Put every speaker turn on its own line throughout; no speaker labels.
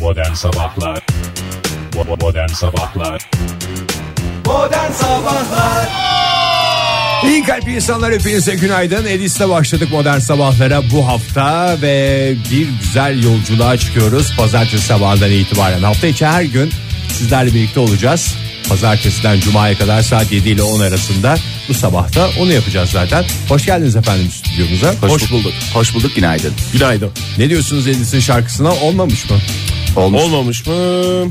Modern Sabahlar Bo- Modern Sabahlar
Modern Sabahlar İyi kalp insanlar hepinize günaydın. Edis'le başladık modern sabahlara bu hafta ve bir güzel yolculuğa çıkıyoruz. Pazartesi sabahından itibaren hafta içi her gün sizlerle birlikte olacağız. Pazartesiden Cuma'ya kadar saat 7 ile 10 arasında bu sabahta onu yapacağız zaten. Hoş geldiniz efendim stüdyomuza.
Hoş bulduk. Hoş bulduk günaydın.
Günaydın.
Ne diyorsunuz Edis'in şarkısına olmamış mı?
Olmuş.
Olmamış mı?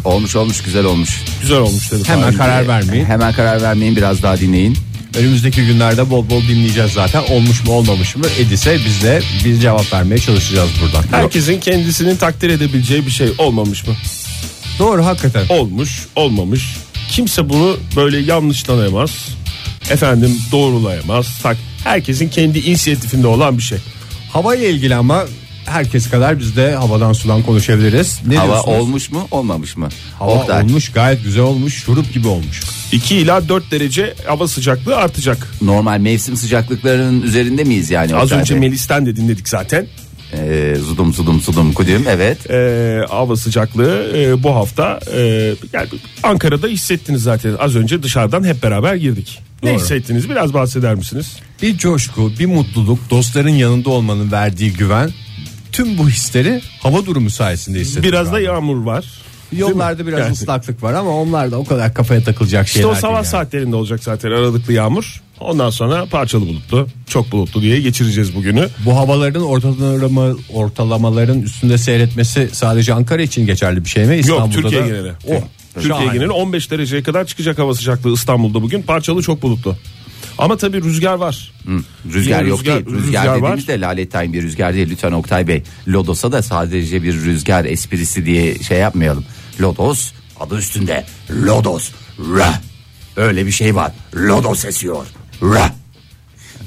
olmuş olmuş güzel olmuş.
Güzel olmuş dedim.
Hemen
Abi.
karar vermeyin.
Hemen karar vermeyin biraz daha dinleyin.
Önümüzdeki günlerde bol bol dinleyeceğiz zaten. Olmuş mu olmamış mı? Edis'e biz de biz cevap vermeye çalışacağız buradan.
Herkesin kendisinin takdir edebileceği bir şey olmamış mı?
Doğru hakikaten.
Olmuş, olmamış. Kimse bunu böyle yanlışlanamaz. Efendim doğrulayamaz. Tak, herkesin kendi inisiyatifinde olan bir şey.
Hava ile ilgili ama herkes kadar biz de havadan sudan konuşabiliriz. Ne
Hava
diyorsunuz?
olmuş mu olmamış mı?
Hava
Oktay,
olmuş gayet güzel olmuş şurup gibi olmuş.
2 ila 4 derece hava sıcaklığı artacak.
normal mevsim sıcaklıklarının üzerinde miyiz yani?
Az
Oktay
önce
Bey?
Melis'ten de dinledik zaten.
Ee, zudum zudum zudum kudüm evet.
Ee, hava sıcaklığı e, bu hafta e, yani Ankara'da hissettiniz zaten. Az önce dışarıdan hep beraber girdik. Ne
Doğru.
hissettiniz? Biraz bahseder misiniz?
Bir coşku, bir mutluluk, dostların yanında olmanın verdiği güven. Tüm bu hisleri hava durumu sayesinde hissediyorum.
Biraz da
abi.
yağmur var.
Yollarda biraz
Yani.
ıslaklık var ama onlar da o kadar kafaya takılacak
İşte
şeyler
o
değil
sabah
yani.
saatlerinde olacak zaten aralıklı yağmur. Ondan sonra parçalı bulutlu, çok bulutlu diye geçireceğiz bugünü.
Bu havaların ortalama, ortalamaların üstünde seyretmesi sadece Ankara için geçerli bir şey mi? İstanbul'da
Yok Türkiye
da...
geneli.
Oh,
Türkiye
şahane.
geneli 15 dereceye kadar çıkacak hava sıcaklığı İstanbul'da bugün. Parçalı çok bulutlu. Ama tabii rüzgar var.
Rüzgar
Yine
yok
rüzgar-
değil. Rüzgar,
rüzgar var.
dediğimiz de lalettayn bir rüzgar değil lütfen Oktay Bey. Lodos'a da sadece bir rüzgar esprisi diye şey yapmayalım. Lodos adı üstünde. Lodos. Ra. Öyle bir şey var. Lodos esiyor. Ra.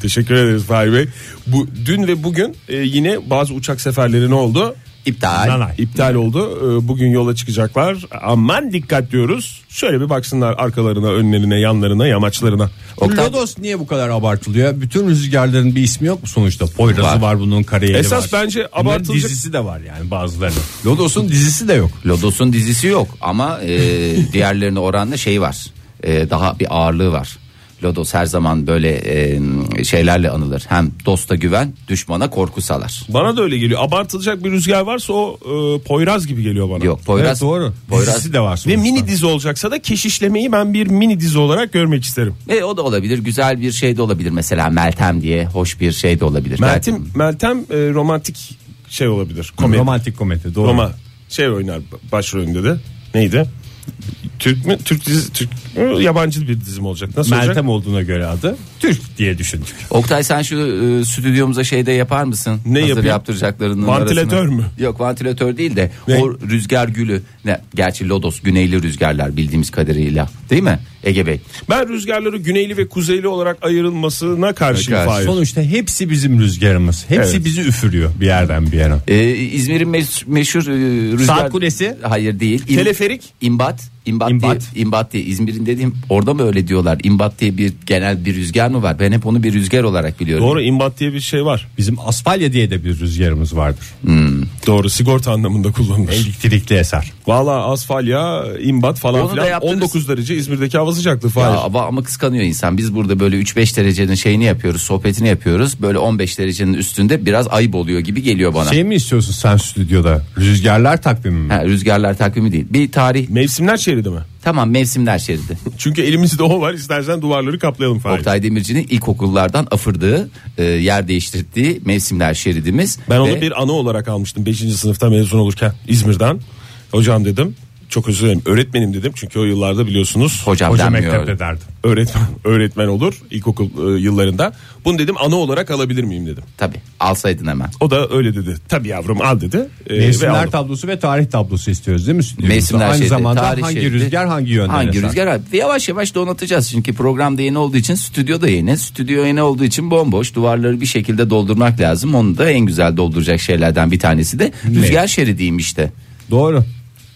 Teşekkür ederiz Fahri Bey. Bu, dün ve bugün e, yine bazı uçak seferleri ne oldu?
İptal.
İptal oldu. E, Bugün yola çıkacaklar. Aman dikkat diyoruz. Şöyle bir baksınlar arkalarına, önlerine, yanlarına, yamaçlarına.
Oktay-
Lodos niye bu kadar abartılıyor? Bütün rüzgarların bir ismi yok mu sonuçta? Poyrazı
Var.
var, bunun kariyeri var.
Esas bence
Bunların
abartılacak-
dizisi de var yani bazılarının. Lodos'un dizisi de yok.
Lodos'un dizisi yok ama e, diğerlerine oranla şey var. E, daha bir ağırlığı var. Lodos her zaman böyle e, şeylerle anılır. Hem dosta güven, düşmana korku salar.
Bana da öyle geliyor. Abartılacak bir rüzgar varsa o e, Poyraz gibi geliyor bana.
Yok Poyraz.
Evet doğru.
Poyraz.
Dizisi de var
Ve
sonuçta.
mini dizi olacaksa da keşişlemeyi ben bir mini dizi olarak görmek isterim.
E, o da olabilir. Güzel bir şey de olabilir. Mesela Meltem diye hoş bir şey de olabilir.
Meltem Meltem e, romantik şey olabilir. Komedi.
Romantik komedi doğru.
Roma şey oynar başrolünde de. Neydi? Türk mü? Türk dizi Türk mü? yabancı bir dizim olacak. Nasıl olacak?
Meltem olduğuna göre adı Türk diye düşündük.
Oktay sen şu e, stüdyomuza şeyde yapar mısın?
Ne
Hazır
yapayım?
yaptıracaklarının
Vantilatör
arasına.
mü?
Yok vantilatör değil de
Ne?
o rüzgar gülü. Ne? Gerçi Lodos güneyli rüzgarlar bildiğimiz kadarıyla. Değil mi Ege Bey?
Ben rüzgarları güneyli ve kuzeyli olarak ayrılmasına karşıyım
Karşı.
Fahir.
Sonuçta hepsi bizim rüzgarımız. Hepsi
Evet.
bizi üfürüyor bir yerden bir yere.
Ee, İzmir'in meş- meşhur e, rüzgar...
Saat kulesi?
Hayır değil. İm-
Teleferik?
İmbat. İmbat,
İmbat.
Diye, imbat diye. İzmir'in dediğim orada mı öyle diyorlar? İmbat diye bir genel bir rüzgar mı var? Ben hep onu bir rüzgar olarak biliyorum.
Doğru imbat diye bir şey var.
Bizim Aspalya diye de bir rüzgarımız vardır.
Doğru sigorta anlamında kullanılır.
Elektrikli eser.
Valla asfalya, imbat
Onu
falan
da
filan
yaptınız.
19 derece İzmir'deki hava sıcaklığı
Ya,
Fahir.
ama, ama kıskanıyor insan. Biz burada böyle 3-5 derecenin şeyini yapıyoruz, sohbetini yapıyoruz. Böyle 15 derecenin üstünde biraz ayıp oluyor gibi geliyor bana.
Şey mi istiyorsun sen stüdyoda? Rüzgarlar takvimi mi?
Ha, rüzgarlar takvimi değil. Bir tarih.
Mevsimler şeridi mi?
Tamam mevsimler şeridi.
Çünkü elimizde o var istersen duvarları kaplayalım Fahir.
Oktay Demirci'nin ilkokullardan afırdığı, e, yer değiştirdiği mevsimler şeridimiz.
Ben onu
Ve-
bir ana olarak almıştım 5. sınıfta mezun olurken İzmir'den. Hocam dedim çok özür dilerim öğretmenim dedim çünkü o yıllarda biliyorsunuz
hocam
Hoca
denmiyor.
mektepte derdim.
öğretmen öğretmen olur ilkokul e, yıllarında. Bunu dedim ana olarak alabilir miyim dedim.
Tabii alsaydın hemen.
O da öyle dedi. Tabii yavrum al dedi. E, ve
Mevsimler
aldım.
tablosu ve tarih tablosu istiyoruz değil mi? stüdyomuzda?
Mevsimler
Aynı
şeridi,
zamanda
tarih
hangi
şeridi.
rüzgar hangi yönden
Hangi
eser?
rüzgar abi? Yavaş yavaş donatacağız çünkü program da yeni olduğu için stüdyo da yeni. Stüdyo yeni olduğu için bomboş duvarları bir şekilde doldurmak lazım. Onu da en güzel dolduracak şeylerden bir tanesi de rüzgar şeridiymiş de.
Doğru.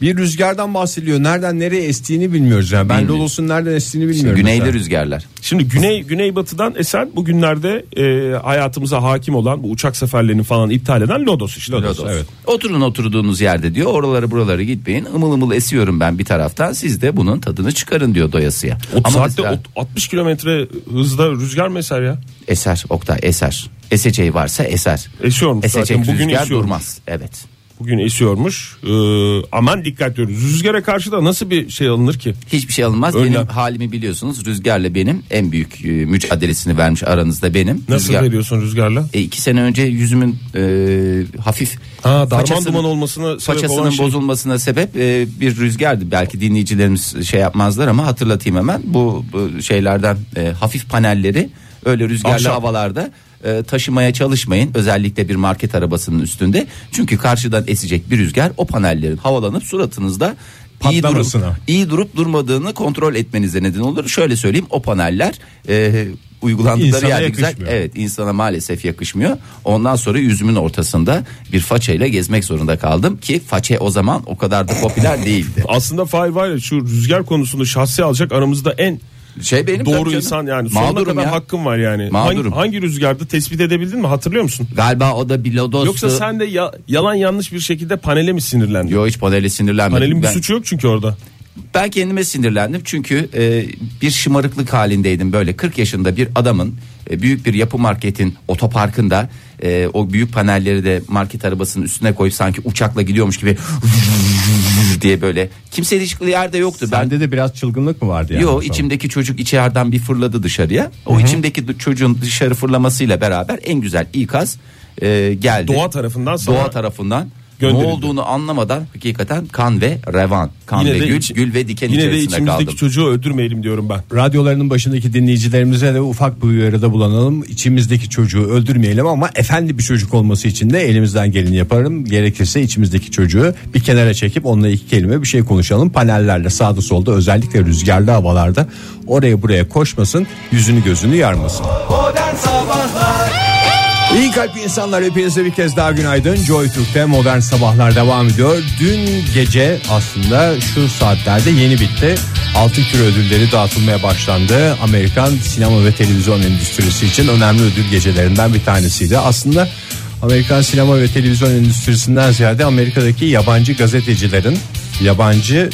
Bir rüzgardan bahsediyor. Nereden nereye estiğini bilmiyoruz. Yani. Ben
Bilmiyoruz.
Lodos'un nereden estiğini bilmiyorum.
Güneyde
mesela.
rüzgarlar.
Şimdi güney güneybatıdan esen bugünlerde e, hayatımıza hakim olan bu uçak seferlerini falan iptal eden Lodos işte.
Lodos. Oturun oturduğunuz yerde diyor. Oraları buraları gitmeyin. Imıl ımıl esiyorum ben bir taraftan. Siz de bunun tadını çıkarın diyor doyasıya.
O saatte
mesela-
ot- 60 kilometre hızda rüzgar mı eser ya?
Eser Oktay eser. Eseceği varsa eser.
Esiyormuş
Esecek
zaten, bugün
rüzgar
esiyormuş.
durmaz. Evet.
Bugün esiyormuş. E, aman dikkat diyoruz. Rüzgara karşı da nasıl bir şey alınır ki?
Hiçbir şey alınmaz.
Önlem.
Benim halimi biliyorsunuz. Rüzgarla benim en büyük e, mücadelesini vermiş aranızda benim.
Nasıl
Rüzgar-
veriyorsun rüzgarla?
E, iki sene önce yüzümün e, hafif
Ha, darman
façasının-
duman olmasına sebep olan
façasının
şey.
bozulmasına sebep e, bir rüzgardı. Belki dinleyicilerimiz şey yapmazlar ama hatırlatayım hemen. Bu, bu şeylerden e, hafif panelleri öyle rüzgarlı
Ahşap.
havalarda e, taşımaya çalışmayın. Özellikle bir market arabasının üstünde. Çünkü karşıdan esecek bir rüzgar o panellerin havalanıp suratınızda iyi durup,
Patlamasına.
iyi durup durmadığını kontrol etmenize neden olur. Şöyle söyleyeyim o paneller e, uygulandıkları
İnsana
yerde güzel.
yakışmıyor.
Evet insana maalesef yakışmıyor. Ondan sonra yüzümün ortasında bir façayla gezmek zorunda kaldım ki façe o zaman o kadar da popüler değildi.
Aslında Fahir var ya şu rüzgar konusunda şahsi alacak aramızda en
Şey benim tabii
doğru
canım.
insan yani. Sonuna
Mağdurum
kadar
ya.
hakkım var yani.
Mağdurum.
Hangi, hangi rüzgarda tespit edebildin mi hatırlıyor musun?
Galiba o da bir lodostu.
Yoksa sen de ya- yalan yanlış bir şekilde panele mi sinirlendin?
Yo hiç panele sinirlenmedim.
Panelin bir
ben,
suçu yok çünkü orada.
ben kendime sinirlendim çünkü e, bir şımarıklık halindeydim böyle 40 yaşında bir adamın e, büyük bir yapı marketin otoparkında e, o büyük panelleri de market arabasının üstüne koyup sanki uçakla gidiyormuş gibi diye böyle kimse ilişkili yerde yoktu. ben
Bende de biraz çılgınlık mı vardı? Yani
Yo içimdeki çocuk içeriden bir fırladı dışarıya. O içimdeki du- çocuğun dışarı fırlamasıyla beraber en güzel ikaz e, geldi.
Doğa tarafından sana-
Doğa tarafından ne
Gönderildi.
olduğunu anlamadan hakikaten kan ve revan, kan ve gül,
içi-
gül ve diken
yine de
içerisinde
içimizdeki
kaldım.
çocuğu öldürmeyelim diyorum ben.
Radyolarının başındaki dinleyicilerimize de ufak bir uyarıda bulunalım. İçimizdeki çocuğu öldürmeyelim ama efendi bir çocuk olması için de elimizden geleni yaparım. Gerekirse içimizdeki çocuğu bir kenara çekip onunla iki kelime bir şey konuşalım. Panellerle sağda solda özellikle rüzgarlı havalarda oraya buraya koşmasın yüzünü gözünü yarmasın. İyi kalp insanlar hepinize bir kez daha günaydın. Joy Türk'te modern sabahlar devam ediyor. Dün gece aslında şu saatlerde yeni bitti. Altın Küre ödülleri dağıtılmaya başlandı. Amerikan sinema ve televizyon endüstrisi için önemli ödül gecelerinden bir tanesiydi. Aslında Amerikan sinema ve televizyon endüstrisinden ziyade Amerika'daki yabancı gazetecilerin, yabancı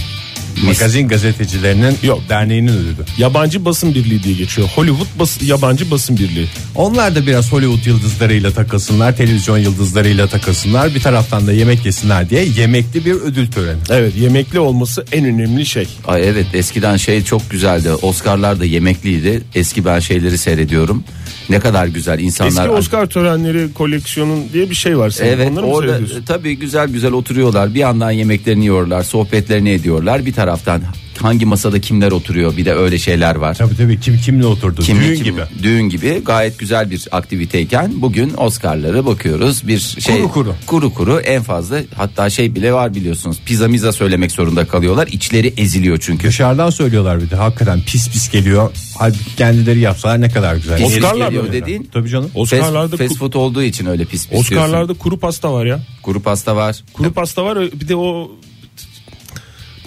magazin gazetecilerinin yok derneğinin ödülü.
Yabancı basın birliği diye geçiyor. Hollywood bas- yabancı basın birliği.
Onlar da biraz Hollywood yıldızlarıyla takılsınlar, televizyon yıldızlarıyla takılsınlar. Bir taraftan da yemek yesinler diye yemekli bir ödül töreni.
Evet yemekli olması en önemli şey.
Ay evet eskiden şey çok güzeldi. Oscar'lar da yemekliydi. Eski ben şeyleri seyrediyorum. Ne kadar güzel insanlar.
Eski Oscar törenleri koleksiyonun diye bir şey var. Senin.
Evet
Onları mı
orada
seyrediyorsun?
tabii güzel güzel oturuyorlar. Bir yandan yemeklerini yiyorlar, sohbetlerini ediyorlar. Bir taraftan hangi masada kimler oturuyor bir de öyle şeyler var.
Tabii tabii kim kimle oturdu?
Kim-
Düğün
kim-
gibi.
Düğün gibi gayet güzel bir aktiviteyken bugün Oscar'lara bakıyoruz. Bir şey
Kuru kuru.
kuru kuru en fazla hatta şey bile var biliyorsunuz. Pizza miza söylemek zorunda kalıyorlar. İçleri eziliyor çünkü.
Dışarıdan söylüyorlar bir de hakikaten pis pis geliyor. Halbuki kendileri yapsalar ne kadar güzel.
Pis
Oscar'lar
geliyor
mı?
dediğin.
Tabii canım.
Oscar'larda
fast, fast
ku-
food olduğu için öyle pis pis diyorsun.
Oscar'larda kuru pasta var ya.
Kuru pasta var.
Kuru pasta var bir de o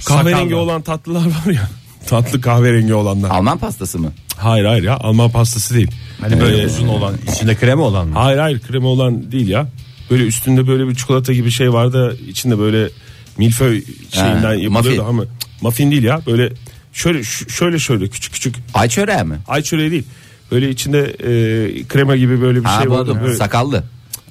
kahverengi
Sakal var.
olan tatlılar var ya. Tatlı kahverengi olanlar.
Alman pastası mı?
Hayır hayır ya Alman pastası değil. Ee,
Hani böyle uzun olan, içinde krema olan mı?
Hayır hayır krema olan değil ya. Böyle üstünde böyle bir çikolata gibi şey var da içinde böyle milföy
Ha,
şeyinden
muffin.
yapılıyor da ama cık, muffin değil ya. Böyle şöyle ş- şöyle şöyle küçük küçük
Ay çöreği mi?
ay çöreği değil. Böyle içinde e, krema gibi böyle bir
Ha
şey var. da
buldum.
böyle-
Sakallı.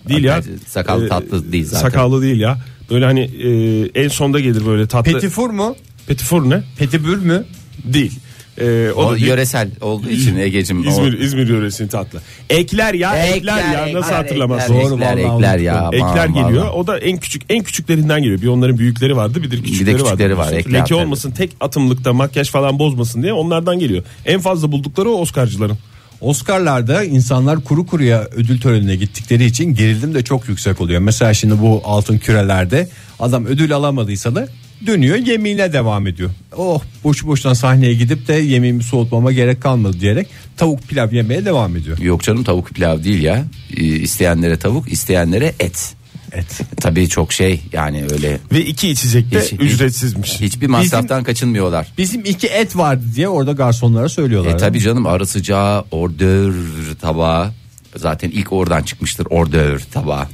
değil ya.
Sakal
E,
tatlı değil zaten.
Sakallı değil ya. Böyle hani e, en sonda gelir böyle tatlı.
Petifur mu?
Petifur ne?
Petibür mü?
Değil. E,
O,
da bir-
yöresel olduğu için Egecim. o-
İzmir, İzmir yöresinin tatlı. Ekler ya, ekler, ya. Nasıl hatırlamaz?
Ekler,
Doğru
ekler,
vallahi.
ekler ya. aman,
Ekler
vallahi.
geliyor. O da en küçük en küçüklerinden geliyor. Bir onların büyükleri vardı, bir de küçükleri,
küçükleri var,
vardı.
ekler
Leke
tabii.
olmasın, tek atımlıkta makyaj falan bozmasın diye onlardan geliyor. En fazla buldukları o Oscar'cıların.
Oscar'larda insanlar kuru kuruya ödül törenine gittikleri için gerilim de çok yüksek oluyor. Mesela şimdi bu altın kürelerde adam ödül alamadıysa da dönüyor yemeğine devam ediyor. Oh boş boşuna sahneye gidip de yemeğimi soğutmama gerek kalmadı diyerek tavuk pilav yemeye devam ediyor.
Yok canım tavuk pilav değil ya. Ee, İsteyenlere tavuk, isteyenlere et.
et.
Tabii çok şey yani öyle
Ve iki içecek de
Hiç-
ücretsizmiş.
hiçbir masraftan kaçınmıyorlar.
Bizim iki et vardı diye orada garsonlara söylüyorlar.
E tabii canım ara sıcağı ordör tabağı zaten ilk oradan çıkmıştır ordör tabağı.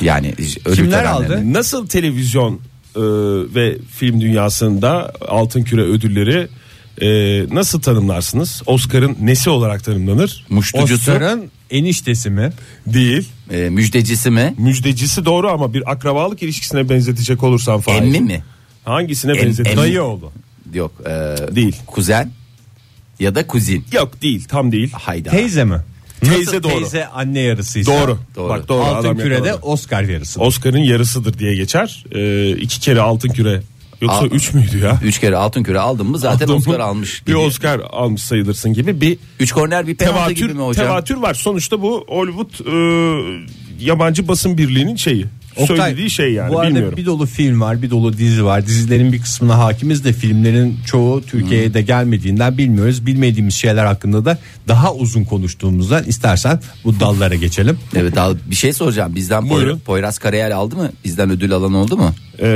Yani ölü
Kimler
törenlerine-
aldı?
Nasıl televizyon e, ve film dünyasında altın küre ödülleri e, nasıl tanımlarsınız? Oscar'ın nesi olarak tanımlanır?
Muştucusu
Oscar'ın eniştesi mi?
Değil.
e, müjdecisi mi?
Müjdecisi doğru ama bir akrabalık ilişkisine benzetecek olursan falan.
Emmi mi?
Hangisine
Em-
benzetecek?
emmi.
Dayı oğlu.
Yok. e,
Değil.
Kuzen ya da kuzin.
Yok değil tam değil.
Hayda.
Teyze mi?
Teyze
Nasıl
doğru.
Teyze anne yarısıysa.
Doğru.
Doğru.
Bak doğru
Altın
adam
kürede
yakaladı.
Oscar yarısı.
Oscar'ın yarısıdır diye geçer. E, iki kere altın küre. Yoksa
Al-
üç müydü ya?
Üç kere altın küre aldın mı zaten
Aldım.
Oscar almış.
Bir
gibi.
Oscar almış sayılırsın gibi bir
Üç korner bir penaltı gibi mi
tevatür,
hocam?
tevatür var. Sonuçta bu Hollywood e, yabancı basın birliğinin şeyi.
Oktay,
söylediği şey yani
Bu arada
bilmiyorum.
bir dolu film var bir dolu dizi var dizilerin bir kısmına hakimiz de filmlerin çoğu Türkiye'ye de gelmediğinden bilmiyoruz bilmediğimiz şeyler hakkında da daha uzun konuştuğumuzdan istersen bu dallara geçelim
Evet al- bir şey soracağım. Bizden
Buyurun.
Poy- Poyraz Karayel aldı mı? Bizden ödül alan oldu mu?
E,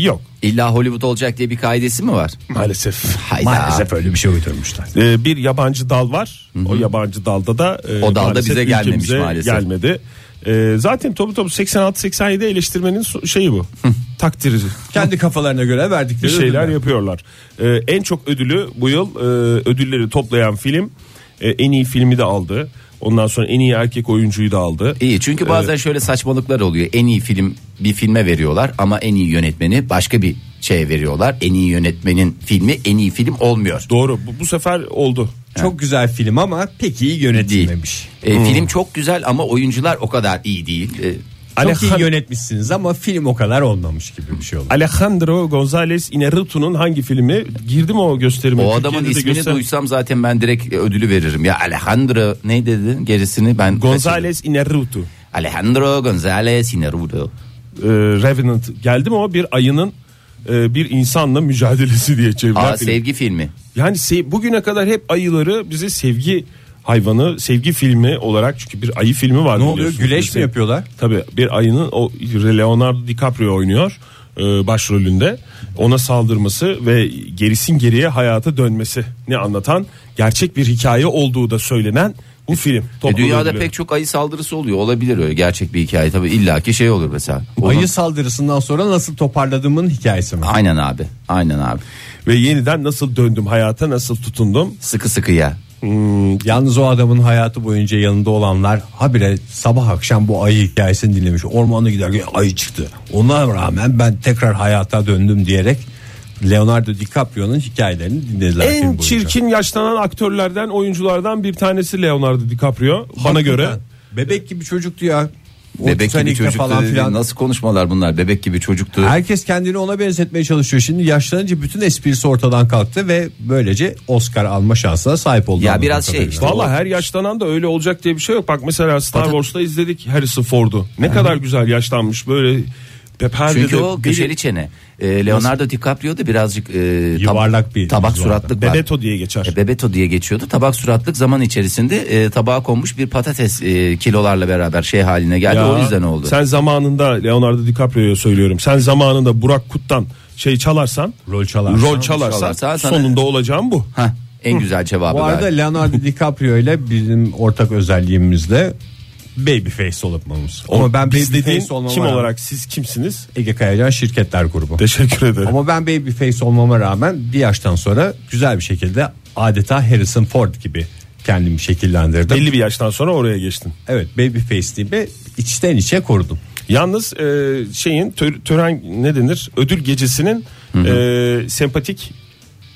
yok
İlla Hollywood olacak diye bir kaidesi mi var?
maalesef.
Hayda.
maalesef öyle bir şey uydurmuşlar
E, bir yabancı dal var. O yabancı dalda da e,
O dalda
maalesef
bize gelmemiş
ülkemize
maalesef.
Gelmedi. E, zaten topu topu 86-87 eleştirmenin so- şeyi bu. Takdiri.
kendi kafalarına göre
bir
verdikleri
şeyler
ödüller.
yapıyorlar. Ee, en çok ödülü bu yıl e, ödülleri toplayan film e, en iyi filmi de aldı. Ondan sonra en iyi erkek oyuncuyu da aldı.
İyi çünkü bazen şöyle saçmalıklar oluyor. En iyi film bir filme veriyorlar ama en iyi yönetmeni başka bir şeye veriyorlar. En iyi yönetmenin filmi en iyi film olmuyor.
Doğru. Bu, bu sefer oldu.
çok güzel film ama pek iyi yönetilmemiş
E,
Hmm.
Film çok güzel ama oyuncular o kadar iyi değil. E,
çok iyi
Alejandro-
yönetmişsiniz ama film o kadar olmamış gibi bir şey oldu
Alejandro González Inarritu'nun hangi filmi girdi mi o gösterime?
o
Türkiye'de
adamın
de
ismini
göster-
duysam zaten ben direkt e, ödülü veririm. Ya Alejandro ne dedi gerisini ben kaçırdım.
González Inarritu.
Alejandro Gonzalez Iñárritu.
Ee, Revenant geldi mi o bir ayının e, bir insanla mücadelesi diye çevrilen
Aa,
film.
sevgi filmi. E,
Yani se- bugüne kadar hep ayıları bize sevgi hayvanı, sevgi filmi olarak çünkü bir ayı filmi var.
ne oluyor güleş mi yapıyorlar
Tabii bir ayının o Leonardo DiCaprio oynuyor e, başrolünde. Ona saldırması ve gerisin geriye hayata dönmesi ne anlatan gerçek bir hikaye olduğu da söylenen bu film.
E,
Toplu
dünyada
ödülü.
pek çok ayı saldırısı oluyor. Olabilir öyle gerçek bir hikaye. Tabii illaki şey olur mesela. Onun-
ayı saldırısından sonra nasıl toparladığımın hikayesi mi
Aynen abi. Aynen abi.
ve yeniden nasıl döndüm hayata nasıl tutundum
Sıkı sıkıya.
Yalnız o adamın hayatı boyunca yanında olanlar habire sabah akşam bu ayı hikayesini dinlemiş. Ormana giderken ayı çıktı. Ona rağmen ben tekrar hayata döndüm diyerek Leonardo DiCaprio'nun hikayelerini dinlediler. film
En
boyunca.
çirkin yaşlanan aktörlerden oyunculardan bir tanesi Leonardo DiCaprio bana
Hakikaten.
göre.
Bebek gibi çocuktu ya. O
Bebek gibi
Titanic'te
çocuktu.
falan
dedi.
filan.
Nasıl konuşmalar bunlar? Bebek gibi çocuktu.
Herkes kendini ona benzetmeye çalışıyor. Şimdi yaşlanınca bütün esprisi ortadan kalktı ve böylece Oscar alma şansına sahip oldu.
Ya
anladığım
biraz şey
kadarıyla.
işte.
Valla her yaşlanan da öyle olacak diye bir şey yok. Bak mesela Star
Zaten-
Wars'ta izledik Harrison Ford'u. Ne kadar güzel yaşlanmış böyle pe- perdede.
Çünkü o
biri-
köşeli çene. E, Leonardo DiCaprio da birazcık e, tab-
Yuvarlak bir
tabak
yüzü
suratlık var.
Bebeto diye geçer.
E, Bebeto diye geçiyordu. Tabak suratlık zaman içerisinde e, tabağa konmuş bir patates e, kilolarla beraber şey haline geldi.
Ya,
o yüzden oldu.
Sen zamanında Leonardo DiCaprio'ya söylüyorum. Sen zamanında Burak Kut'tan şey çalarsan,
Rol çalarsan.
rol çalarsan,
Çalarsa sana-
sonunda olacağım bu.
Hah, en güzel cevabı
Bu arada
verdi.
Leonardo DiCaprio ile bizim ortak özelliğimiz de babyface olmamız. Ama ben
Biz dediğin
babyface
kim
olmama rağmen-
olarak siz kimsiniz?
Ege Kayacan Şirketler Grubu.
Teşekkür ederim.
Ama ben babyface olmama rağmen bir yaştan sonra güzel bir şekilde adeta Harrison Ford gibi kendimi şekillendirdim.
Belli bir yaştan sonra oraya geçtin.
Evet babyface'liğimi içten içe korudum.
Yalnız e, şeyin tö- tören ne denir? Ödül gecesinin e, sempatik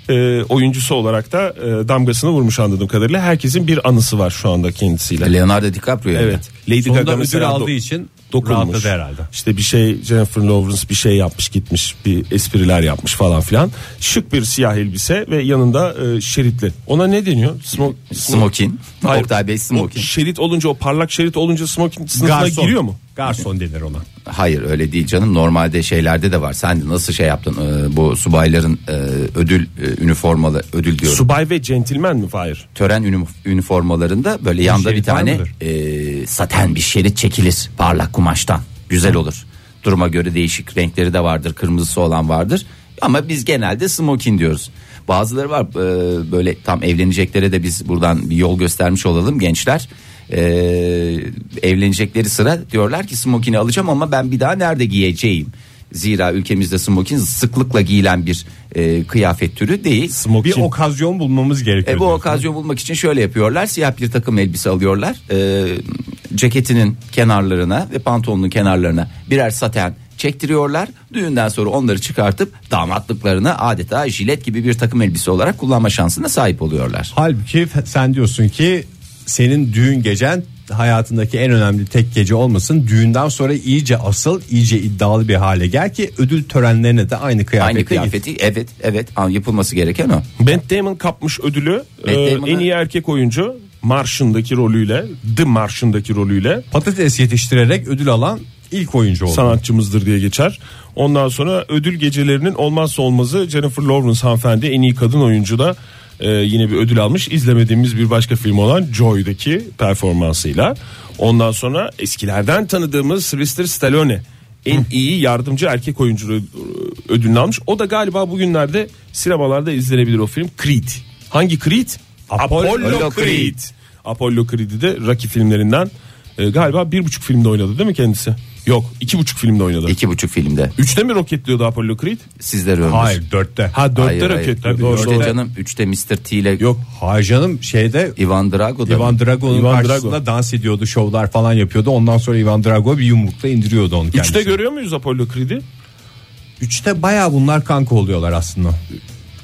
e, oyuncusu olarak da e, damgasını vurmuş anladığım kadarıyla. Herkesin bir anısı var şu anda kendisiyle.
Leonardo DiCaprio. yani.
evet. Lady
Sonunda
Gaga
ödül
mesela do-
aldığı için rahatladı herhalde.
İşte bir şey Jennifer Lawrence bir şey yapmış gitmiş bir espriler yapmış falan filan. Şık bir siyah elbise ve yanında e, şeritli. Ona ne deniyor? Smoke,
Smokin.
Hayır.
Oktay Bey
O
Smokin.
şerit olunca o parlak şerit olunca smoking sınıfına giriyor mu?
Garson denir ona.
Hayır öyle değil canım normalde şeylerde de var. Sen de nasıl şey yaptın Ee, bu subayların e, ödül e, üniformalı ödül diyorum.
Subay ve centilmen mi Fahir?
Tören ünif- üniformalarında böyle yanda bir
şerit var
tane
mıdır?
e, saten bir şerit çekilir parlak kumaştan. Güzel olur. duruma göre değişik renkleri de vardır. Kırmızısı olan vardır. Ama biz genelde smokin diyoruz. Bazıları var e, böyle tam evleneceklere de biz buradan bir yol göstermiş olalım gençler. E, evlenecekleri sıra diyorlar ki smokini alacağım ama ben bir daha nerede giyeceğim? Zira ülkemizde smokin sıklıkla giyilen bir e, kıyafet türü değil.
Smoking.
Bir okazyon bulmamız gerekiyor.
E, bu
diyorsun.
okazyon bulmak için şöyle yapıyorlar. Siyah bir takım elbise alıyorlar. E, ceketinin kenarlarına ve pantolonun kenarlarına birer saten çektiriyorlar. Düğünden sonra onları çıkartıp damatlıklarını adeta jilet gibi bir takım elbise olarak kullanma şansına sahip oluyorlar.
Halbuki fe- sen diyorsun ki senin düğün gecen hayatındaki en önemli tek gece olmasın. Düğünden sonra iyice asıl, iyice iddialı bir hale gel ki ödül törenlerine de aynı kıyafetle
Aynı
git.
kıyafeti evet evet an- yapılması gereken o.
Matt Damon kapmış ödülü
Matt
e,
Damon'a-
en iyi erkek oyuncu Martian'daki rolüyle The Martian'daki rolüyle
Patates yetiştirerek ödül alan ilk oyuncu oldu.
sanatçımızdır diye geçer. Ondan sonra ödül gecelerinin olmazsa olmazı Jennifer Lawrence hanımefendi en iyi kadın oyuncu da e, yine bir ödül almış. İzlemediğimiz bir başka film olan Joy'daki performansıyla. Ondan sonra eskilerden tanıdığımız Sylvester Stallone en iyi yardımcı erkek oyuncu ö- ödülünü almış. O da galiba bugünlerde sinemalarda izlenebilir o film Creed. Hangi Creed?
Apollo
Creed.
Apollo Creed'i de Rocky filmlerinden e, galiba bir buçuk filmde oynadı değil mi kendisi? Yok iki buçuk filmde oynadı.
İki buçuk filmde
Üçte mi roketliyordu Apollo Creed?
sizler ömür.
Hayır dörtte.
Ha
Hayır,
dörtte
hayır.
roketliyordu.
Üçte
Doğru, doğru.
canım üçte Mr. T ile
Yok hayır canım şeyde
Ivan Drago da.
Ivan Drago'nun
Ivan Drago.
karşısında dans ediyordu şovlar falan yapıyordu. Ondan sonra Ivan Drago bir yumrukla indiriyordu onu kendisi.
Üçte görüyor muyuz Apollo Creed'i?
Üçte baya bunlar kanka oluyorlar aslında.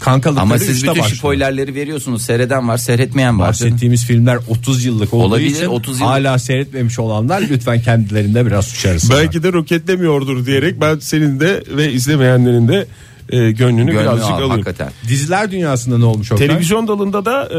Kankalıkları
Ama siz
üçte
bütün
başlıyor.
spoilerleri veriyorsunuz. Seyreden var, seyretmeyen var.
Bahsettiğimiz filmler 30 yıllık olduğu
Olabilir,
için
30 yıllık.
hala seyretmemiş olanlar lütfen kendilerinde biraz suçarız.
Belki de roketlemiyordur diyerek ben senin de ve izlemeyenlerin de e, gönlünü,
Gönlü
birazcık
al,
alayım.
hakikaten.
Diziler dünyasında ne olmuş Oktay?
Televizyon dalında da e,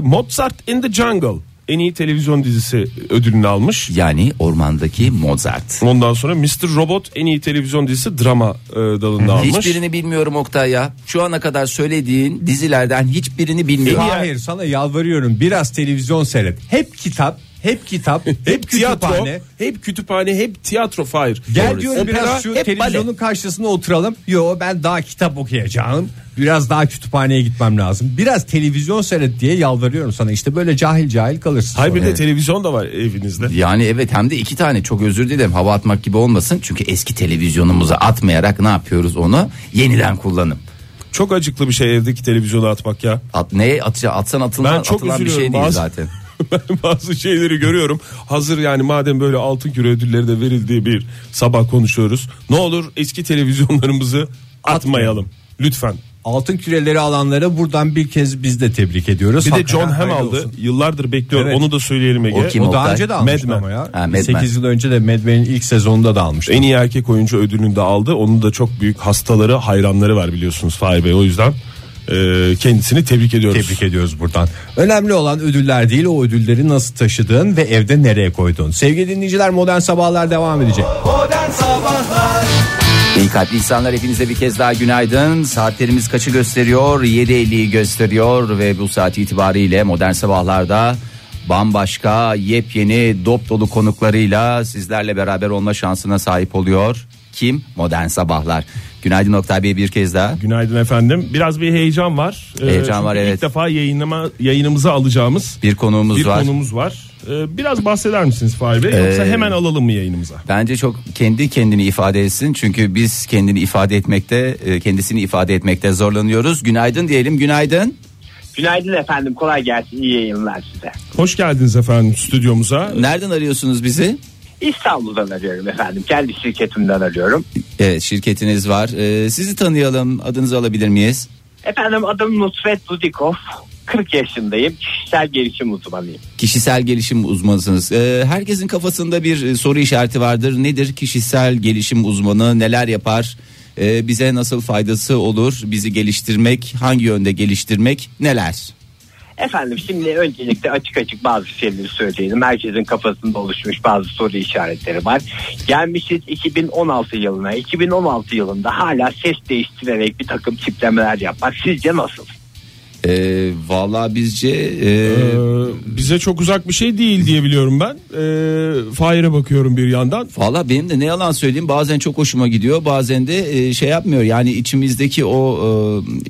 Mozart in the Jungle en iyi televizyon dizisi ödülünü almış.
Yani ormandaki Mozart.
Ondan sonra Mr. Robot en iyi televizyon dizisi drama e, dalında almış.
Hiçbirini bilmiyorum Oktay ya. Şu ana kadar söylediğin dizilerden hiçbirini bilmiyorum.
Hayır sana yalvarıyorum biraz televizyon seyret. Hep kitap, hep kitap, hep
Hep tiyatro,
kütüphane.
hep kütüphane, hep tiyatro Fahir.
Gel
Doğru.
diyorum
Opera,
biraz şu
hep
televizyonun karşısına oturalım. Yo ben daha kitap okuyacağım. Biraz daha kütüphaneye gitmem lazım. Biraz televizyon seyret diye yalvarıyorum sana. İşte böyle cahil cahil kalırsın.
Hayır
sonra.
bir de televizyon da var evinizde.
Yani evet hem de iki tane çok özür dilerim hava atmak gibi olmasın. Çünkü eski televizyonumuza atmayarak ne yapıyoruz onu? Yeniden kullanım.
Çok acıklı bir şey evdeki televizyona atmak ya.
At, neye atacağım? Atsan atılan,
Ben çok
atılan bir
üzülüyorum.
şey değil
bazı,
zaten.
ben bazı şeyleri görüyorum. Hazır yani madem böyle altın küre ödülleri de verildiği bir sabah konuşuyoruz. Ne olur eski televizyonlarımızı atmayalım. Lütfen.
Altın küreleri alanlara buradan bir kez biz de tebrik ediyoruz.
Bir de
Hakikaten
John Hamm
hayırlı
aldı.
olsun.
Yıllardır bekliyorum.
Evet.
Onu da söyleyelim Ege.
O kim?
E, O daha
Oktay?
önce de almıştı
Mad Men.
ama ya.
Ha, Mad Men.
8 yıl önce de Mad Men'in ilk sezonunda da almıştı.
En iyi erkek oyuncu ödülünü de aldı. Onun da çok büyük hastaları, hayranları var biliyorsunuz Fahir Bey. O yüzden e, kendisini tebrik ediyoruz.
Tebrik ediyoruz buradan. Önemli olan ödüller değil o ödülleri nasıl taşıdığın ve evde nereye koyduğun. Sevgili dinleyiciler modern sabahlar devam edecek.
İyi kalpli insanlar hepinize bir kez daha günaydın. Saatlerimiz kaçı gösteriyor? 7.50'yi gösteriyor ve bu saat itibariyle modern sabahlarda bambaşka yepyeni dop dolu konuklarıyla sizlerle beraber olma şansına sahip oluyor. Kim? Modern Sabahlar. Günaydın Oktay Bey bir kez daha.
Günaydın efendim. Biraz bir heyecan var. Ee,
Heyecan
çünkü
var,
ilk
evet.
defa yayınlama, yayınımıza alacağımız
Bir konuğumuz
bir
var.
konumuz var. Ee, biraz bahseder misiniz Fahir Bey? Yoksa
Ee,
hemen alalım mı yayınımıza?
Bence çok kendi kendini ifade etsin. Çünkü biz kendini ifade etmekte, e, kendisini ifade etmekte zorlanıyoruz. Günaydın diyelim. Günaydın.
Günaydın efendim kolay gelsin iyi yayınlar size.
Hoş geldiniz efendim stüdyomuza.
Nereden arıyorsunuz bizi?
İstanbul'dan arıyorum efendim kendi şirketimden arıyorum.
Evet E, şirketiniz var. Ee, sizi tanıyalım. Adınızı alabilir miyiz?
Efendim adım Nusret Dudikov 40 yaşındayım kişisel gelişim uzmanıyım.
Kişisel gelişim uzmanısınız. Ee, herkesin kafasında bir e, soru işareti vardır. Nedir kişisel gelişim uzmanı? Neler yapar? Ee, bize nasıl faydası olur? Bizi geliştirmek, hangi yönde geliştirmek? Neler?
Efendim şimdi öncelikle açık açık bazı şeyleri söyleyelim. Herkesin kafasında oluşmuş bazı soru işaretleri var. Gelmişiz 2016 yılına. 2016 yılında hala ses değiştirerek bir takım tiplemeler yapmak sizce nasıl?
Ee, Valla bizce e,
Ee, bize çok uzak bir şey değil diye biliyorum ben. Ee, Fahir'e bakıyorum bir yandan.
Valla benim de ne yalan söyleyeyim bazen çok hoşuma gidiyor bazen de e, şey yapmıyor yani içimizdeki o e,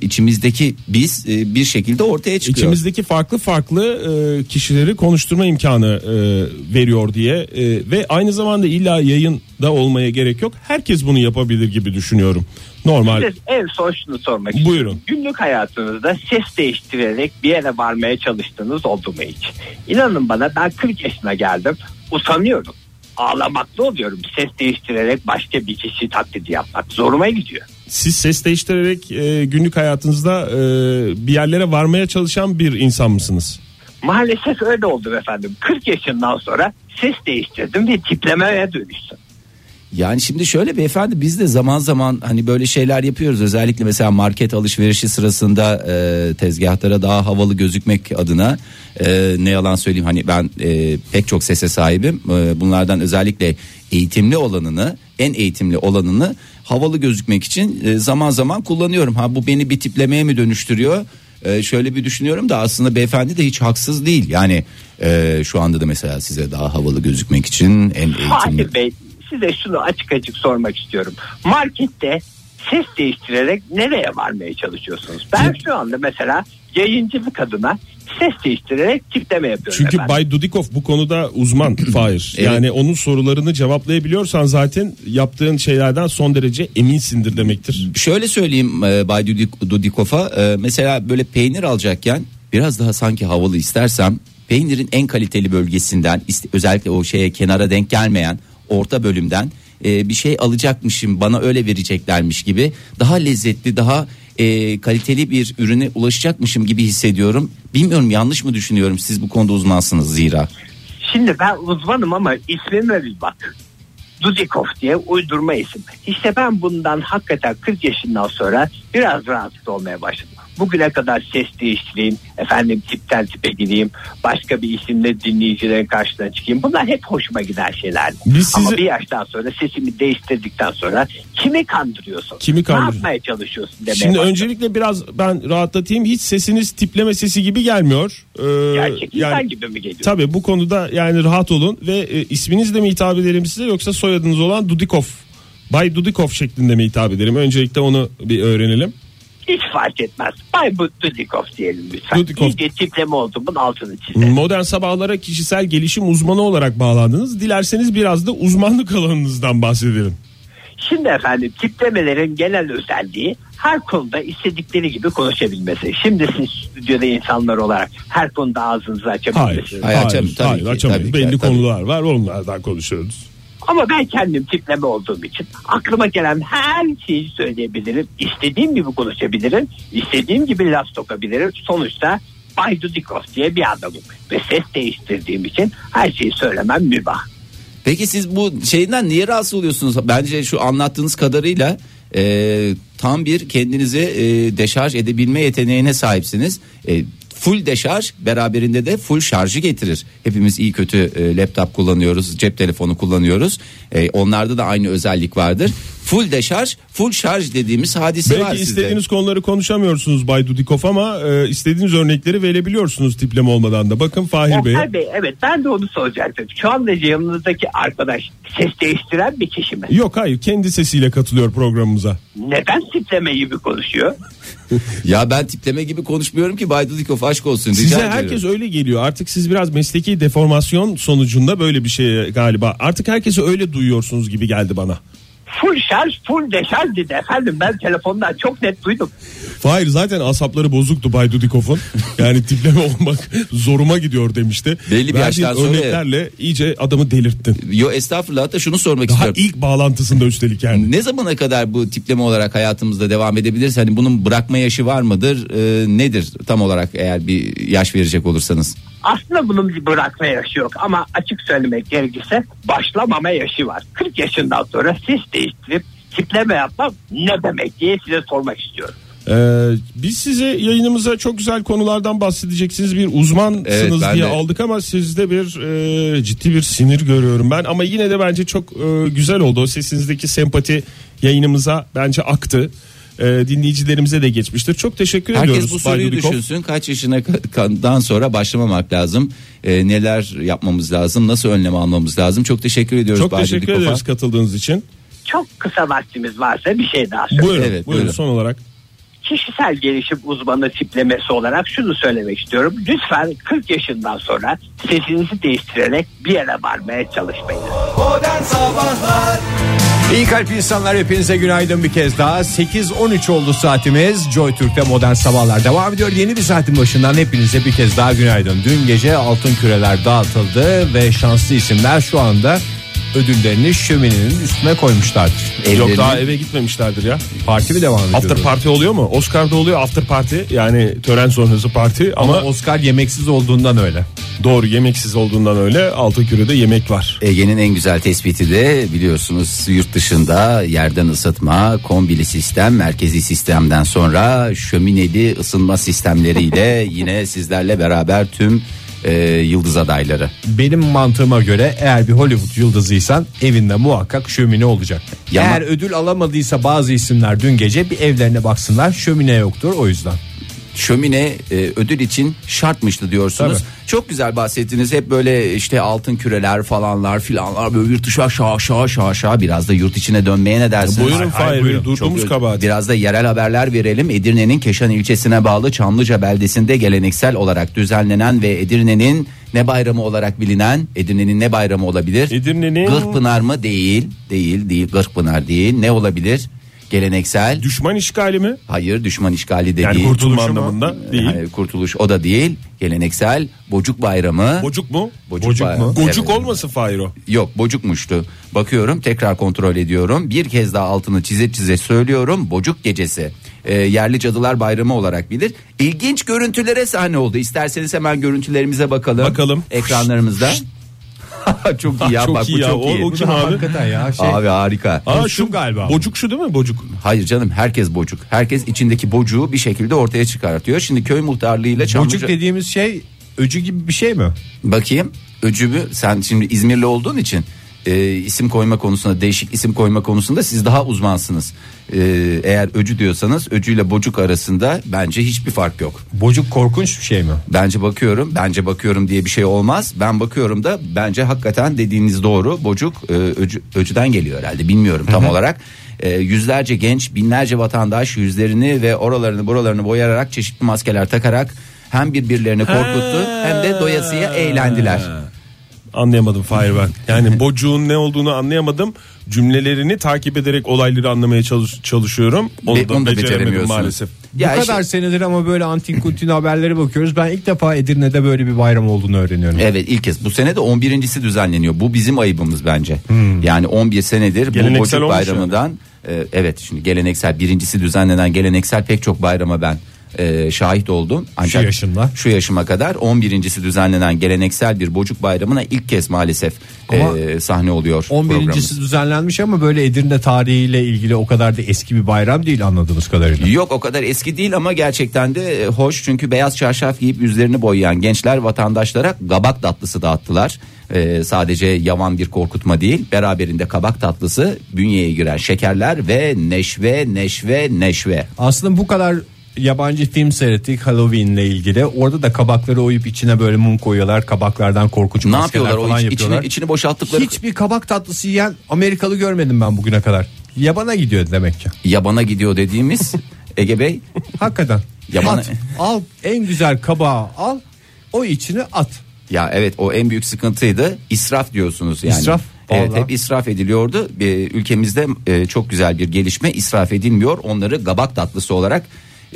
içimizdeki biz e, bir şekilde ortaya çıkıyor.
İçimizdeki farklı farklı e, kişileri konuşturma imkanı e, veriyor diye e, ve aynı zamanda illa yayında olmaya gerek yok. Herkes bunu yapabilir gibi düşünüyorum. Normal.
Siz en son şunu sormak
Buyurun.
istiyorum. Günlük hayatınızda ses değiştirerek bir yere varmaya çalıştığınız oldu mu hiç? İnanın bana ben 40 yaşına geldim. Utanıyorum. Ağlamaklı oluyorum. Ses değiştirerek başka bir kişi taklidi yapmak zoruma gidiyor.
Siz ses değiştirerek e, günlük hayatınızda e, bir yerlere varmaya çalışan bir insan mısınız?
Maalesef öyle oldum efendim. 40 yaşından sonra ses değiştirdim ve tiplemeye dönüştüm.
Yani şimdi şöyle beyefendi biz de zaman zaman hani böyle şeyler yapıyoruz. Özellikle mesela market alışverişi sırasında e, tezgahlara daha havalı gözükmek adına e, ne yalan söyleyeyim hani ben e, pek çok sese sahibim. E, bunlardan özellikle eğitimli olanını en eğitimli olanını havalı gözükmek için e, zaman zaman kullanıyorum. Ha bu beni bir tiplemeye mi dönüştürüyor? E, şöyle bir düşünüyorum da aslında beyefendi de hiç haksız değil. Yani e, şu anda da mesela size daha havalı gözükmek için en eğitimli
Fatih Bey size şunu açık açık sormak istiyorum. Markette ses değiştirerek nereye varmaya çalışıyorsunuz? Ben şu anda mesela yayıncı bir kadına ses değiştirerek tipleme yapıyorum
Çünkü
efendim.
Bay Dudikov bu konuda uzman Fahir.
Evet.
Yani onun sorularını cevaplayabiliyorsan zaten yaptığın şeylerden son derece eminsindir demektir.
şöyle söyleyeyim e, Bay Dudik- Dudikof'a e, mesela böyle peynir alacakken biraz daha sanki havalı istersem peynirin en kaliteli bölgesinden ist- özellikle o şeye kenara denk gelmeyen orta bölümden e, bir şey alacakmışım bana öyle vereceklermiş gibi daha lezzetli daha e, kaliteli bir ürüne ulaşacakmışım gibi hissediyorum. Bilmiyorum yanlış mı düşünüyorum siz bu konuda uzmansınız zira.
Şimdi ben uzmanım ama ismime bir bak. Dudikov diye uydurma isim. İşte ben bundan hakikaten 40 yaşından sonra biraz rahatsız olmaya başladım. Bugüne kadar ses değiştireyim, efendim tipten tipe gideyim, başka bir isimle dinleyicilerin karşısına çıkayım. Bunlar hep hoşuma giden şeyler.
Biz
Ama
sizi-
bir yaştan sonra sesimi değiştirdikten sonra kimi kandırıyorsun?
Kimi
Ne
kandırıyorsun?
yapmaya çalışıyorsun demeye
Şimdi
başladım.
öncelikle biraz ben rahatlatayım. Hiç sesiniz tipleme sesi gibi gelmiyor. Ee,
Gerçek insan
yani-
gibi mi geliyor?
Tabii bu konuda yani rahat olun ve e, isminizle mi hitap edelim size yoksa soyadınız olan Dudikov. Bay Dudikov şeklinde mi hitap edelim? Öncelikle onu bir öğrenelim.
Hiç fark etmez. Bay Dudikov diyelim lütfen.
Dudikov.
İyice tipleme oldu bunun altını çizelim.
Modern sabahlara kişisel gelişim uzmanı olarak bağlandınız. Dilerseniz biraz da uzmanlık alanınızdan bahsedelim.
Şimdi efendim tiplemelerin genel özelliği her konuda istedikleri gibi konuşabilmesi. Şimdi siz stüdyoda insanlar olarak her konuda ağzınızı
Hayır.
açabilirsiniz.
Hayır, açamıyoruz. Tabii
hayır,
ki,
açamıyoruz.
tabii ki,
Belli
tabii.
konular var onlardan konuşuyoruz.
Ama ben kendim tipleme olduğum için aklıma gelen her şeyi söyleyebilirim. İstediğim gibi konuşabilirim. İstediğim gibi laf sokabilirim. Sonuçta Bay Dudikov diye bir adamım. Ve ses değiştirdiğim için her şeyi söylemem mübah.
Peki siz bu şeyden niye rahatsız oluyorsunuz? Bence şu anlattığınız kadarıyla e, tam bir kendinizi e, deşarj edebilme yeteneğine sahipsiniz. E, full deşarj beraberinde de full şarjı getirir. Hepimiz iyi kötü e, laptop kullanıyoruz, cep telefonu kullanıyoruz. E, onlarda da aynı özellik vardır. Full deşarj, full şarj dediğimiz hadise var
Belki
sizde.
istediğiniz konuları konuşamıyorsunuz Bay Dudikov ama e, istediğiniz örnekleri verebiliyorsunuz tipleme olmadan da. Bakın Fahir Bey.
Oktay Bey evet ben de onu soracaktım. Şu anda yanınızdaki arkadaş ses değiştiren bir kişi mi?
Yok hayır kendi sesiyle katılıyor programımıza.
neden tipleme gibi konuşuyor?
Ya ben tipleme gibi konuşmuyorum ki Bay Dudikoff aşk olsun. Rica
Size
ediyorum.
herkes öyle geliyor. Artık siz biraz mesleki deformasyon sonucunda böyle bir şey galiba. Artık herkesi öyle duyuyorsunuz gibi geldi bana.
Full şarj full deşarj dedi efendim ben telefondan çok net duydum.
Hayır zaten asapları bozuktu Bay Dudikov'un. Yani tipleme olmak zoruma gidiyor demişti.
Belli bir
Verdiğin
yaştan sonra-
örneklerle iyice adamı delirttin.
Yo estağfurullah da şunu sormak
Daha
istiyorum.
ilk bağlantısında üstelik yani.
Hani Ne zamana kadar bu tipleme olarak hayatımızda devam edebiliriz? Hani bunun bırakma yaşı var mıdır? Ee, nedir tam olarak eğer bir yaş verecek olursanız?
Aslında bunun bir bırakma yaşı yok ama açık söylemek gerekirse başlamama yaşı var. 40 yaşından sonra ses değiştirip tipleme yapmak ne demek diye size sormak istiyorum.
Ee, biz size yayınımıza çok güzel konulardan bahsedeceksiniz bir uzmansınız
Evet, ben
diye
de-
aldık ama sizde bir e, ciddi bir sinir görüyorum ben ama yine de bence çok e, güzel oldu o sesinizdeki sempati yayınımıza bence aktı e, dinleyicilerimize de geçmiştir. Çok teşekkür ediyoruz.
Herkes bu
Bay
soruyu
Dudikoff.
düşünsün. Kaç yaşına dan sonra başlamamak lazım. Ee, neler yapmamız lazım? Nasıl önlem almamız lazım? Çok teşekkür ediyoruz.
Çok
Bay
teşekkür
Dudikoff'a.
ederiz katıldığınız için.
Çok kısa vaktimiz varsa bir şey daha söyleyeyim.
Buyurun,
Evet,
buyurun
buyurun.
son olarak.
kişisel gelişim uzmanı tiplemesi olarak şunu söylemek istiyorum. Lütfen 40 yaşından sonra sesinizi değiştirerek bir yere varmaya çalışmayın.
Modern Sabahlar İyi kalp insanlar hepinize günaydın bir kez daha 8.13 oldu saatimiz Joy Türk'te Modern Sabahlar devam ediyor Yeni bir saatin başından hepinize bir kez daha günaydın Dün gece altın küreler dağıtıldı Ve şanslı isimler şu anda ödüllerini şöminenin üstüne koymuşlardır
Yok
Evlerinin-
daha eve gitmemişlerdir ya.
Parti mi devam ediyor?
After party oluyor mu? Oscar'da oluyor after party. Yani tören sonrası parti ama,
Ama Oscar yemeksiz olduğundan öyle
doğru yemeksiz olduğundan öyle altı kürede yemek var.
Ege'nin en güzel tespiti de biliyorsunuz yurt dışında yerden ısıtma, kombili sistem, merkezi sistemden sonra şömineli ısınma sistemleriyle yine sizlerle beraber tüm e, yıldız adayları.
Benim mantığıma göre eğer bir Hollywood yıldızıysan evinde muhakkak şömine olacak.
Yama-
Eğer ödül alamadıysa bazı isimler dün gece bir evlerine baksınlar şömine yoktur o yüzden.
Şömine e, ödül için şartmıştı diyorsunuz. Çok güzel bahsettiniz. Hep böyle işte altın küreler falanlar filanlar böyle yurt dışı aşağı aşağı aşağı aşağı biraz da yurt içine dönmeye ne dersiniz?
Buyurun
hayır,
Fahir Bey
buyurun.
durduğumuz
Çok-
kabahat.
Biraz da yerel haberler verelim. Edirne'nin Keşan ilçesine bağlı Çamlıca beldesinde geleneksel olarak düzenlenen ve Edirne'nin ne bayramı olarak bilinen Edirne'nin ne bayramı olabilir?
Edirne'nin-
Gırkpınar mı? Değil. Değil. Değil. Gırkpınar değil. Ne olabilir? Geleneksel.
Düşman işgali mi?
Hayır düşman işgali de
Yani
değil.
kurtulma
Kurtuluş ama-
anlamında değil.
Yani kurtuluş o da değil. Geleneksel Bocuk Bayramı.
Bocuk mu?
Bocuk bayramı.
Gocuk
Evet.
olmasın Fahir o.
Yok bocukmuştu. Bakıyorum tekrar kontrol ediyorum. Bir kez daha altını çize çize söylüyorum. Bocuk gecesi. Ee, yerli Cadılar Bayramı olarak bilir. İlginç görüntülere sahne oldu. İsterseniz hemen görüntülerimize bakalım.
Bakalım.
Çok iyi çok iyi ya
Çok
bak
iyi
bu
ya.
çok
O-
iyi.
o kim abi?
Hakikaten ya şey.
Abi harika.
Aa,
Bocuk galiba.
Bocuk şu değil mi? Bocuk.
Hayır canım herkes bocuk. Herkes içindeki bocuğu bir şekilde ortaya çıkartıyor. Şimdi köy muhtarlığıyla Çamlıca...
Bocuk dediğimiz şey öcü gibi bir şey mi?
Bakayım öcübü sen şimdi İzmirli olduğun için e, isim koyma konusunda değişik isim koyma konusunda siz daha uzmansınız. E, eğer öcü diyorsanız öcüyle bocuk arasında bence hiçbir fark yok.
Bocuk korkunç bir şey mi?
Bence bakıyorum bence bakıyorum diye bir şey olmaz. Ben bakıyorum da bence hakikaten dediğiniz doğru bocuk e, öcü- öcüden geliyor herhalde bilmiyorum tam olarak. E, yüzlerce genç binlerce vatandaş yüzlerini ve oralarını buralarını boyayarak çeşitli maskeler takarak hem birbirlerini korkuttu hem de doyasıya eğlendiler.
Anlayamadım Fahir ben. Yani bocuğun ne olduğunu anlayamadım. Cümlelerini takip ederek olayları anlamaya çalış- çalışıyorum. Onu
Be-
da,
onu da
beceremiyorum
beceremiyorsunuz.
maalesef.
Ya
Bu
işte-
kadar senedir ama böyle antin kuntin haberlere bakıyoruz. Ben ilk defa Edirne'de böyle bir bayram olduğunu öğreniyorum.
Evet ilk kez bu sene de 11.si düzenleniyor. Bu bizim ayıbımız bence. Yani 11 senedir bu
Geleneksel
Bocuk
olmuş
Bayramı'dan e, evet şimdi geleneksel birincisi düzenlenen geleneksel pek çok bayrama ben e, şahit oldum. Ancak
Şu yaşında.
Şu yaşıma kadar 11.si düzenlenen geleneksel bir Bocuk Bayramı'na ilk kez maalesef
Ama
e, sahne oluyor.
11.si
programımız.
düzenlenmiş ama böyle Edirne tarihiyle ilgili o kadar da eski bir bayram değil anladığımız kadarıyla.
Yok o kadar eski değil ama gerçekten de e, hoş çünkü beyaz çarşaf giyip yüzlerini boyayan gençler vatandaşlara kabak tatlısı dağıttılar. Ee, sadece yavan bir korkutma değil beraberinde kabak tatlısı bünyeye giren şekerler ve neşve neşve neşve.
Aslında bu kadar yabancı film seyrettik Halloween'le ilgili. Orada da kabakları oyup içine böyle mum koyuyorlar. Kabaklardan korkunç
Ne
maskeler
yapıyorlar o
falan
iç-
yapıyorlar.
içini, içini boşalttıkları
Hiçbir kabak tatlısı yiyen Amerikalı görmedim ben bugüne kadar. Yabana gidiyor demek ki.
yabana gidiyor dediğimiz Ege Bey
Hakikaten.
Yabana-
At, al en güzel kabağı al o içine at.
Ya evet o en büyük sıkıntıydı. İsraf diyorsunuz yani.
İsraf,
Evet
vallahi.
hep israf ediliyordu. Ee, Ülkemizde e, çok güzel bir gelişme israf edilmiyor. Onları kabak tatlısı olarak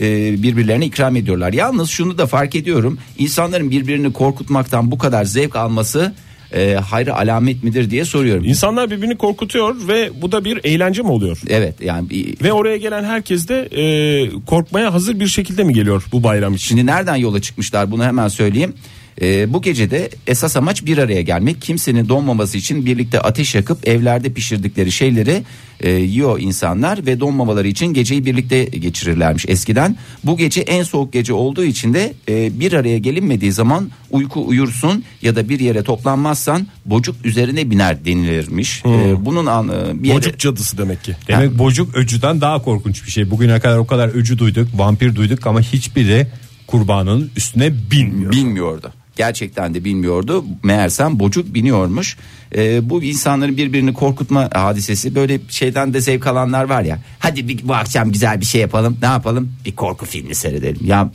e, birbirlerine ikram ediyorlar. Yalnız şunu da fark ediyorum. İnsanların birbirini korkutmaktan bu kadar zevk alması e, hayra alamet midir diye soruyorum.
İnsanlar birbirini korkutuyor ve bu da bir eğlence mi oluyor?
Evet yani bir-
Ve oraya gelen herkes de e, korkmaya hazır bir şekilde mi geliyor bu bayram için?
Şimdi nereden yola çıkmışlar bunu hemen söyleyeyim. E, bu gecede esas amaç bir araya gelmek. Kimsenin donmaması için birlikte ateş yakıp evlerde pişirdikleri şeyleri e, yiyor insanlar ve donmamaları için geceyi birlikte geçirirlermiş eskiden. Bu gece en soğuk gece olduğu için de e, bir araya gelinmediği zaman uyku uyursun ya da bir yere toplanmazsan bocuk üzerine biner denilirmiş. E, bunun an, e, bir yere-
Bocuk cadısı demek ki.
Demek bocuk öcüden daha korkunç bir şey. Bugüne kadar o kadar öcü duyduk, vampir duyduk ama hiçbiri kurbanın üstüne binmiyor.
Bilmiyordu. Gerçekten de bilmiyordu. Meğersem bocuk biniyormuş. Ee, bu insanların birbirini korkutma hadisesi böyle şeyden de zevk alanlar var ya. Hadi bir, bu akşam güzel bir şey yapalım. Ne yapalım? Bir korku filmi seyredelim. Ya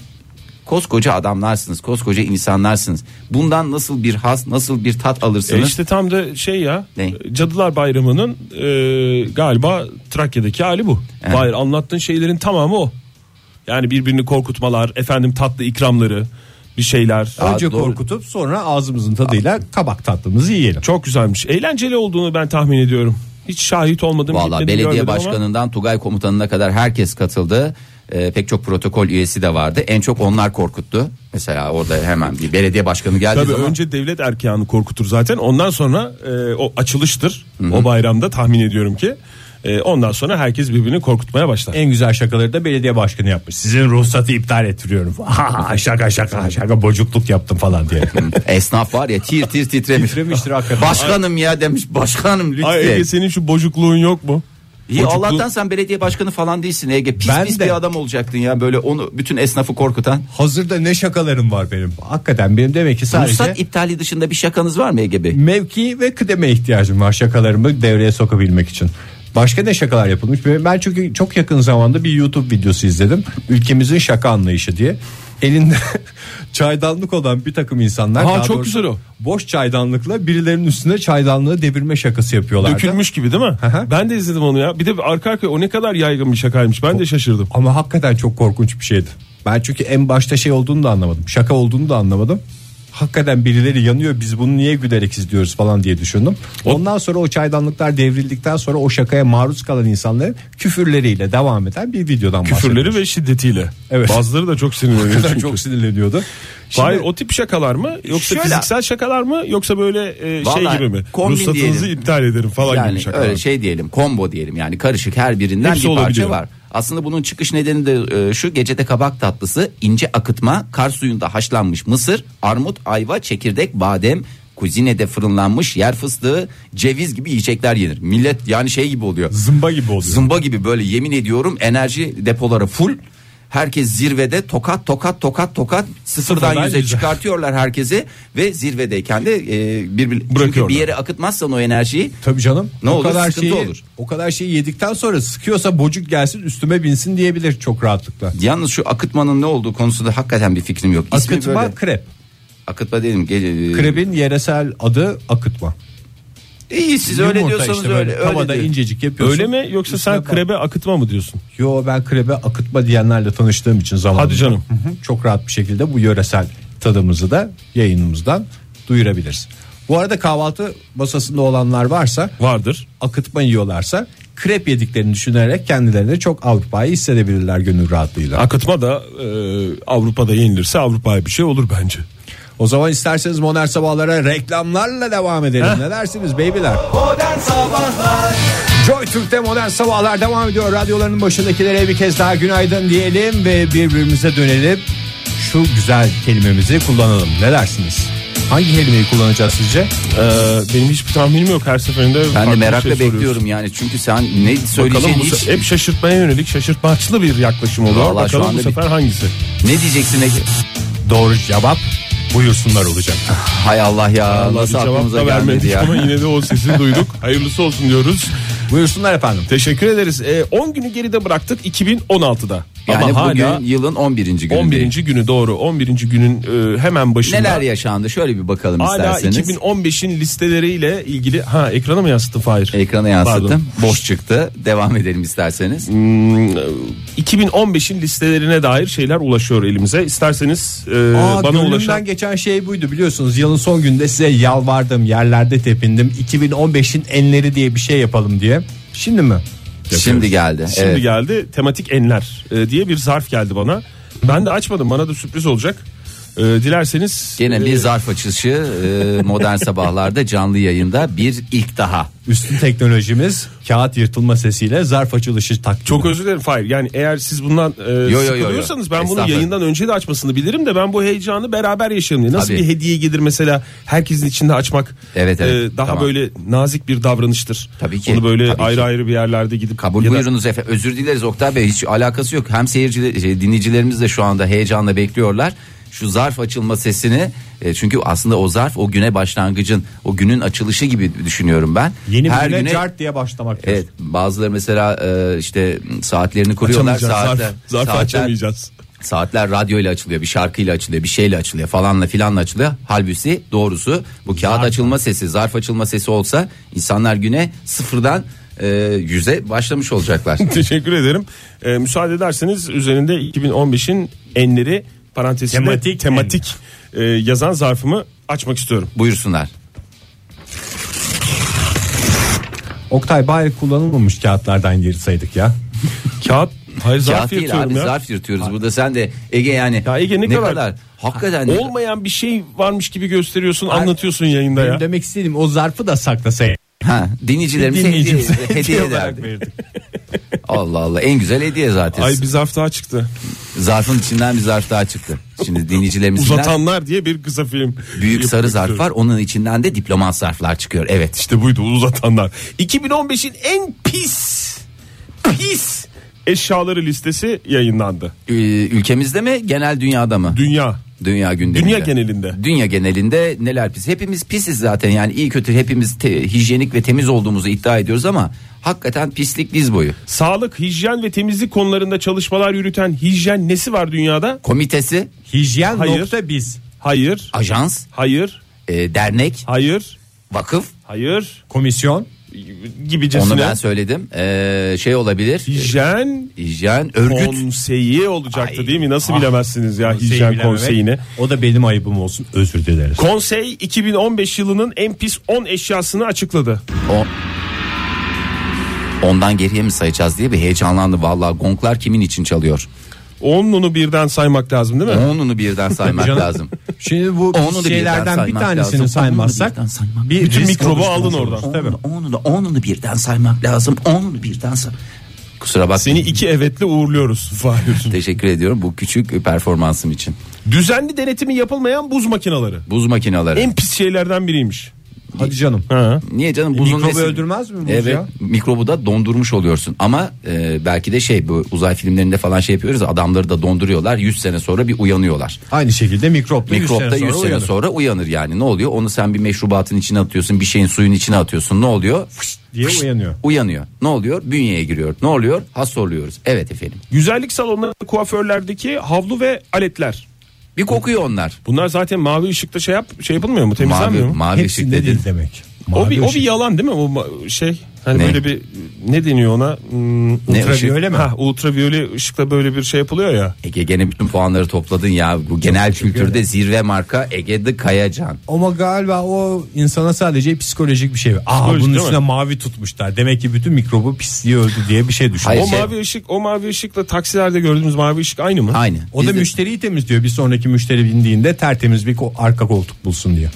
koskoca adamlarsınız, koskoca insanlarsınız. Bundan nasıl bir haz, nasıl bir tat
E
alırsınız?
işte tam da şey ya
Ne?
Cadılar Bayramı'nın e, galiba Trakya'daki hali bu. Hayır anlattığın şeylerin tamamı o. Yani birbirini korkutmalar, efendim tatlı ikramları, bir şeyler.
Önce
doğru.
korkutup sonra ağzımızın tadıyla kabak tatlımızı yiyelim.
Çok güzelmiş. Eğlenceli olduğunu ben tahmin ediyorum. Hiç şahit olmadım.
Valla
gitmedim,
belediye
görmedim şey ama
başkanından Tugay komutanına kadar herkes katıldı. Ee, pek çok protokol üyesi de vardı. En çok onlar korkuttu. Mesela orada hemen bir belediye başkanı geldi.
Tabii önce devlet erkanı korkutur zaten. Ondan sonra e, o açılıştır. O bayramda tahmin ediyorum ki. E, ondan sonra herkes birbirini korkutmaya başlar.
En güzel şakaları da belediye başkanı yapmış. Sizin ruhsatı iptal ettiriyorum. şaka şaka şaka bocukluk yaptım falan diye.
Esnaf var ya tir tir titremiş.
Titremiştir hakikaten.
Başkanım ya demiş başkanım lütfen.
Ay Ege senin şu bocukluğun yok mu?
İyi
Bocuklu-
Allah'tan sen belediye başkanı falan değilsin Ege. Pis
Ben
pis
de.
bir adam olacaktın ya böyle onu bütün esnafı korkutan.
Hazırda ne şakalarım var benim. Hakikaten benim demek ki sadece
Ruhsat iptali dışında bir şakanız var mı Ege Bey?
mevki ve kıdeme ihtiyacım var şakalarımı devreye sokabilmek için. Başka ne şakalar yapılmış? Ben çünkü çok yakın zamanda bir YouTube videosu izledim. Ülkemizin şaka anlayışı diye. Elinde çaydanlık olan bir takım insanlar.
Aa,
daha
çok güzel o.
Boş çaydanlıkla birilerinin üstüne çaydanlığı devirme şakası yapıyorlar.
Dökülmüş gibi değil mi?
hı.
Ben de izledim onu ya. Bir de arka arkaya o ne kadar yaygın bir şakaymış. Ben de şaşırdım.
Ama hakikaten çok korkunç bir şeydi. Ben çünkü en başta şey olduğunu da anlamadım. Şaka olduğunu da anlamadım. Hakikaten birileri yanıyor biz bunu niye gülerek izliyoruz falan diye düşündüm. Ondan sonra o çaydanlıklar devrildikten sonra o şakaya maruz kalan insanların küfürleriyle devam eden bir videodan
Küfürleri
bahsediyoruz.
ve şiddetiyle.
Evet.
Bazıları da çok sinirleniyor çünkü.
çok sinirleniyordu. Şimdi
Hayır o tip şakalar mı yoksa
Şöyle-
fiziksel şakalar mı yoksa böyle e, şey
Vallahi
gibi mi?
kombin
Ruhsatınızı
diyelim.
iptal ederim falan gibi
Yani
şakalar.
öyle şey diyelim combo diyelim yani karışık her birinden
Hepsi
bir parça
olabiliyor.
var. Aslında bunun çıkış nedeni de e, şu gecede kabak tatlısı, ince akıtma, kar suyunda haşlanmış mısır, armut, ayva, çekirdek, badem, kuzinede fırınlanmış yer fıstığı, ceviz gibi yiyecekler yenir. Millet yani şey gibi oluyor.
zımba gibi oluyor.
Zımba gibi böyle yemin ediyorum enerji depoları full. Herkes zirvede tokat tokat tokat tokat sıfırdan,
Sıfırdan
yüze
yüze.
çıkartıyorlar herkesi ve zirvedeyken de e, bir, bir- çünkü
Bırakıyorlar.
bir yere akıtmazsan o enerjiyi
Tabii canım.
Ne
o
olur,
kadar
sıkıntı
şeyi,
olur.
O kadar şeyi yedikten sonra sıkıyorsa bocuk gelsin üstüme binsin diyebilir çok rahatlıkla.
Yalnız şu akıtmanın ne olduğu konusunda hakikaten bir fikrim yok. İsmi
Akıtma
böyle-
krep.
akıtma dedim. e, Gece,
Krebin yeresel adı akıtma.
İyi siz
Yumurta
öyle diyorsanız
işte böyle
öyle. öyle
Tavada
diyor.
incecik yapıyorsun.
Öyle mi yoksa
Üstüne
sen
bak.
krebe akıtma mı diyorsun?
Yo ben krebe akıtma diyenlerle tanıştığım için zamanında.
Hadi canım.
Hı hı. Çok rahat bir şekilde bu yöresel tadımızı da yayınımızdan duyurabiliriz. Bu arada kahvaltı masasında olanlar varsa
Vardır.
akıtma yiyorlarsa krep yediklerini düşünerek kendilerini çok Avrupa'yı hissedebilirler gönül rahatlığıyla.
Akıtma da e, Avrupa'da yenilirse Avrupa'ya bir şey olur bence.
o zaman isterseniz modern sabahlara reklamlarla devam edelim. Ne dersiniz beybiler?
Modern Sabahlar
Joy Türk'te modern sabahlar devam ediyor. Radyoların başındakilere bir kez daha günaydın diyelim ve birbirimize dönelim. Şu güzel kelimemizi kullanalım. Ne dersiniz? Hangi kelimeyi kullanacağız sizce?
E, benim hiçbir tahminim yok her seferinde.
Ben
farklı
de
bir
merakla
şey soruyorsun.
bekliyorum yani. Çünkü sen ne
Bakalım
söyleyeceğini
bu
hiç
se- hep şaşırtmaya yönelik şaşırtmaçlı bir yaklaşım oluyor.
Vallahi şu
Bakalım
anda
bu
bir-
sefer hangisi?
ne diyeceksin Ege?
Doğru cevap buyursunlar olacak.
Hay Allah ya nasıl
Bir cevap
aklımıza
da
gelmedi
vermedik
ya.
ama yine de o sesi duyduk. Hayırlısı olsun diyoruz.
Buyursunlar efendim.
Teşekkür ederiz. E, 10 günü geride bıraktık 2016'da.
Yani
ama
bugün
hala
yılın 11. günü.
11. günü doğru. 11. günün e, hemen başında.
Neler yaşandı şöyle bir bakalım
Hala
isterseniz.
2015'in listeleriyle ilgili ha ekrana mı yansıttın Fahir?
Ekrana yansıttım. Boş çıktı. Devam edelim isterseniz.
Pardon. 2015'in listelerine dair şeyler ulaşıyor elimize. İsterseniz e,
Aa,
bana
gönlümden
ulaşan
geçen şey buydu biliyorsunuz yılın son günde size yalvardım yerlerde tepindim 2015'in enleri diye bir şey yapalım diye şimdi mi?
Şimdi geldi.
şimdi
evet.
geldi tematik enler e, diye bir zarf geldi bana. Ben de açmadım bana da sürpriz olacak. E, dilerseniz
Gene bir zarf açışı e, modern sabahlarda canlı yayında bir ilk daha.
Üstün teknolojimiz kağıt yırtılma sesiyle zarf açılışı takdimi.
Çok özür dilerim Fahir. Yani eğer siz bundan e,
yo, yo.
sıkılıyorsanız ben bunu
Estağfurullah.
yayından önce de açmasını bilirim de ben bu heyecanı beraber yaşarım diye. Nasıl
Tabii.
bir hediye gelir mesela herkesin içinde açmak e,
Evet, evet.
daha
Tamam.
böyle nazik bir davranıştır.
Tabii ki.
Onu böyle
Tabii ki.
ayrı ayrı bir yerlerde gidip
Kabul
ya da-
buyurunuz efendim. Özür dileriz Oktay Bey hiç alakası yok. Hem seyirciler şey, dinleyicilerimiz de şu anda heyecanla bekliyorlar. Şu zarf açılma sesini e, çünkü aslında o zarf o güne başlangıcın o günün açılışı gibi düşünüyorum ben.
Yeni
Her
Her güne,
güne-
cart diye
Ee,
başlamak
Evet
lazım.
bazıları mesela e, işte saatlerini kuruyorlar
açamayacağız. Zarf,
saatler,
zarfı
saatler,
açamayacağız.
saatler radyo ile açılıyor bir şarkıyla açılıyor bir şeyle açılıyor falanla filanla açılıyor. Halbuki doğrusu bu kağıt açılma sesi zarf açılma sesi olsa insanlar güne sıfırdan e, yüze başlamış olacaklar.
Teşekkür ederim. E, müsaade ederseniz üzerinde 2015'in enleri parantezinde
Tematik
tematik, e, yazan zarfımı açmak istiyorum.
Buyursunlar.
Oktay bari kullanılmamış kağıtlardan yırtsaydık ya.
Kağıt Hayır
Kağıt
zarf
değil abi
yırtıyorum ya.
zarf yırtıyoruz. Burada sen de Ege yani
Ya Ege ne kadar-
hakikaten
Olmayan bir şey varmış gibi gösteriyorsun, anlatıyorsun yayında ya.
Benim demek istediğim o zarfı da saklasaydık.
ha, dinleyicilerimize hediye,
Dinleyicimize
hediye
olarak
ederdik. Allah Allah en güzel hediye zaten.
Ay bir zarf daha çıktı.
Zarfın içinden bir zarf daha çıktı. Şimdi dinleyicilerimiz
Uzatanlar diye bir kısa film.
büyük sarı
yapmak
zarf
istiyorum.
var. Onun içinden de diplomat zarflar çıkıyor. Evet.
İşte buydu uzatanlar. 2015'in en pis pis eşyaları listesi yayınlandı.
Ee, Ülkemizde mi genel dünyada mı?
Dünya.
Dünya gündeminde.
Dünya genelinde.
Dünya genelinde neler pis. Hepimiz pisiz zaten yani iyi kötü hepimiz te- hijyenik ve temiz olduğumuzu iddia ediyoruz ama hakikaten pislik diz boyu.
Sağlık, hijyen ve temizlik konularında çalışmalar yürüten hijyen nesi var dünyada?
Komitesi,
Hijyen
Hayır.
nokta biz.
Hayır.
ajans,
Hayır.
e, dernek,
Hayır.
vakıf.
Hayır.
Komisyon.
Gibicesine.
Onu ben söyledim. Ee, şey olabilir.
Hijyen
Hijyen örgüt.
konseyi olacaktı
Ay.
değil mi? Nasıl
Ah.
bilemezsiniz ya
Konseyi
hijyen
bilememek.
konseyini?
O da benim ayıbım olsun özür dileriz.
Konsey 2015 yılının en pis 10 eşyasını açıkladı.
O... Ondan geriye mi sayacağız diye bir heyecanlandı. Vallahi gonglar kimin için çalıyor?
Onunu birden saymak lazım değil mi?
Onunu birden saymak
Canım.
lazım.
Şimdi bu
Onu da birden
şeylerden bir
saymak
tanesini
lazım.
saymazsak
Onu da birden saymak
bir
Bütün
risk
mikrobu
oluşturmuş
alın
oluruz.
oradan.
Tabii.
Onunu, onunu, onunu birden saymak lazım. Onunu birden say. Kusura bakma.
Seni iki evetle uğurluyoruz Fahir.
Teşekkür ediyorum bu küçük performansım için.
Düzenli denetimi yapılmayan buz makinaları.
Buz makineleri.
En pis şeylerden biriymiş.
Hadi canım.
Ha.
Niye canım buzun
E, mikrobu
nesi-
öldürmez mi buz
evet,
ya?
mikrobu da dondurmuş oluyorsun ama e, belki de şey bu uzay filmlerinde falan şey yapıyoruz ya, adamları da donduruyorlar 100 sene sonra bir uyanıyorlar.
Aynı şekilde mikrop da 100
Mikrop da
sene
100
sonra
sene
uyanır.
sonra uyanır yani ne oluyor onu sen bir meşrubatın içine atıyorsun bir şeyin suyun içine atıyorsun ne oluyor Fışt,
diye
fışt,
uyanıyor.
uyanıyor ne oluyor bünyeye giriyor ne oluyor hasta oluyoruz evet efendim
Güzellik salonlarında kuaförlerdeki havlu ve aletler.
bir kokuyor onlar
Bunlar zaten mavi ışıkta şey yap şey yapılmıyor mu?
mavi
Temizlenmiyor mu?
mavi ışık
Hepsinde
dedin
değil demek.
O
Mavi
bir, o bir
ışık.
yalan değil mi? O ma- şey hani
Ne?
böyle bir ne deniyor ona? Hmm,
Ultraviyole mi?
Ha, ultraviyole ışıkla böyle bir şey yapılıyor ya.
Ege gene bütün puanları topladın ya bu genel kültürde zirve marka Ege'de Kayacan
Ama galiba o insana sadece psikolojik bir şey. Aa
Psikolojik
bunun
değil
üstüne mavi tutmuşlar. Demek ki bütün mikrobu pisliği öldü diye bir şey düşün.
Hayır,
o
şey-
mavi ışık, o mavi ışıkla taksilerde gördüğümüz mavi ışık aynı mı?
aynı
O da
Biz de-
müşteriyi temizliyor. Bir sonraki müşteri bindiğinde tertemiz bir ko- arka koltuk bulsun diye.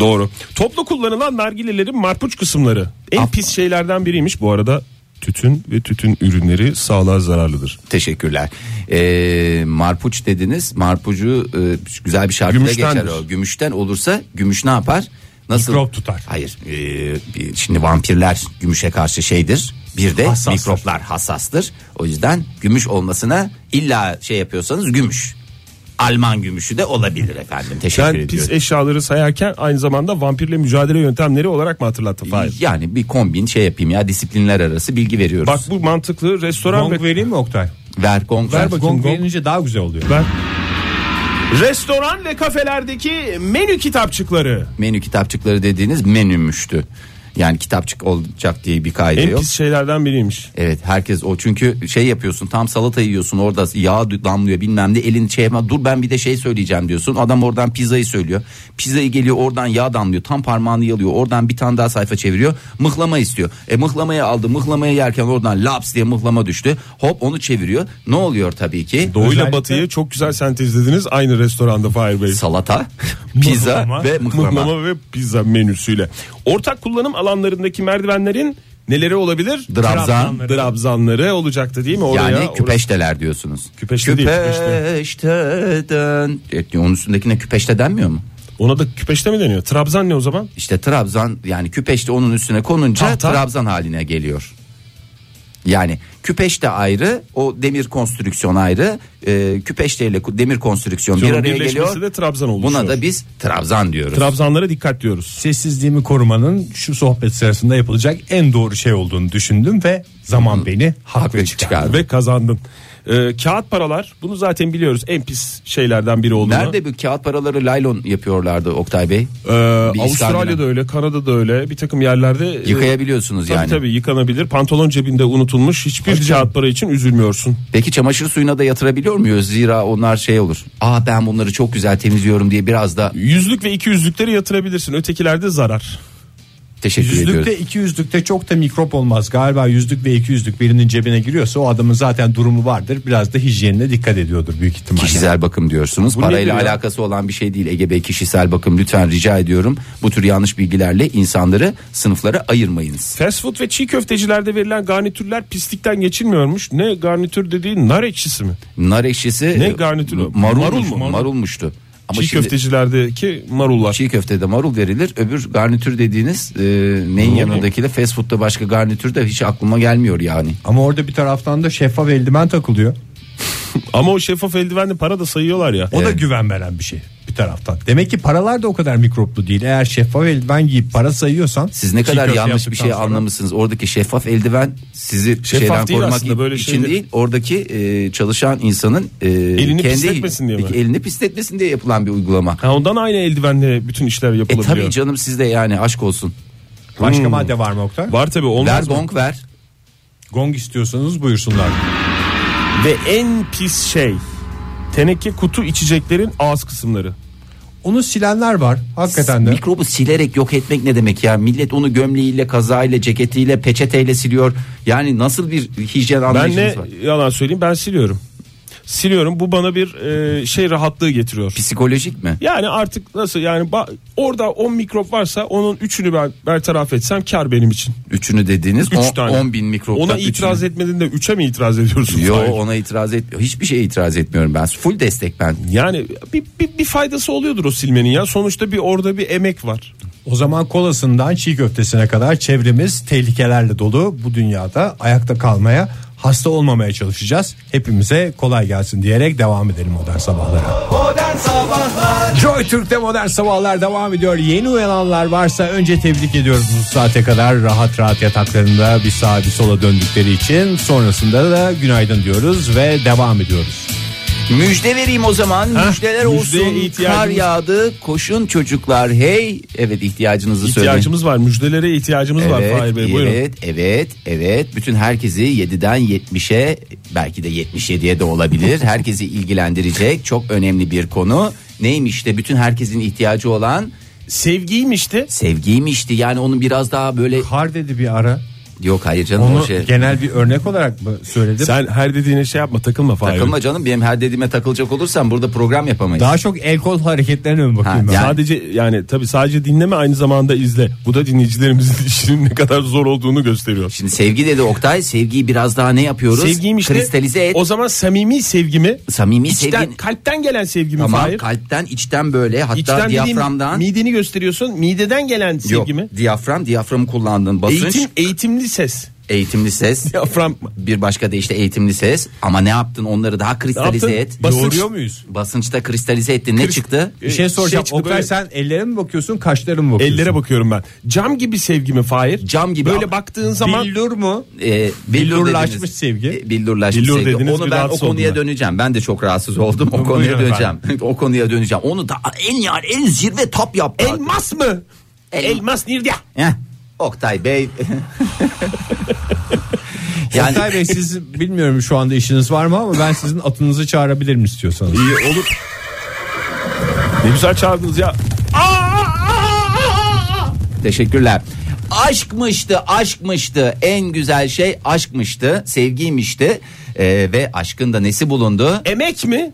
Doğru. Toplu kullanılan nargilelerin marpuç kısımları en pis şeylerden biriymiş bu arada. Tütün ve tütün ürünleri sağlığa zararlıdır.
Teşekkürler. Ee, marpuç dediniz. Marpucu e, güzel bir şarkıda
Gümüştendir.
geçer o. Gümüşten olursa gümüş ne yapar? Nasıl?
Mikrop tutar.
Hayır. e, bir- şimdi vampirler gümüşe karşı şeydir. Bir de
Hassastır.
mikroplar hassastır. O yüzden gümüş olmasına illa şey yapıyorsanız gümüş. Alman gümüşü de olabilir efendim. Teşekkür
Ben
ediyorum.
pis eşyaları sayarken aynı zamanda vampirle mücadele yöntemleri olarak mı hatırlattım? Hayır.
yani bir kombin şey yapayım ya disiplinler arası bilgi veriyoruz.
Bak bu mantıklı restoran
Gong
ve
vereyim mi Oktay?
ver gong ver.
Ver bakayım.
gong.
verince daha güzel oluyor.
Ben- Restoran ve kafelerdeki menü kitapçıkları.
menü kitapçıkları dediğiniz menümüştü. Yani kitapçık olacak diye bir kaide
En
yok.
pis şeylerden biriymiş.
Evet herkes o çünkü şey yapıyorsun tam salata yiyorsun orada yağ damlıyor bilmem ne elin şey yapma dur ben bir de şey söyleyeceğim diyorsun adam oradan pizzayı söylüyor pizzayı geliyor oradan yağ damlıyor tam parmağını yalıyor oradan bir tane daha sayfa çeviriyor mıhlama istiyor e mıhlamayı aldı mıhlamayı yerken oradan laps diye mıhlama düştü hop onu çeviriyor ne oluyor tabii ki
Doğuyla
Özellikle-
batıyı çok güzel sentezlediniz aynı restoranda Fahir Bey.
salata pizza ve mıhlama.
ve pizza menüsüyle. Ortak kullanım alanlarındaki merdivenlerin neleri olabilir?
Drabzan.
Drabzanları olacaktı değil mi? Oraya,
yani küpeşteler diyorsunuz.
Küpeşte değil, küpeşte.
Küpeşteden. E, Onun üstündekine küpeşte denmiyor mu?
Ona da küpeşte mi deniyor? Trabzan ne o zaman?
İşte Trabzan yani küpeşte onun üstüne konunca
Tahta.
Trabzan haline geliyor. Yani küpeş de ayrı, o demir konstrüksiyon ayrı, e, küpeşte ile ku- demir konstrüksiyon bir
Sonra
araya
birleşmesi
geliyor.
de Trabzan oluşuyor.
Buna da biz Trabzan diyoruz.
Trabzanlara dikkat diyoruz.
Sessizliğimi korumanın şu sohbet sırasında yapılacak en doğru şey olduğunu düşündüm ve zaman beni haklı
Haklı
çıkardı.
çıkardı.
Ve kazandın. Ee, kağıt paralar bunu zaten biliyoruz en pis şeylerden biri olduğunu.
Nerede bu kağıt paraları laylon yapıyorlardı Oktay Bey?
Ee,
Bir
Avustralya'da
İskandinav.
öyle, Kanada'da öyle, bir takım yerlerde e,
Yıkayabiliyorsunuz
tabii
yani.
tabii yıkanabilir. Pantolon cebinde unutulmuş hiçbir kağıt para için üzülmüyorsun.
Peki çamaşır suyuna da yatırabiliyor muyuz? Zira onlar şey olur. Aa ben bunları çok güzel temizliyorum diye biraz da
Yüzlük ve iki yüzlükleri yatırabilirsin. Ötekilerde zarar.
teşekkür ediyoruz.
Yüzlükte iki yüzlükte çok da mikrop olmaz. Galiba yüzlük ve iki yüzlük birinin cebine giriyorsa o adamın zaten durumu vardır. Biraz da hijyenine dikkat ediyordur büyük ihtimalle.
Kişisel bakım diyorsunuz. Parayla
nedir ya?
alakası olan bir şey değil. Ege Bey kişisel bakım lütfen rica ediyorum. Bu tür yanlış bilgilerle insanları sınıflara ayırmayınız.
Fast food ve çiğ köftecilerde verilen garnitürler pislikten geçilmiyormuş. Ne garnitür dediğin nar ekşisi mi?
Nar ekşisi
Ne
e,
garnitürü?
Marul,
Marul
mu?
mu? Marul.
Marulmuştu. Ama
çiğ
şimdi
köftecilerdeki marullar.
çiğ köftede marul verilir. Öbür garnitür dediğiniz e, neyin yanındaki de fast food'da başka garnitür de hiç aklıma gelmiyor yani.
Ama orada bir taraftan da şeffaf eldiven takılıyor.
Ama o şeffaf eldivenle para da sayıyorlar ya.
O da güven veren bir şey bir taraftan. Demek ki paralar da o kadar mikroplu değil. Eğer şeffaf eldiven giyip para sayıyorsan
Siz ne
çiğ
kadar
köfte
yanlış bir şey
yaptıktan sonra-
anlamışsınız. Oradaki şeffaf eldiven sizi
Şeffaf
şeyden
değil
korumak
aslında, böyle
için
şeyleri-
değil. Oradaki e, çalışan insanın e,
Elini pisletmesin diye mi?
elini pisletmesin diye yapılan bir uygulama.
Ha, ondan aynı eldivenle bütün işler
E
yapılabiliyor.
tabii canım sizde yani aşk olsun.
Başka
Hmm.
madde var mı Oktay?
Var tabii olmaz
ver
mı?
donk ver.
Gong istiyorsanız buyursunlar.
Ve en pis şey teneke kutu içeceklerin ağız kısımları.
Onu silenler var hakikaten de.
Mikrobu silerek yok etmek ne demek ya? Millet onu gömleğiyle, kazağıyla, ceketiyle, peçeteyle siliyor. Yani nasıl bir hijyen
Ben
anlayışınız
ne
var?
yalan söyleyeyim ben siliyorum. Siliyorum bu bana bir e, şey rahatlığı getiriyor.
Psikolojik mi?
Yani artık nasıl yani ba- orada 10 mikrop varsa onun 3'ünü ben bertaraf etsem kar benim için.
Üçünü dediğiniz
3
10
tane.
10 bin mikroptan
Ona
üçünü.
itiraz etmedin de 3'e mi itiraz ediyorsun?
Yo
Hayır.
ona itiraz etmiyor. Hiçbir şeye itiraz etmiyorum ben. Full destek ben.
Yani bir, bir, bir faydası oluyordur o silmenin ya. Sonuçta bir orada bir emek var.
O zaman kolasından çiğ köftesine kadar çevremiz tehlikelerle dolu. Bu dünyada ayakta kalmaya, hasta olmamaya çalışacağız. Hepimize kolay gelsin diyerek devam edelim modern sabahlara.
Modern Sabahlar
Joy Türk'te modern sabahlar devam ediyor. Yeni uyananlar varsa önce tebrik ediyoruz bu saate kadar rahat rahat yataklarında bir sağa bir sola döndükleri için. Sonrasında da günaydın diyoruz ve devam ediyoruz.
Müjde vereyim o zaman. Müjdeler
müjdeye
olsun. Kar
ihtiyacımız-
yağdı. Koşun çocuklar. Hey. Evet ihtiyacınızı söyleyin.
İhtiyacımız var. Müjdelere ihtiyacımız var Fahir Bey. Buyurun.
evet, evet, evet. Bütün herkesi 7'den 70'e belki de 77'ye de olabilir. Herkesi ilgilendirecek çok önemli bir konu. Neymiş de bütün herkesin ihtiyacı olan
Sevgiymişti.
sevgiymişti. Yani onun biraz daha böyle
Kar dedi bir ara.
yok hayır canım
Onu
o şey.
genel bir örnek olarak mı söyledim?
Sen her dediğine şey yapma takılma Fahir.
Takılma canım benim her dediğime takılacak olursam burada program yapamayız.
Daha çok el kol hareketlerine mi bakayım
Ha,
ben?
yani-
Sadece yani tabii sadece dinleme aynı zamanda izle. Bu da dinleyicilerimizin işinin ne kadar zor olduğunu gösteriyor.
Şimdi sevgi dedi Oktay. Sevgiyi biraz daha ne yapıyoruz?
Sevgiymiş de,
Kristalize et.
O zaman samimi sevgimi,
Samimi
içten,
sevgi.
kalpten gelen sevgimi
Tamam
Fahir.
kalpten içten böyle hatta
İçten dediğim
diyaframdan.
mideni gösteriyorsun. Mideden gelen
Yok
sevgimi.
diyafram diyaframı kullandın basınç
Eğitim, eğitimli ses.
eğitimli ses
Diyafram
bir başka de işte eğitimli ses ama ne yaptın onları daha kristalize
Ne
et
yaptın? Basınç-
Doğuruyor muyuz?
basınçta kristalize ettin ne çıktı
Bir şey soracağım.
Şey çıktı
Oktay
böyle-
sen ellere mi bakıyorsun kaşlara mı bakıyorsun?
Ellere bakıyorum ben. Cam gibi sevgimi Fahir.
Cam gibi ama-
Böyle baktığın zaman
Billur mu?
Ee,
Billurlaşmış
dediğiniz-
sevgi.
E, billurlaşmış
Billur
sevgi.
dediniz,
Onu
bir
ben o
rahatsız
konuya
oldum ben.
döneceğim. Ben de çok rahatsız oldum. O
Buyurun
konuya
efendim.
döneceğim. o konuya döneceğim. Onu da en yani en zirve top yaptı.
elmas mı?
Elma-
Elmas nerede?
Heh. Oktay Bey
Yani...
yani
Bey siz bilmiyorum şu anda işiniz var mı ama ben sizin atınızı çağırabilirim istiyorsanız.
İyi olur. Ne güzel çağırdınız ya.
teşekkürler. Aşkmıştı, aşkmıştı. En güzel şey aşkmıştı, sevgiymişti. Ee, ve aşkın da nesi bulundu?
Emek mi?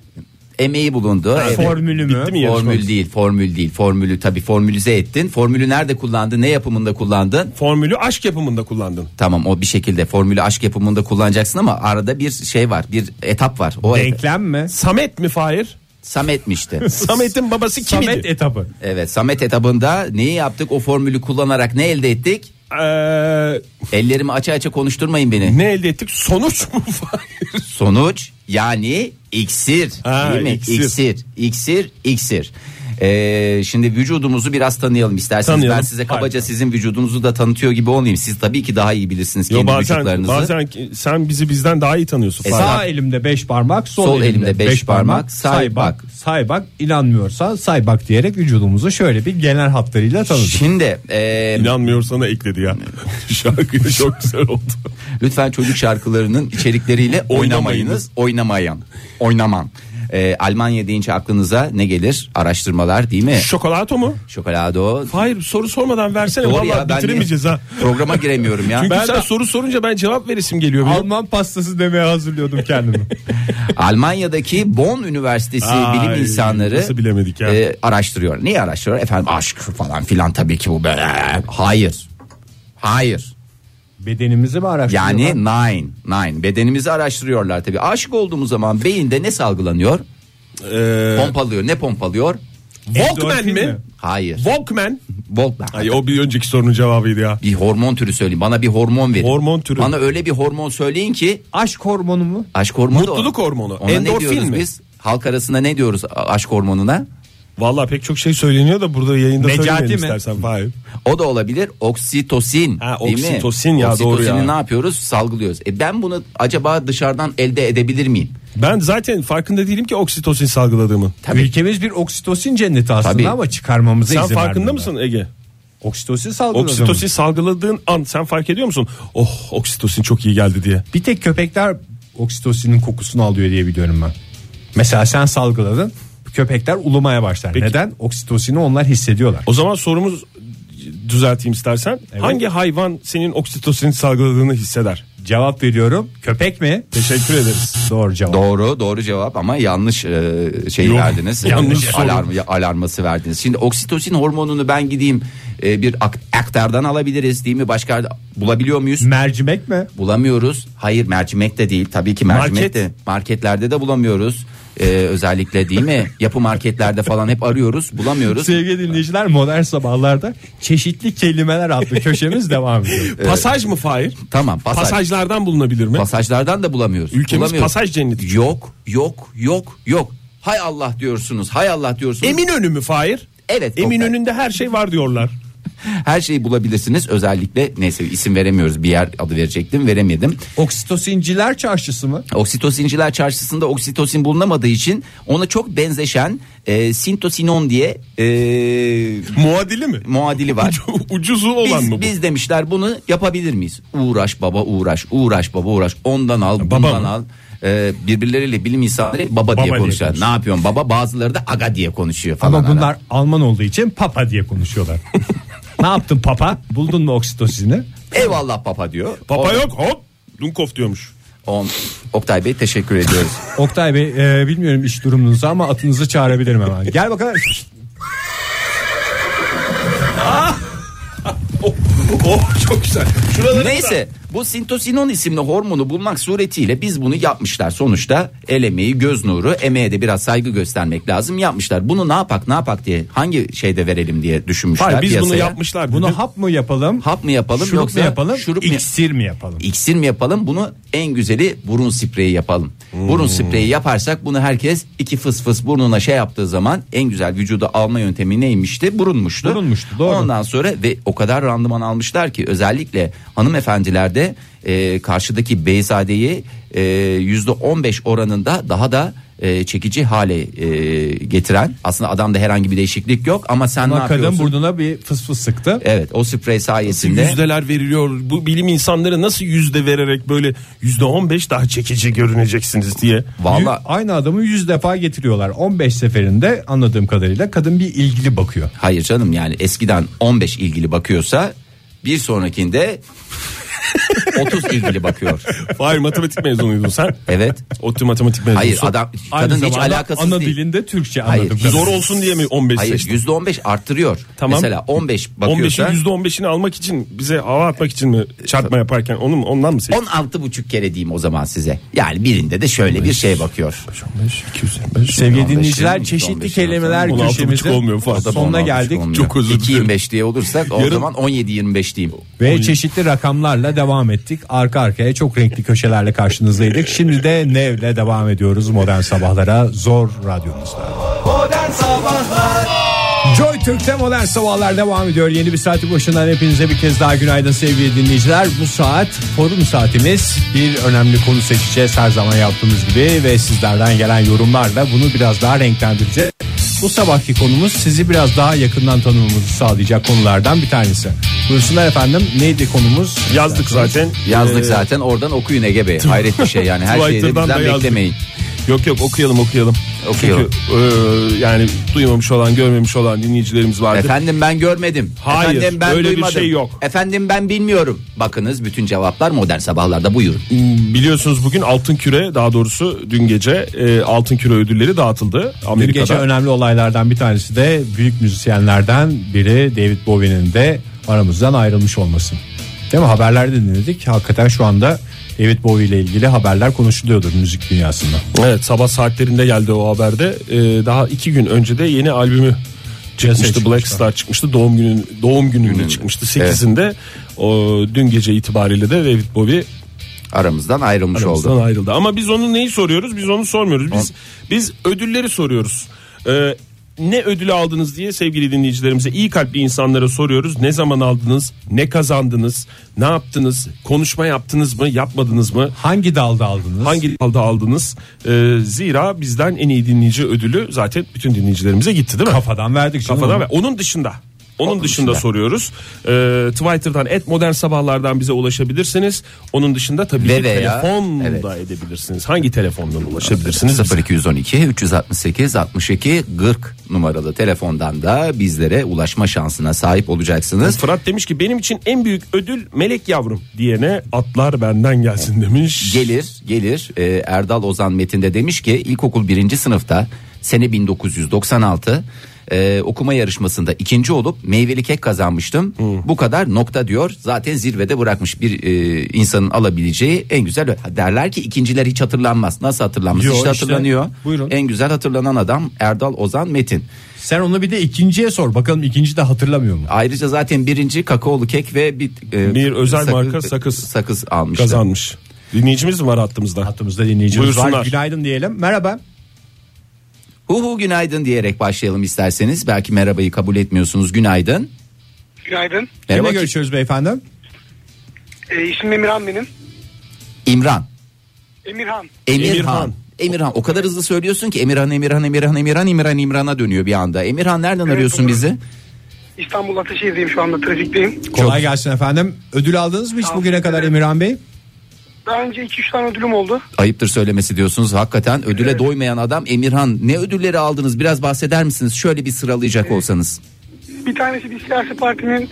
Emeği bulundu. Evet.
Formülü mü?
Bitti mi yarışma?
Formül değil, formül değil. Formülü tabii formülize ettin. Formülü nerede kullandın? Ne yapımında kullandın?
Formülü aşk yapımında kullandın.
Tamam o bir şekilde formülü aşk yapımında kullanacaksın ama arada bir şey var. Bir etap var. O etap-
Denklem mi?
Samet mi Fahir?
Samet'mişti.
Samet'in babası kimdi?
Samet etabı.
evet, Samet etabında neyi yaptık? O formülü kullanarak ne elde ettik?
Ee,
Ellerimi aça aça konuşturmayın beni.
ne elde ettik? Sonuç mu Fahir?
Sonuç yani iksir.
Ha,
değil mi?
iksir.
İksir, iksir, iksir. Ee, şimdi vücudumuzu biraz tanıyalım isterseniz.
Tanıyalım.
Ben size kabaca
Harika.
sizin vücudunuzu da tanıtıyor gibi olmayayım. Siz tabii ki daha iyi bilirsiniz kendi
Yo, bazen,
vücutlarınızı.
bazen ki- sen bizi bizden daha iyi tanıyorsun.
E,
Fahir.
Sağ elimde 5 parmak, sol,
Sol elimde
elimde
beş
5 parmak,
parmak, say
say bak,
bak.
say bak inanmıyorsa say bak diyerek vücudumuzu şöyle bir genel hatlarıyla tanıdık.
Şimdi e,
İnanmıyor sana ekledi ya. Şarkı çok güzel oldu.
lütfen çocuk şarkılarının içerikleriyle oynamayınız. Oynamayan. Oynaman. Ee, Almanya deyince aklınıza ne gelir? Araştırmalar değil mi?
Şokolato mu?
Şokolado.
Hayır soru sormadan versene.
Doğru
Vallahi
ya, ben
bitiremeyeceğiz
niye-
ha.
Programa giremiyorum ya.
Çünkü
Ben
sen
de-
soru sorunca ben cevap veresim geliyor benim.
Alman pastası demeye hazırlıyordum kendimi.
Almanya'daki Bonn Üniversitesi
Ay,
bilim insanları
nasıl bilemedik ya?
e, araştırıyor. Niye araştırıyor? Efendim aşk falan filan tabii ki bu böyle. Hayır. Hayır.
Bedenimizi mi araştırıyorlar?
Yani nine, nine. Bedenimizi araştırıyorlar tabii. Aşık olduğumuz zaman beyinde ne salgılanıyor?
Ee,
Pompalıyor. Ne pompalıyor?
Walkman
Endorfin
mi?
mi?
Hayır.
Walkman.
Volkman.
Ay o bir önceki sorunun cevabıydı ya.
Bir hormon türü söyleyin. Bana bir hormon verin.
Hormon türü.
Bana öyle bir hormon söyleyin ki
Aşk hormonu mu?
aşk hormonu. da o.
Mutluluk hormonu.
Ona ne
Endorfin
diyoruz
mi?
biz? Halk arasında ne diyoruz a- aşk hormonuna?
Vallahi pek çok şey söyleniyor da burada yayında
Necati
söylemeyelim
mi?
istersen Fahir.
O da olabilir. Oksitosin.
Ha,
değil mi?
oksitosin ya, doğru
Oksitosini
ya.
ne yapıyoruz? Salgılıyoruz. E ben bunu acaba dışarıdan elde edebilir miyim?
Ben zaten farkında değilim ki oksitosin salgıladığımı.
Tabii.
Ülkemiz bir oksitosin cenneti aslında
Tabii.
ama çıkarmamıza
Sen
izin
farkında
vermiyorlar.
mısın Ege?
Oksitosin salgıladı.
Oksitosin salgıladığın an sen fark ediyor musun? Oh oksitosin çok iyi geldi diye.
Bir tek köpekler oksitosinin kokusunu alıyor diye biliyorum ben. Mesela sen salgıladın köpekler ulumaya başlar.
Peki.
Neden? Oksitosini onlar hissediyorlar.
O zaman sorumuz düzelteyim istersen. Hangi hayvan senin oksitosin salgıladığını hisseder?
Cevap veriyorum. Köpek mi?
Teşekkür ederiz.
Doğru cevap.
Doğru doğru cevap ama yanlış e, şey
Yok,
verdiniz.
yanlış
E,
soru.
alarm ya- alarması verdiniz. Şimdi oksitosin hormonunu ben gideyim e, bir ak- aktardan alabiliriz değil mi? Başka bulabiliyor muyuz?
Mercimek mi?
bulamıyoruz. Hayır mercimek de değil. Tabii ki mercimek
Market.
de. Marketlerde de bulamıyoruz. E, özellikle değil mi? Yapı marketlerde falan hep arıyoruz. Bulamıyoruz.
Sevgili dinleyiciler modern sabahlarda çeşitli kelimeler adlı köşemiz devam ediyor.
Pasaj mı Fahir?
Tamam pasaj.
Pasajlardan bulunabilir mi?
Pasajlardan da bulamıyoruz.
Ülkemiz
bulamıyoruz.
pasaj cenneti.
Yok yok yok yok. Hay Allah diyorsunuz. Hay Allah diyorsunuz.
Eminönü mü Fahir?
Evet,
Eminönü'nde her şey var diyorlar.
Her şeyi bulabilirsiniz. Özellikle neyse isim veremiyoruz. Bir yer adı verecektim veremedim.
Oksitosinciler çarşısı mı?
Oksitosinciler çarşısında oksitosin bulunamadığı için ona çok benzeşen e, sintosinon diye e,
Muadili mi?
muadili var.
Ucuzu
Biz,
olan mı bu?
biz demişler bunu yapabilir miyiz? Uğraş baba uğraş, uğraş baba uğraş. Ondan al, bundan
mı?
al. Ee, birbirleriyle bilim insanları baba,
Baba
diye
diye
konuşuyor.
konuşuyor.
Ne yapıyorsun baba? Bazıları da aga diye konuşuyor falan.
Ama bunlar Alman olduğu için papa diye konuşuyorlar. ne yaptın papa? Buldun mu oksitosini?
Eyvallah papa diyor.
Papa
O-
yok hop. Dunkof diyormuş.
on- Oktay Bey teşekkür ediyoruz.
Oktay Bey e, bilmiyorum iş durumunuzu ama atınızı çağırabilirim hemen. Gel bakalım.
Oh çok güzel. Şuraları
Neyse bu sintosinon isimli hormonu bulmak suretiyle biz bunu yapmışlar. Sonuçta el emeği, göz nuru, emeğe de biraz saygı göstermek lazım yapmışlar. Bunu ne yapak ne yapak diye hangi şeyde verelim diye düşünmüşler
Hayır, biz bunu
piyasaya.
yapmışlar.
Bunu
Bunu
hap mı yapalım?
Hap mı yapalım
şurup
yoksa
mu yapalım?
şurup mu-
iksir mi yapalım?
İksir mi yapalım? Bunu en güzeli burun spreyi yapalım. Burun spreyi yaparsak bunu herkes iki fıs fıs burnuna şey yaptığı zaman en güzel vücuda alma yöntemi neymişti? Burunmuştu.
Burunmuştu, doğru.
Ondan sonra ve o kadar randıman almışlar ki özellikle e, hanımefendilerde e, karşıdaki beyzadeyi yüzde %15 oranında daha da e, çekici hale e, getiren aslında adamda herhangi bir değişiklik yok ama sen ne
Ama kadın
yapıyorsun?
burnuna bir fıs fıs sıktı.
Evet o sprey sayesinde
Yüzdeler veriliyor. Bu bilim insanları nasıl yüzde vererek böyle yüzde 15 daha çekici görüneceksiniz diye.
valla
Yü- Aynı adamı 100 defa getiriyorlar. 15 seferinde anladığım kadarıyla kadın bir ilgili bakıyor.
hayır canım yani eskiden 15 ilgili bakıyorsa bir sonrakinde 30 ilgili bakıyor.
Hayır matematik mezunuydun sen.
Evet.
ODTÜ matematik mezunusu.
Hayır adam
Aynı
kadın hiç
zamanda
alakasız
ana
değil.
dilinde Türkçe
Hayır,
anladım.
hiç-
Zor olsun diye mi 15
Hayır
seçtin?
yüzde 15 arttırıyor.
Tamam.
Mesela 15 bakıyorsa
15'in %15'ini almak için bize hava atmak için mi
E,
çarpma yaparken onu mu- ondan mı seçtin?
16 buçuk kere diyeyim o zaman size. Yani birinde de şöyle bir şey bakıyor.
Sevgili
15,
dinleyiciler
15,
çeşitli
15,
kelimeler
16,5
köşemizin
olmuyor fazla.
sonuna
16,5
geldik.
olmuyor.
Çok özür dilerim.
2.25 diye olursak o
Yarın-
zaman 17-25 diyeyim.
Ve çeşitli rakamlarla devam ettik. Arka arkaya çok renkli köşelerle karşınızdaydık. Şimdi de Nev'le devam ediyoruz modern sabahlara zor radyomuzda.
Modern Sabahlar
Joy Türk'te modern sabahlar devam ediyor. Yeni bir saati başından hepinize bir kez daha günaydın sevgili dinleyiciler. Bu saat forum saatimiz. Bir önemli konu seçeceğiz her zaman yaptığımız gibi ve sizlerden gelen yorumlarla bunu biraz daha renklendireceğiz. Bu sabahki konumuz sizi biraz daha yakından tanımamızı sağlayacak konulardan bir tanesi. Buyursunlar efendim neydi konumuz?
Yazdık zaten.
Yazdık
Ee,
zaten oradan okuyun Ege Bey. Hayret bir şey yani her şeyi de
Twitter'dan
bizden
da yazdık.
beklemeyin.
Yok yok okuyalım okuyalım.
Okuyalım.
Çünkü e, yani duymamış olan görmemiş olan dinleyicilerimiz vardı.
Efendim ben görmedim.
Hayır,
Efendim ben
öyle bir
duymadım.
şey yok.
Efendim ben bilmiyorum. Bakınız bütün cevaplar modern sabahlarda buyurun.
Biliyorsunuz bugün Altın Küre daha doğrusu dün gece e, Altın Küre ödülleri dağıtıldı
Dün
Amerika'da.
gece önemli olaylardan bir tanesi de büyük müzisyenlerden biri David Bowie'nin de aramızdan ayrılmış olması. Değil mi? Haberlerde dinledik. Hakikaten şu anda David Bowie ile ilgili haberler konuşuluyordur müzik dünyasında.
Evet sabah saatlerinde geldi o haberde. Ee, daha iki gün önce de yeni albümü çıkmıştı.
Şey çıkmıştı.
Black Star çıkmıştı. Doğum günün doğum gününde çıkmıştı. 8'inde. O dün gece itibariyle de David Bowie
Aramızdan ayrılmış
aramızdan
oldu.
ayrıldı. Ama biz onu neyi soruyoruz? Biz onu sormuyoruz. Biz biz ödülleri soruyoruz. Ee, ne ödülü aldınız diye sevgili dinleyicilerimize iyi kalpli insanlara soruyoruz. Ne zaman aldınız? Ne kazandınız? Ne yaptınız? Konuşma yaptınız mı? Yapmadınız mı?
Hangi dalda aldınız?
Hangi dalda aldınız? Ee, zira bizden en iyi dinleyici ödülü zaten bütün dinleyicilerimize gitti değil mi?
kafadan verdik canım.
Kafadan ve onun dışında. Onun, dışında,
dışında.
soruyoruz. Ee, Twitter'dan et modern sabahlardan bize ulaşabilirsiniz. Onun dışında tabii
Ve
ki
veya-
telefon
evet.
da edebilirsiniz. Hangi telefondan ulaşabilirsiniz?
0212 368 62 40 numaralı telefondan da bizlere ulaşma şansına sahip olacaksınız.
Fırat demiş ki benim için en büyük ödül melek yavrum diyene atlar benden gelsin demiş.
Gelir gelir Ee, Erdal Ozan Metin'de demiş ki ilkokul birinci sınıfta sene 1996 e, okuma yarışmasında ikinci olup meyveli kek kazanmıştım. Bu kadar nokta diyor zaten zirvede bırakmış bir e, insanın alabileceği en güzel derler ki ikinciler hiç hatırlanmaz. Nasıl hatırlanmaz?
Yo,
işte
işte.
hatırlanıyor.
Buyurun.
En güzel hatırlanan adam Erdal Ozan Metin.
Sen onu bir de ikinciye sor. Bakalım ikinci de hatırlamıyor mu?
Ayrıca zaten birinci kakaolu kek ve bir, e,
Bir özel marka sakız.
sakız almıştı.
Kazanmış. Dinleyicimiz mi var hattımızda?
Hattımızda dinleyicimiz var.
Buyursunlar.
Günaydın diyelim. Merhaba.
Hu hu günaydın diyerek başlayalım isterseniz. Belki merhabayı kabul etmiyorsunuz. Günaydın.
Günaydın.
Kimle
Merhaba
görüşüyoruz beyefendi?
Ee, işim Emirhan benim.
İmran.
Emirhan.
Emirhan.
Emirhan.
Emirhan. o kadar hızlı söylüyorsun ki Emirhan Emirhan Emirhan Emirhan Emirhan İmran'a dönüyor bir anda. Emirhan nereden arıyorsun
doğru.
bizi?
İstanbul Ataşehir'deyim şu anda trafikteyim.
Kolay gelsin efendim. Ödül aldınız mı hiç
Aldım.
bugüne kadar Emirhan Bey?
Daha önce 2-3 tane ödülüm oldu.
Ayıptır söylemesi diyorsunuz. Hakikaten ödüle doymayan adam Emirhan. Ne ödülleri aldınız? Biraz bahseder misiniz? Şöyle bir sıralayacak olsanız.
Bir tanesi bir siyasi partinin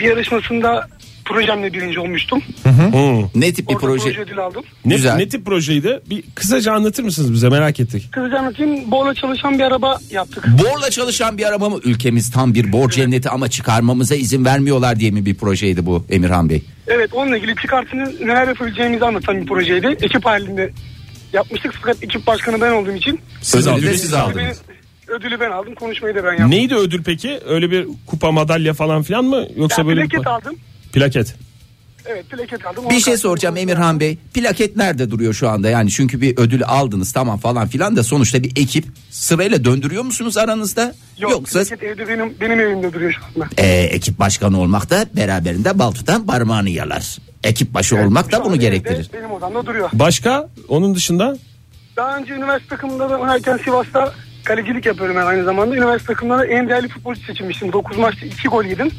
bir yarışmasında projemle birinci olmuştum.
Ne tip bir
Orada proje,
proje?
ödülü aldım.
Ne,
Güzel.
ne tip projeydi? Bir kısaca anlatır mısınız bize merak ettik.
Kızıcı anlatayım. Borla çalışan bir araba yaptık.
Borla çalışan bir araba mı? Ülkemiz tam bir bor cenneti ama çıkarmamıza izin vermiyorlar diye mi bir projeydi bu Emirhan Bey?
Evet onunla ilgili çıkartının neler yapabileceğimizi anlatan bir projeydi. Ekip halinde yapmıştık fakat ekip başkanı ben olduğum için.
Siz
aldınız.
ödülü siz aldınız.
Ben- ödülü ben aldım. Konuşmayı da ben yaptım.
Neydi ödül peki? Öyle bir kupa madalya falan filan mı? Yoksa
Ya,
böyle bir-
plaket aldım.
Plaket.
Evet plaket aldım.
Bir şey soracağım Emirhan Bey. Plaket nerede duruyor şu anda? Yani çünkü bir ödül aldınız tamam falan filan da sonuçta bir ekip sırayla döndürüyor musunuz aranızda?
Yok,
Yoksa
plaket evde benim, benim evimde duruyor şu anda.
Ee, ekip başkanı olmak da beraberinde bal tutan parmağını yalar. Ekip başı olmak da
Şu
bunu
an
gerektirir.
evde Benim odamda duruyor.
Başka? Onun dışında?
Daha önce üniversite takımlarındayken Sivas'ta kalecilik yapıyorum ben aynı zamanda. Üniversite takımlarında en değerli futbolcu seçilmiştim. 9 maçta 2 gol yedim.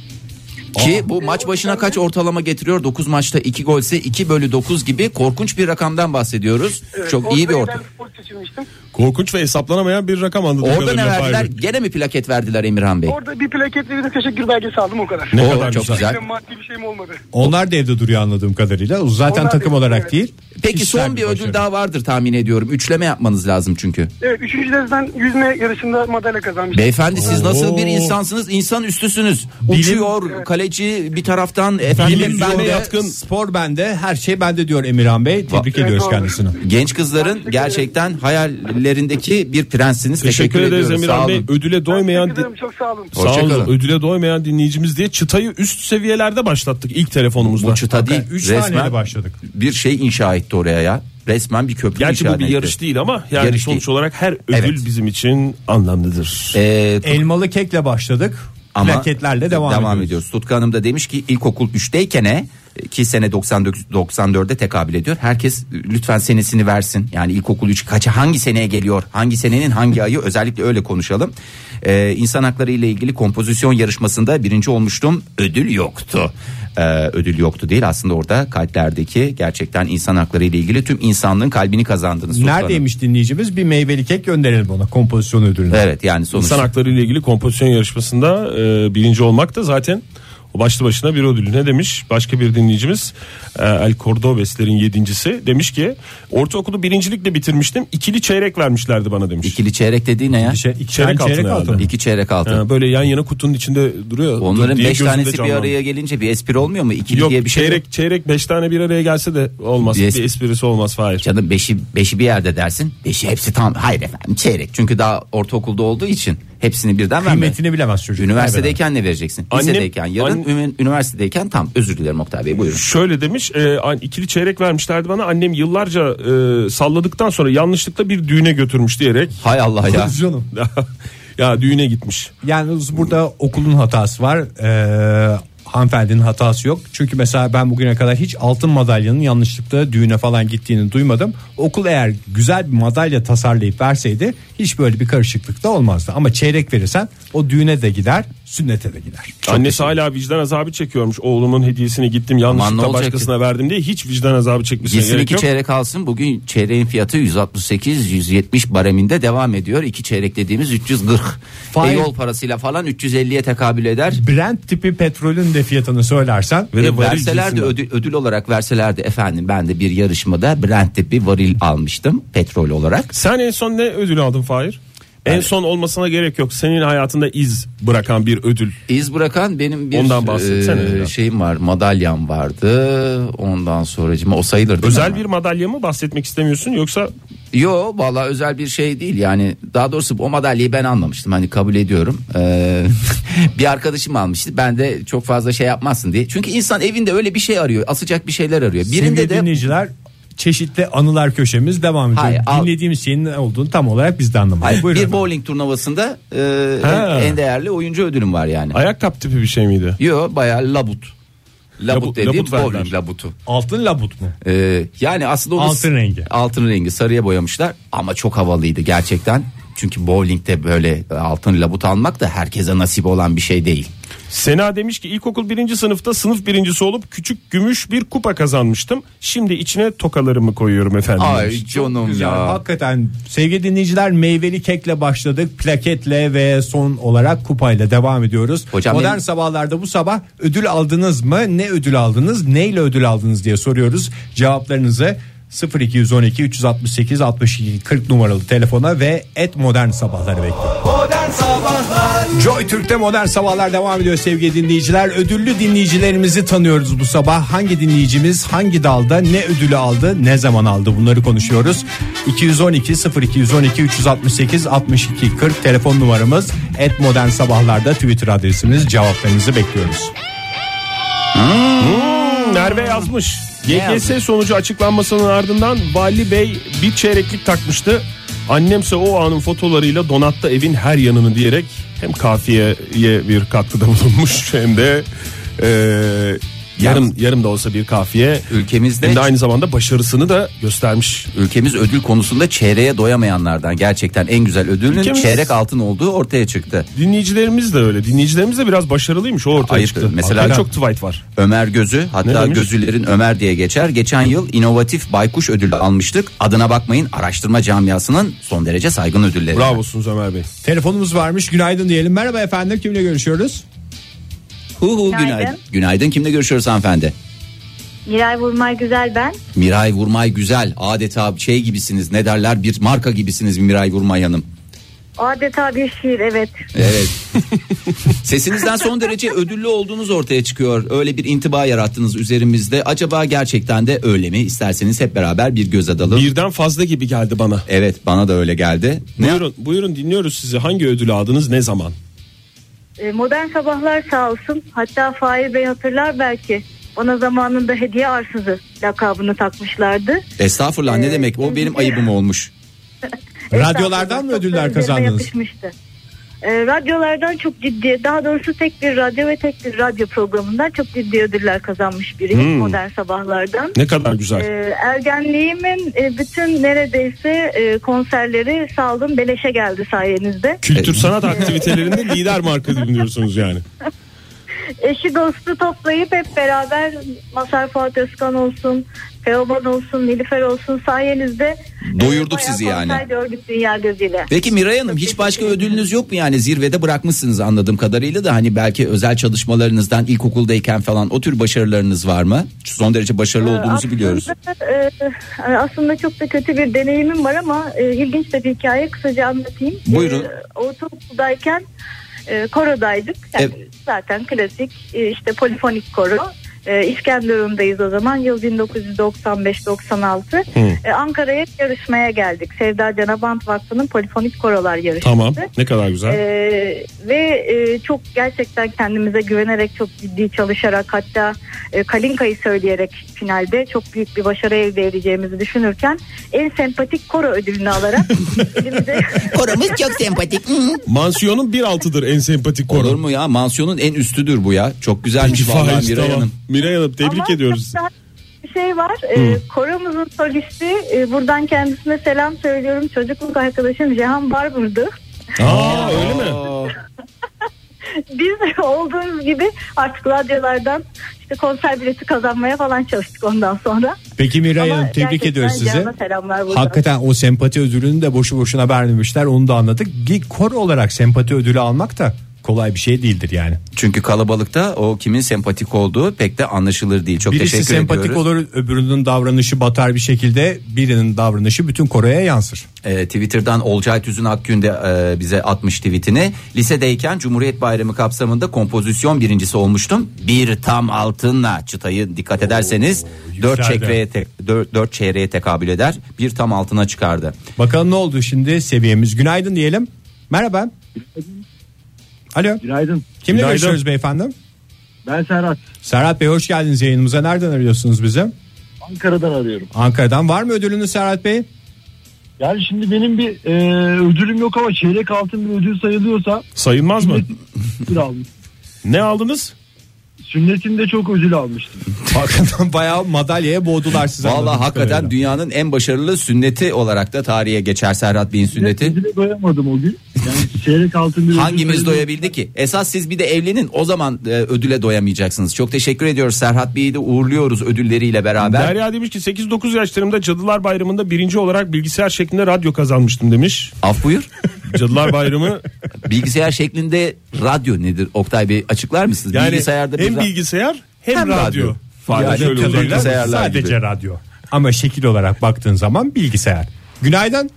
Ki bu maç başına kaç ortalama getiriyor? 9 maçta 2 golse 2 bölü 9 gibi korkunç bir rakamdan bahsediyoruz.
Evet,
Çok
Ee, orada
iyi bir
en
orta.
değerli futbolcu seçilmiştim.
Korkunç ve hesaplanamayan bir rakam anladığım
Orada ne
kadarıyla
verdiler?
Fahir Bey.
Gene mi plaket verdiler Emirhan Bey?
Orada bir plaketle bir de teşekkür belgesi aldım o kadar.
Ne
Oo,
kadar
çok
güzel.
güzel.
Benim maddi bir şeyim olmadı.
Onlar da evde duruyor anladığım kadarıyla. Zaten
Onlar da
takım
evde,
olarak
evet.
değil.
Peki
kişisel
son bir ödül
başarı.
daha vardır tahmin ediyorum. Üçleme yapmanız lazım çünkü.
Evet 3. dereceden yüzme yarışında madalya kazanmıştım.
Beyefendi siz
Oo.
nasıl bir insansınız? İnsan üstüsünüz. Uçuyor, kaleci bir taraftan efendim
Bilim
ben
bende,
de
yatkın. spor bende, her şey bende diyor Emirhan Bey. Tebrik
Evet,
ediyoruz
doğru.
kendisini.
genç kızların gerçekten hayallerindeki bir prensiniz. Teşekkür,
Teşekkür ederiz
ediyoruz. Sağ
Emirhan Bey.
olun.
Ödüle doymayan
Teşekkür ederim, çok sağ olun.
Sağ
Hoşça
olun.
kalın.
Ödüle doymayan dinleyicimiz diye çıtayı üst seviyelerde başlattık ilk telefonumuzda.
Bu çıta değil.
Üç
resmen
taneyle başladık.
bir şey inşa etti oraya ya. Resmen bir köprü
Gerçi
inşa
bu bir
etti.
yarış değil ama yani
Yarış
sonuç
değil.
olarak her ödül
Evet.
bizim için anlamlıdır.
Ee,
Elmalı kekle başladık.
ama
Plaketlerle devam, ediyoruz.
ediyoruz. Tutku Hanım da demiş ki ilkokul 3'teykene ki sene 99 94'e tekabül ediyor. Herkes e, lütfen senesini versin. Yani ilkokul 3 kaça hangi seneye geliyor? Hangi senenin hangi ayı? Özellikle öyle konuşalım. Ee, insan hakları ile ilgili kompozisyon yarışmasında birinci olmuştum. Ödül yoktu. Ee, ödül yoktu değil aslında orada kalplerdeki gerçekten insan hakları ile ilgili tüm insanlığın kalbini kazandınız. Tutku Hanım.
Neredeymiş dinleyicimiz? Bir meyveli kek gönderelim ona kompozisyon ödülünü.
Evet yani sonuçta.
İnsan hakları ile ilgili kompozisyon yarışmasında e, birinci olmak da zaten o başlı başına bir ödül. Ne demiş başka bir dinleyicimiz e, El Cordoveslerin yedincisi demiş ki ortaokulu birincilikle bitirmiştim ikili çeyrek vermişlerdi bana demiş.
İkili çeyrek dediği ne ya?
Bir Şey, iki
Çeyrek
tane
altın herhalde.
İki çeyrek altın.
Ha, böyle yan yana kutunun içinde duruyor.
Onların
diye
beş
gözümde
tanesi bir
canlandı.
araya gelince bir espri olmuyor mu? İkili
Yok
diye bir şey
çeyrek
yok.
çeyrek beş tane bir araya gelse de olmaz.
Bir
Bir,
espri-
esprisi olmaz Fahir.
Canım beşi, beşi bir yerde dersin. Beşi hepsi tam. Hayır efendim çeyrek. Çünkü daha ortaokulda olduğu için hepsini birden verme.
Kıymetini bilemez çocuk.
Üniversitedeyken ne vereceksin?
Annem-
Lisedeyken yarın
an-
ümün- üniversitedeyken tam. Özür dilerim Oktay Bey buyurun.
Şöyle demiş e, an- ikili çeyrek vermişlerdi bana annem yıllarca e, salladıktan sonra yanlışlıkla bir düğüne götürmüş diyerek.
Hay Allah ya.
Canım.
ya düğüne gitmiş.
Yalnız burada okulun hatası var. Ee, hanımefendinin hatası yok. Çünkü mesela ben bugüne kadar hiç altın madalyanın yanlışlıkla düğüne falan gittiğini duymadım. Okul eğer güzel bir madalya tasarlayıp verseydi hiç böyle bir karışıklık da olmazdı. Ama çeyrek verirsen o düğüne de gider, sünnete de gider.
Annesi hala vicdan azabı çekiyormuş. Oğlumun hediyesini gittim
Aman ne
yanlışlıkla
olacak
başkasına verdim diye hiç vicdan azabı çekmesine
Gitsin
gerek
iki
yok.
çeyrek alsın. Bugün çeyreğin fiyatı 168-170 bareminde devam ediyor. İki çeyrek dediğimiz 340.
Fay-
E, yol parasıyla falan 350'ye tekabül eder.
Brent tipi petrolün de fiyatını söylersen
Ve de
E,
varil
verselerdi
cinsinden.
ödül, ödül olarak verselerdi efendim ben de bir yarışmada Brent'te bir varil almıştım petrol olarak.
Sen en son ne ödül aldın Fahir? En son olmasına gerek yok. Senin hayatında iz bırakan bir ödül.
İz bırakan benim bir
Ondan bahsetsene
e,
biraz.
şeyim var madalyam vardı ondan sonra o sayılır değil
Özel
mi?
bir madalya mı bahsetmek istemiyorsun yoksa
Yo valla özel bir şey değil yani daha doğrusu o madalyayı ben almamıştım hani kabul ediyorum. Ee, bir arkadaşım almıştı ben de çok fazla şey yapmazsın diye. Çünkü insan evinde öyle bir şey arıyor asacak bir şeyler arıyor. Birinde
Sevgili
de
dinleyiciler çeşitli anılar köşemiz devam ediyor.
Hayır, al-
Dinlediğimiz şeyin ne olduğunu tam olarak biz de anlamadık.
Hayır,
Buyurun
bir
efendim.
bowling turnuvasında e,
Ha.
en, en değerli oyuncu ödülüm var yani.
ayakkabı tipi bir şey miydi?
Yo bayağı labut. Labut
Labu-
dediğim
labut verdiler.
bowling labutu.
Altın labut mu?
Ee, yani aslında onu
Altın rengi.
Altın rengi sarıya boyamışlar ama çok havalıydı gerçekten. Çünkü bowlingde böyle altın labut almak da herkese nasip olan bir şey değil.
Sena demiş ki ilkokul birinci sınıfta sınıf birincisi olup küçük gümüş bir kupa kazanmıştım. Şimdi içine tokalarımı koyuyorum efendim. demiş.
Ay canım
Güzel.
ya.
Hakikaten sevgili dinleyiciler meyveli kekle başladık. Plaketle ve son olarak kupayla devam ediyoruz.
Hocam
Modern
benim-
sabahlarda bu sabah ödül aldınız mı? Ne ödül aldınız? Neyle ödül aldınız diye soruyoruz. Cevaplarınızı 0212 368 62 40 numaralı telefona ve et modern sabahları bekliyoruz. Joy Türk'te modern sabahlar devam ediyor sevgili dinleyiciler. Ödüllü dinleyicilerimizi tanıyoruz bu sabah. Hangi dinleyicimiz hangi dalda ne ödülü aldı, ne zaman aldı bunları konuşuyoruz. 212 0212 368 62 40 telefon numaramız. Et modern sabahlarda Twitter adresimiz. Cevaplarınızı bekliyoruz.
Merve yazmış.
yazmış?
YGS sonucu açıklanmasının ardından Vali Bey bir çeyreklik takmıştı. Annemse o anın fotolarıyla donatta evin her yanını diyerek hem kafiyeye bir katkıda bulunmuş hem de eee, Yarım yarım da olsa bir kafiye.
Ülkemizde-
Hem de aynı zamanda başarısını da göstermiş.
Ülkemiz ödül konusunda çeyreğe doyamayanlardan gerçekten en güzel ödülün
Ülkemiz-
çeyrek altın olduğu ortaya çıktı.
Dinleyicilerimiz de öyle. Dinleyicilerimiz de biraz başarılıymış. O ortaya
Ayıptır.
çıktı.
Mesela-
Hakikaten çok Dwight var.
Ömer Gözü
Ne
hatta
demiş?
gözülerin Ömer diye geçer. Geçen yıl inovatif baykuş ödülü almıştık. Adına bakmayın araştırma camiasının son derece saygın ödülleri.
Bravosunuz Ömer Bey.
Telefonumuz varmış günaydın diyelim. Merhaba efendim kimle görüşüyoruz?
Hu hu, günaydın. günaydın.
Günaydın.
kimle görüşüyoruz hanımefendi?
Miray Vurmay Güzel ben.
Miray Vurmay Güzel adeta şey gibisiniz ne derler bir marka gibisiniz Miray Vurmay Hanım.
Adeta bir şiir evet.
Evet. Sesinizden son derece ödüllü olduğunuz ortaya çıkıyor. Öyle bir intiba yarattınız üzerimizde. Acaba gerçekten de öyle mi? İsterseniz hep beraber bir göz atalım.
Birden fazla gibi geldi bana.
Evet bana da öyle geldi. Ne?
Buyurun, buyurun dinliyoruz sizi. Hangi ödülü aldınız? Ne zaman?
Ee, Modern Sabahlar sağ olsun. Hatta Fahir Bey hatırlar belki. Ona zamanında hediye arsızı lakabını takmışlardı.
Estağfurullah ne
Ee,
demek? O benim ayıbım olmuş.
Radyolardan mı
Çok da
ödüller
üzerime
kazandınız?
yapışmıştı. Ee, radyolardan çok ciddi, daha doğrusu tek bir radyo ve tek bir radyo programından çok ciddi ödüller kazanmış biri
Hmm.
modern sabahlardan.
Ne kadar güzel.
Ee, ergenliğimin e, bütün neredeyse e, konserleri saldım beleşe geldi sayenizde.
E,
Kültür sanat aktivitelerinde lider marka dinliyorsunuz yani.
Eşi dostu toplayıp hep beraber Masar Fuat Özkan olsun, Feoban olsun, Nilüfer olsun sayenizde e,
Doyurduk
bayağı
sizi yani.
konser gördük dünya gözüyle.
Peki Miray Hanım hiç başka ödülünüz yok mu yani zirvede bırakmışsınız anladığım kadarıyla da hani belki özel çalışmalarınızdan ilkokuldayken falan o tür başarılarınız var mı? Son derece başarılı olduğunuzu biliyoruz.
Aslında, e, aslında çok da kötü bir deneyimim var ama e, ilginç de bir hikaye kısaca anlatayım.
Buyurun.
E, ortaokuldayken e, korodaydık. Yani
Evet.
Zaten klasik e, işte polifonik koro. E, İskenderun'dayız o zaman. Yıl 1995-96. E, Ankara'ya yarışmaya geldik. Sevda Canabant Vakfı'nın polifonik korolar yarışması.
Tamam. Ne kadar güzel.
Ee, ve e, çok gerçekten kendimize güvenerek çok ciddi çalışarak hatta e, Kalinka'yı söyleyerek finalde çok büyük bir başarı elde edeceğimizi düşünürken en sempatik koro ödülünü alarak elimize
Oramız çok sempatik.
Mansiyonun 1.6'dır en sempatik
Olur
konu.
mu ya? Mansiyonun en üstüdür bu ya. Çok güzelmiş vallahi
Faiz,
Miray
tamam.
Hanım.
Miray Hanım tebrik
Ama
ediyoruz.
çok daha bir şey var. Ee, koromuzun solisti e, buradan kendisine selam söylüyorum. Çocukluk arkadaşım Jehan Barbur'du.
Aa öyle mi?
Biz olduğumuz gibi artık radyolardan işte konser bileti kazanmaya falan çalıştık ondan sonra.
Peki Miray
Ama
Hanım tebrik
gerçekten
ediyoruz sizi.
Cihan'a selamlar buradan.
Hakikaten o sempati ödülünü de boşu boşuna vermemişler onu da anladık. Bir Koro olarak sempati ödülü almak da kolay bir şey değildir yani.
Çünkü kalabalıkta o kimin sempatik olduğu pek de anlaşılır değil. Çok
Birisi
teşekkür
sempatik
ediyoruz.
olur öbürünün davranışı batar bir şekilde birinin davranışı bütün Kore'ye yansır.
Ee, Twitter'dan Olcay Tüzün Akgün de e, bize atmış tweetini. Lisedeyken Cumhuriyet Bayramı kapsamında kompozisyon birincisi olmuştum. Bir tam altınla çıtayı dikkat ederseniz dört,
yükseldi.
çevreye te- dört, dört çeyreğe tekabül eder. Bir tam altına çıkardı.
Bakalım ne oldu şimdi seviyemiz. Günaydın diyelim. Merhaba. Alo.
Günaydın.
Kimle
Günaydın.
görüşüyoruz beyefendi?
Ben Serhat.
Serhat Bey hoş geldiniz yayınımıza. Nereden arıyorsunuz bizi?
Ankara'dan arıyorum.
Ankara'dan. Var mı ödülünüz Serhat Bey?
Yani şimdi benim bir e, ödülüm yok ama çeyrek altın bir ödül sayılıyorsa
Sayılmaz mı?
ödül aldım.
Ne aldınız?
Sünnetimde çok ödül almıştım.
Hakikaten bayağı madalyaya boğdular sizi.
Vallahi
anladığım
hakikaten
kadarıyla.
dünyanın en başarılı sünneti olarak da tarihe geçer Serhat Bey'in sünneti.
Ödüle doyamadım o gün. Yani çeyrek altın bir ödül
Hangimiz
sayılıyor.
doyabildi ki? Esas siz bir de evlenin o zaman e, ödüle doyamayacaksınız. Çok teşekkür ediyoruz Serhat Bey'i de uğurluyoruz ödülleriyle beraber.
Derya demiş ki 8-9 yaşlarımda Cadılar Bayramı'nda birinci olarak bilgisayar şeklinde radyo kazanmıştım demiş.
Af buyur.
Cadılar Bayramı
Bilgisayar şeklinde radyo nedir? Oktay Bey açıklar mısınız?
yani
Bilgisayarda bir
hem
ra-
bilgisayar hem,
Hem radyo.
radyo.
Fahir
Yani
şöyle
tabii
uzaktan-
ki
Bilgisayarlar
sadece
gibi.
radyo. Ama şekil olarak baktığın zaman bilgisayar. Günaydın.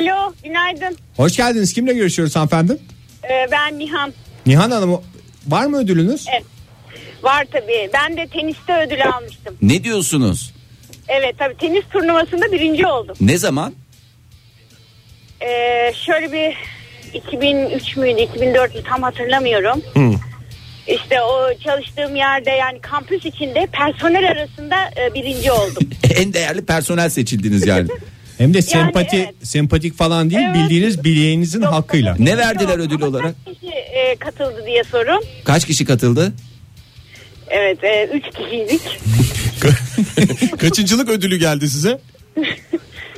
Alo günaydın
Hoş geldiniz. Kimle görüşüyoruz hanımefendi?
Ee, ben Nihan
Nihan Hanım var mı ödülünüz?
Evet. var tabii ben de teniste ödül almıştım
Ne diyorsunuz?
evet tabii tenis turnuvasında birinci oldum
Ne zaman?
Ee, şöyle bir 2003 müydü 2004 mü tam hatırlamıyorum İşte o çalıştığım yerde yani kampüs içinde personel arasında e, birinci oldum.
En değerli personel seçildiniz yani.
Hem de sempati
evet.
sempatik falan değil
Evet.
bildiğiniz bileğinizin
Yok,
hakkıyla.
tabii.
Ne verdiler ödül
Ama
olarak?
Kaç kişi e, katıldı diye sorun.
Kaç kişi katıldı?
Evet e, üç kişiydik.
Kaçıncılık ödülü geldi size?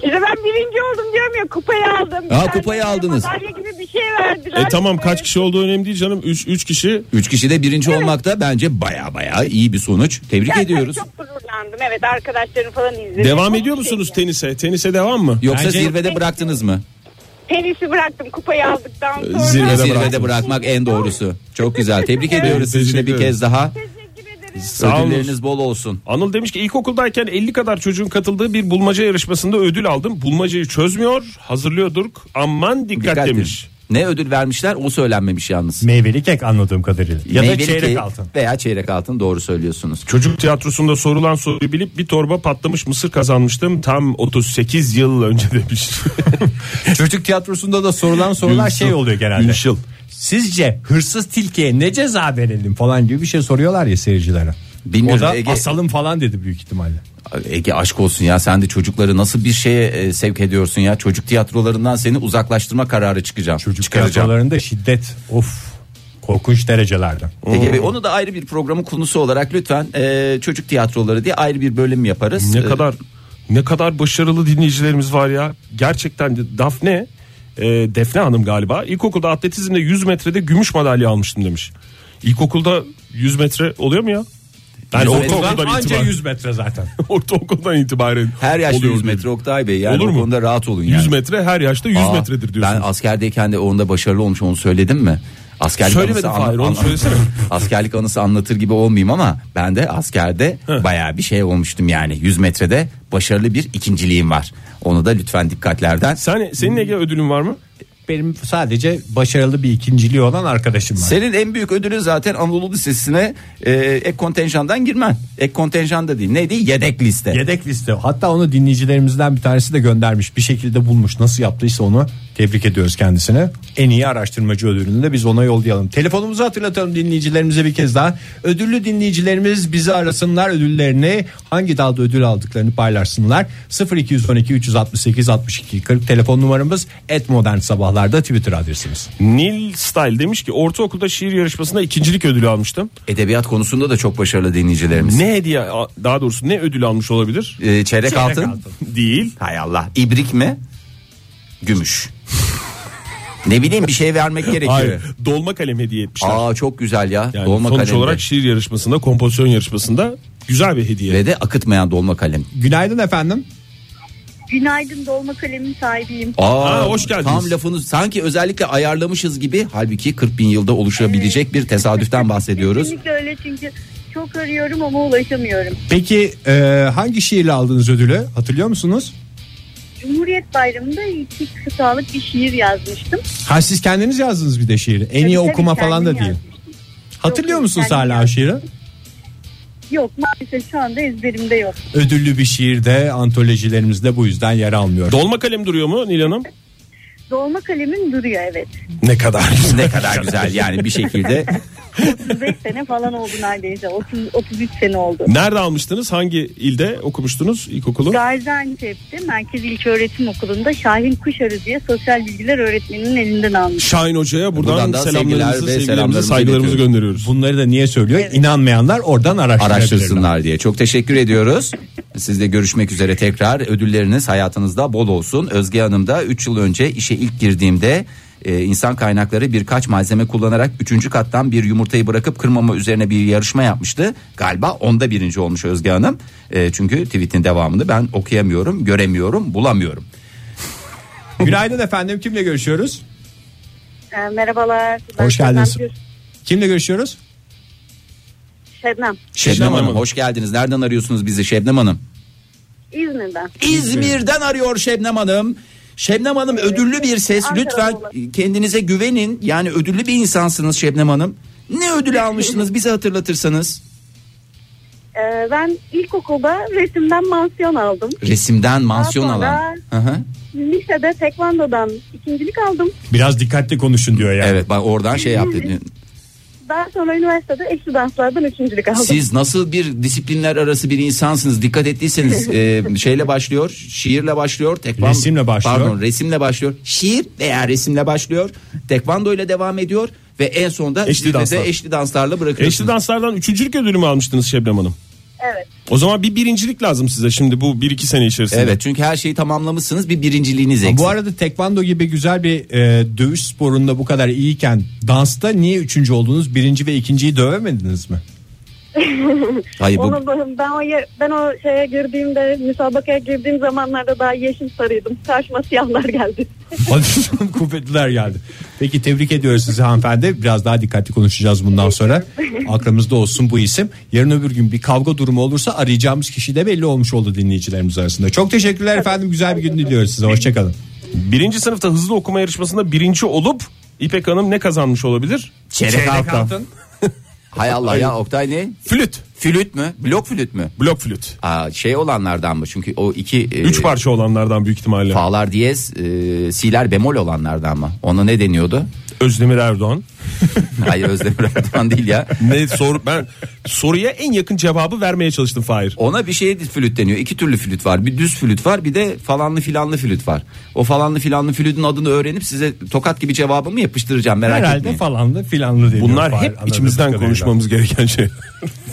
İşte ben birinci oldum diyorum ya kupayı aldım.
Aa,
Bir
kupayı
tane
aldınız.
Madalya gibi bir şey verdiler.
E, tamam,
Böyle
kaç
kişi olduğu önemli değil canım. 3 3 kişi. 3 kişi de birinci olmak da bence baya baya iyi bir sonuç. Tebrik
Gerçekten
ediyoruz.
Çok gururlandım evet arkadaşlarım falan izledim.
Devam
Çok
ediyor
şey.
musunuz tenise? Tenise devam mı?
Yoksa zirvede bıraktınız mı?
Tenisi bıraktım kupayı aldıktan
Ee,
sonra.
Zirvede, bırakmak en doğrusu. Çok güzel. Tebrik ediyoruz sizi de bir kez daha. Ödülleriniz bol olsun.
Anıl demiş ki ilkokuldayken 50 kadar çocuğun katıldığı bir bulmaca yarışmasında ödül aldım. Bulmacayı çözmüyor, hazırlıyorduk. Aman dikkat,
Dikkat
demiş.
Ne ödül vermişler o söylenmemiş yalnız.
Meyveli kek anladığım kadarıyla.
Ya da
Meyveli
çeyrek
kek
altın.
Veya çeyrek altın doğru söylüyorsunuz.
Çocuk tiyatrosunda sorulan soruyu bilip bir torba patlamış mısır kazanmıştım. Tam 38 yıl önce demiş.
Çocuk tiyatrosunda da sorulan sorular şey oluyor genelde. Sizce hırsız tilkiye ne ceza verelim falan gibi bir şey soruyorlar ya seyircilere.
Bilmiyorum,
o da
Ege-
asalım falan dedi büyük ihtimalle.
Ege aşk olsun ya sen de çocukları nasıl bir şeye e, sevk ediyorsun ya çocuk tiyatrolarından seni uzaklaştırma kararı çıkacağım. Çocuk
Tiyatrolarında şiddet of korkunç derecelerde.
Ege Bey, onu da ayrı bir programın konusu olarak lütfen e, çocuk tiyatroları diye ayrı bir bölüm yaparız.
ne
E,
kadar ne kadar başarılı dinleyicilerimiz var ya. Gerçekten de Dafne e, Defne Hanım galiba ilkokulda atletizmde 100 metrede gümüş madalya almıştım demiş. İlkokulda 100 metre oluyor mu ya? Yani
Yüz metre-
ortaokuldan
Anca
itibaren.
100 metre zaten.
ortaokuldan itibaren.
Her yaşta
oluyor
100
diye.
metre Oktay Bey yani
Olur
o
mu?
konuda rahat olun
100
yani.
metre her yaşta 100 metredir diyorsunuz.
Ben askerdeyken de onda başarılı olmuş onu söyledim mi? Askerlik
Söylemedim
anısı an-
Fahir, onu
an-
söylesene.
askerlik anısı anlatır gibi olmayayım ama ben de askerde bayağı bir şey olmuştum yani. 100 metrede başarılı bir ikinciliğim var. Onu da lütfen dikkatlerden.
Sen, senin Ege ödülün var mı?
Benim sadece başarılı bir ikinciliği olan arkadaşım var.
Senin en büyük ödülün zaten Anadolu Lisesi'ne e, ek kontenjandan girmen. Ek kontenjan da değil. Neydi? Yedek liste.
Yedek liste. Hatta onu dinleyicilerimizden bir tanesi de göndermiş. Bir şekilde bulmuş. Nasıl yaptıysa onu tebrik ediyoruz kendisine. En iyi araştırmacı ödülünü de biz ona yollayalım. Telefonumuzu hatırlatalım dinleyicilerimize bir kez daha. Ödüllü dinleyicilerimiz bizi arasınlar ödüllerini hangi dalda ödül aldıklarını paylaşsınlar. 0212 368 62 40 telefon numaramız et modern sabahlarda Twitter adresimiz.
Nil Style demiş ki ortaokulda şiir yarışmasında ikincilik ödülü almıştım.
Edebiyat konusunda da çok başarılı dinleyicilerimiz.
Ne hediye a- daha doğrusu ne ödül almış olabilir?
E, çeyrek, altın.
Değil.
Hay Allah. İbrik mi? Gümüş. ne bileyim bir şey vermek gerekiyor.
Hayır, dolma kalem hediye etmişler.
Aa çok güzel ya.
Yani
dolma
sonuç
kalem.
olarak şiir yarışmasında, kompozisyon yarışmasında güzel bir hediye.
Ve de akıtmayan dolma kalem.
Günaydın efendim.
Günaydın dolma kalemin sahibiyim.
Aa,
Ha, hoş geldiniz.
Tam lafını sanki özellikle ayarlamışız gibi halbuki 40 bin yılda oluşabilecek bir tesadüften bahsediyoruz.
Kesinlikle öyle çünkü çok arıyorum ama ulaşamıyorum.
Peki e, hangi şiirle aldınız ödülü hatırlıyor musunuz?
Cumhuriyet Bayramı'nda iki kıtalık bir şiir yazmıştım.
Ha siz kendiniz yazdınız bir de şiiri. En iyi
Tabii,
okuma
tabii,
falan da
kendim
değil. Hatırlıyor
Yok,
musunuz
kendim
hala o şiiri?
Yok maalesef şu anda ezberimde yok.
Ödüllü bir şiirde antolojilerimizde bu yüzden yer almıyor.
Dolma kalem duruyor mu Nil Hanım?
Dolma kalemim duruyor evet.
Ne kadar güzel.
ne kadar güzel yani bir şekilde
35 sene falan oldu neredeyse. 30, 33 sene oldu.
Nerede almıştınız? Hangi ilde okumuştunuz ilkokulu?
Gaziantep'te Merkez İlköğretim Okulu'nda Şahin Kuşarı diye sosyal bilgiler öğretmeninin elinden almış.
Şahin Hoca'ya buradan,
Buradan da sevgiler ve
selamlarımızı, sevgilerimizi,
selamlarımızı
saygılarımızı
iletiyoruz.
gönderiyoruz.
Bunları da niye söylüyor? İnanmayanlar oradan araştırsınlar.
araştırsınlar diye. Çok teşekkür ediyoruz. Sizle görüşmek üzere tekrar. Ödülleriniz hayatınızda bol olsun. Özge Hanım da 3 yıl önce işe ilk girdiğimde e, insan kaynakları birkaç malzeme kullanarak 3. kattan bir yumurtayı bırakıp kırmama üzerine bir yarışma yapmıştı. Galiba onda birinci olmuş Özge Hanım. E, çünkü tweetin devamını ben okuyamıyorum, göremiyorum, bulamıyorum.
Günaydın efendim kimle görüşüyoruz?
Ee, merhabalar.
Hoş geldiniz.
Şebnem Gür-
Kimle görüşüyoruz?
Şebnem.
Şebnem, Hanım, hoş geldiniz. Nereden arıyorsunuz bizi Şebnem Hanım?
İzmir'den.
İzmir'den arıyor Şebnem Hanım. Şebnem Hanım ödüllü bir ses.
Ankara'da
Lütfen kendinize güvenin. Yani ödüllü bir insansınız Şebnem Hanım. Ne ödülü almıştınız bize hatırlatırsanız.
Ee, ben ilkokulda resimden mansiyon aldım.
Resimden mansiyon
Daha sonra-
alan. Hı hı.
Lisede tekvandodan ikincilik aldım.
Biraz dikkatli konuşun diyor yani.
Evet bak oradan şey yaptı.
Daha sonra üniversitede eşli danslardan üçüncülük aldım.
Siz nasıl bir disiplinler arası bir insansınız dikkat ettiyseniz e, şeyle başlıyor, şiirle başlıyor, tekvando
Resimle başlıyor.
Pardon, resimle başlıyor. Şiir veya resimle başlıyor. Tekvando ile devam ediyor
ve en sonunda
Eşli
zirvede
danslar.
eşli danslarla bırakıyorsunuz.
Eşli danslardan üçüncülük ödülü mü almıştınız Şebnem Hanım?
Evet.
O zaman bir birincilik lazım size şimdi bu 1-2 sene içerisinde.
Evet çünkü her şeyi tamamlamışsınız bir birinciliğiniz eksik.
Bu arada tekvando gibi güzel bir e, dövüş sporunda bu kadar iyiyken dansta niye üçüncü oldunuz? Birinci ve ikinciyi dövemediniz mi?
Hayır, bu-
Onu ben, ben o ye- ben o şeye girdiğimde müsabakaya girdiğim zamanlarda daha yeşil sarıydım. Karşıma siyahlar geldi.
Padişahın kuvvetliler geldi. Peki tebrik ediyoruz sizi hanımefendi. Biraz daha dikkatli konuşacağız bundan sonra. Aklımızda olsun bu isim. Yarın öbür gün bir kavga durumu olursa arayacağımız kişi de belli olmuş oldu dinleyicilerimiz arasında. Çok teşekkürler efendim. Güzel bir gün diliyoruz size. Hoşçakalın.
Birinci sınıfta hızlı okuma yarışmasında birinci olup İpek Hanım ne kazanmış olabilir?
Çeyrek altın. Hay Allah ya Oktay ne?
Flüt.
Flüt mü? Blok flüt mü?
Blok flüt.
Aa, şey olanlardan mı? Çünkü o iki... e,
Üç parça olanlardan büyük ihtimalle.
Fa'lar diyez, e, si'ler bemol olanlardan mı? Ona ne deniyordu?
Özdemir Erdoğan.
Hayır Özdemir Erdoğan değil ya.
ne soru ben soruya en yakın cevabı vermeye çalıştım Fahir.
Ona bir şey flüt deniyor. İki türlü flüt var. Bir düz flüt var bir de falanlı filanlı flüt var. O falanlı filanlı flütün adını öğrenip size tokat gibi cevabımı yapıştıracağım merak
Herhalde
etmeyin.
falanlı filanlı deniyor.
Bunlar
Fahir,
hep
anladığımız
içimizden
kadarıyla.
konuşmamız gereken şey.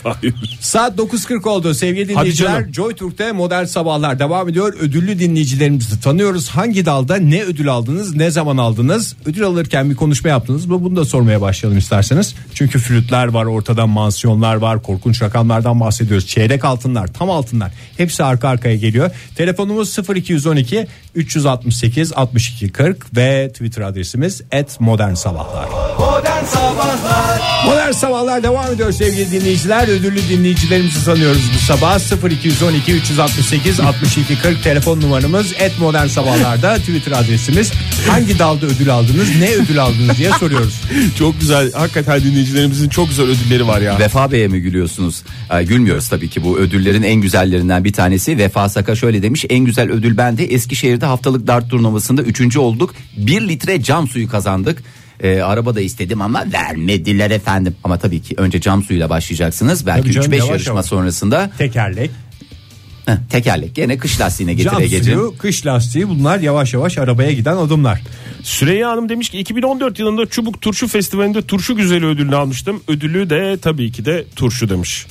Hayır.
Saat 9.40 oldu sevgili
Hadi
dinleyiciler.
canım.
Joy Türk'te modern sabahlar devam ediyor. Ödüllü dinleyicilerimizi tanıyoruz. Hangi dalda ne ödül aldınız, ne zaman aldınız? Ödül alırken bir konuşma yaptınız mı? Bunu da sormaya başlayalım isterseniz. Çünkü flütler var, ortada mansiyonlar var, korkunç rakamlardan bahsediyoruz. Çeyrek altınlar, tam altınlar hepsi arka arkaya geliyor. Telefonumuz 0212 368 62 40 ve Twitter adresimiz @modernsabahlar.
Modern Sabahlar
Modern Sabahlar devam ediyor sevgili dinleyiciler. Ödüllü dinleyicilerimizi sanıyoruz bu sabah. 0212 368 62 40 telefon numaramız. Et Modern Sabahlar'da Twitter adresimiz. Hangi dalda ödül aldınız? Ne ödül aldınız diye soruyoruz.
çok güzel. Hakikaten dinleyicilerimizin çok güzel ödülleri var ya.
Vefa Bey'e mi gülüyorsunuz? Ee, gülmüyoruz tabii ki bu ödüllerin en güzellerinden bir tanesi. Vefa Saka şöyle demiş en güzel ödül bende Eskişehir'de haftalık dart turnuvasında üçüncü olduk. Bir litre cam suyu kazandık. Ee, araba da istedim ama vermediler efendim. Ama tabii ki önce cam suyuyla başlayacaksınız. Belki
Tabii canım,
3-5
yavaş
yarışma
yavaş.
sonrasında
Tekerlek,
Heh, tekerlek gene kış lastiğine
cam
getire getirin.
suyu, kış lastiği bunlar yavaş yavaş arabaya giden adımlar.
Süreyya Hanım demiş ki 2014 yılında Çubuk Turşu Festivali'nde turşu güzeli ödülünü almıştım. Ödülü de tabii ki de turşu demiş.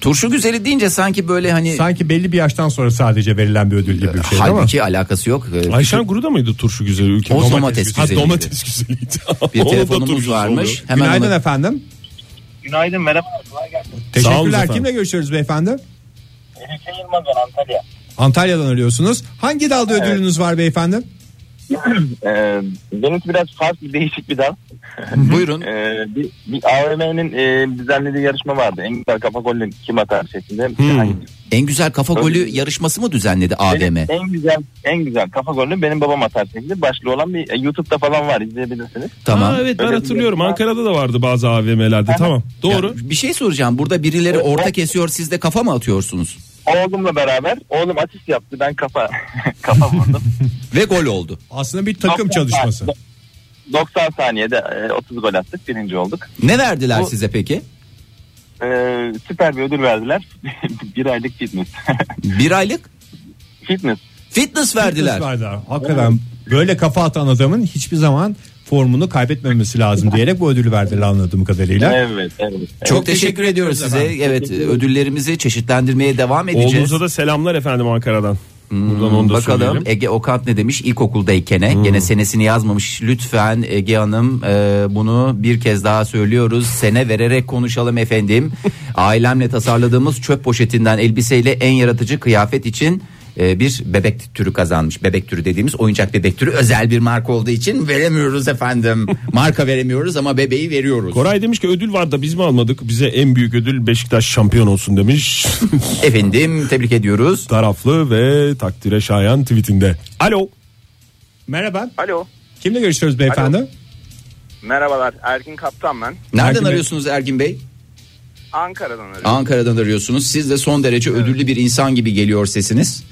Turşu güzeli deyince sanki böyle hani
Sanki belli bir yaştan sonra sadece verilen bir ödül gibi bir şey ama.
halbuki alakası yok. Ee,
Ayşen Guru'da mıydı turşu güzeli ülke?
O domates güzeliydi.
Ha, domates güzeliydi.
Bir
Onun da
telefonumuz
turşusu
varmış.
oluyor.
Hemen
Günaydın efendim.
Günaydın merhaba.
Sağ olun
Teşekkürler.
efendim.
Kimle görüşüyoruz beyefendi?
Elif'e Yılmaz ben Antalya.
Antalya'dan arıyorsunuz. Hangi dalda ödülünüz var beyefendi?
Ee, benimki biraz farklı değişik bir dal. Ee,
Buyurun.
bir, bir AVM'nin e, düzenlediği yarışma vardı. En güzel kafa golünü kim atar şeklinde.
Hmm.
Hangi-
En güzel kafa golü yarışması mı düzenledi
Benim
AVM?
En güzel en güzel kafa golünü benim babam atar şeklinde başlığı olan bir e, YouTube'da falan var izleyebilirsiniz.
Ha, evet ben
Öyle bir
hatırlıyorum.
yarışma-
Ankara'da da vardı bazı AVM'lerde. tamam. Doğru.
Ya, bir şey soracağım. Burada birileri orta kesiyor. Siz de kafa mı atıyorsunuz?
Oğlumla beraber oğlum asist yaptı ben kafa kafa vurdum.
Ve gol oldu.
Aslında bir takım çalışması.
90 saniyede e, 30 gol attık birinci olduk.
Ne verdiler
Bu-
size peki?
Ee, süper bir ödül verdiler. bir aylık fitness.
Bir aylık?
Fitness.
Fitness
verdiler. Hakikaten böyle kafa atan adamın hiçbir zaman formunu kaybetmemesi lazım diyerek bu ödülü verdiler anladığım kadarıyla.
Evet, evet.
Çok teşekkür ediyoruz size. Evet ödüllerimizi çeşitlendirmeye devam edeceğiz.
Oğlunuza da selamlar efendim Ankara'dan. Buradan
Hmm,
onu da
Bakalım
söyleyelim. Hmm.
Ege Okant ne demiş ilkokuldayken gene senesini yazmamış lütfen Ege Hanım e, bunu bir kez daha söylüyoruz sene vererek konuşalım efendim ailemle tasarladığımız çöp poşetinden elbiseyle en yaratıcı kıyafet için e, bir bebek türü kazanmış bebek türü dediğimiz oyuncak bebek türü özel bir marka olduğu için veremiyoruz efendim marka veremiyoruz ama bebeği veriyoruz
Koray demiş ki ödül var da biz mi almadık? Bize en büyük ödül Beşiktaş şampiyon olsun demiş.
efendim tebrik ediyoruz
Taraflı ve takdire şayan tweetinde. Alo.
Merhaba.
Alo.
Kimle görüşüyoruz beyefendi?
Merhabalar. Erkin Kaptan ben.
nereden
Ergin Bey.
arıyorsunuz Ergin Bey
Ankara'dan arıyorum.
Ankara'dan arıyorsunuz siz de son derece ödüllü bir insan gibi geliyor sesiniz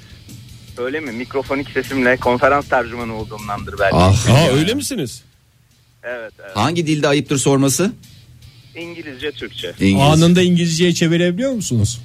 Öyle mi? Mikrofonik sesimle konferans tercümanı olduğumdandır belki.
Ah.
Aa öyle misiniz?
Evet, evet.
hangi dilde ayıptır sorması
İngilizce, Türkçe.
İngiliz.
Anında İngilizceye çevirebiliyor musunuz?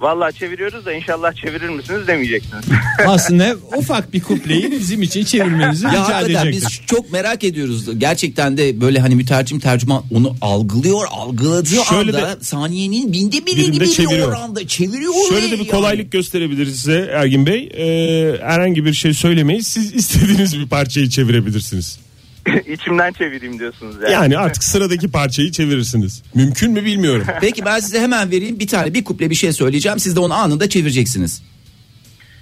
Vallahi çeviriyoruz da inşallah çevirir misiniz demeyeceksiniz.
Aslında ufak bir kupleyi bizim için çevirmenizi
Ya
rica
hakikaten
edecektim.
biz çok merak ediyoruz. Gerçekten de böyle hani mütercim tercüman onu algılıyor, algıladığı
Şöyle
anda
de-
saniyenin binde biri
Birinde
gibi
çeviriyor.
bir oranda çeviriyor.
Şöyle de bir kolaylık gösterebiliriz size Ergin Bey. Ee, herhangi bir şey söylemeyiz. Siz istediğiniz bir parçayı çevirebilirsiniz.
İçimden çevireyim diyorsunuz yani.
Yani artık sıradaki parçayı çevirirsiniz. Mümkün mü bilmiyorum.
Peki ben size hemen vereyim bir tane bir kuple bir şey söyleyeceğim. Siz de onu anında çevireceksiniz.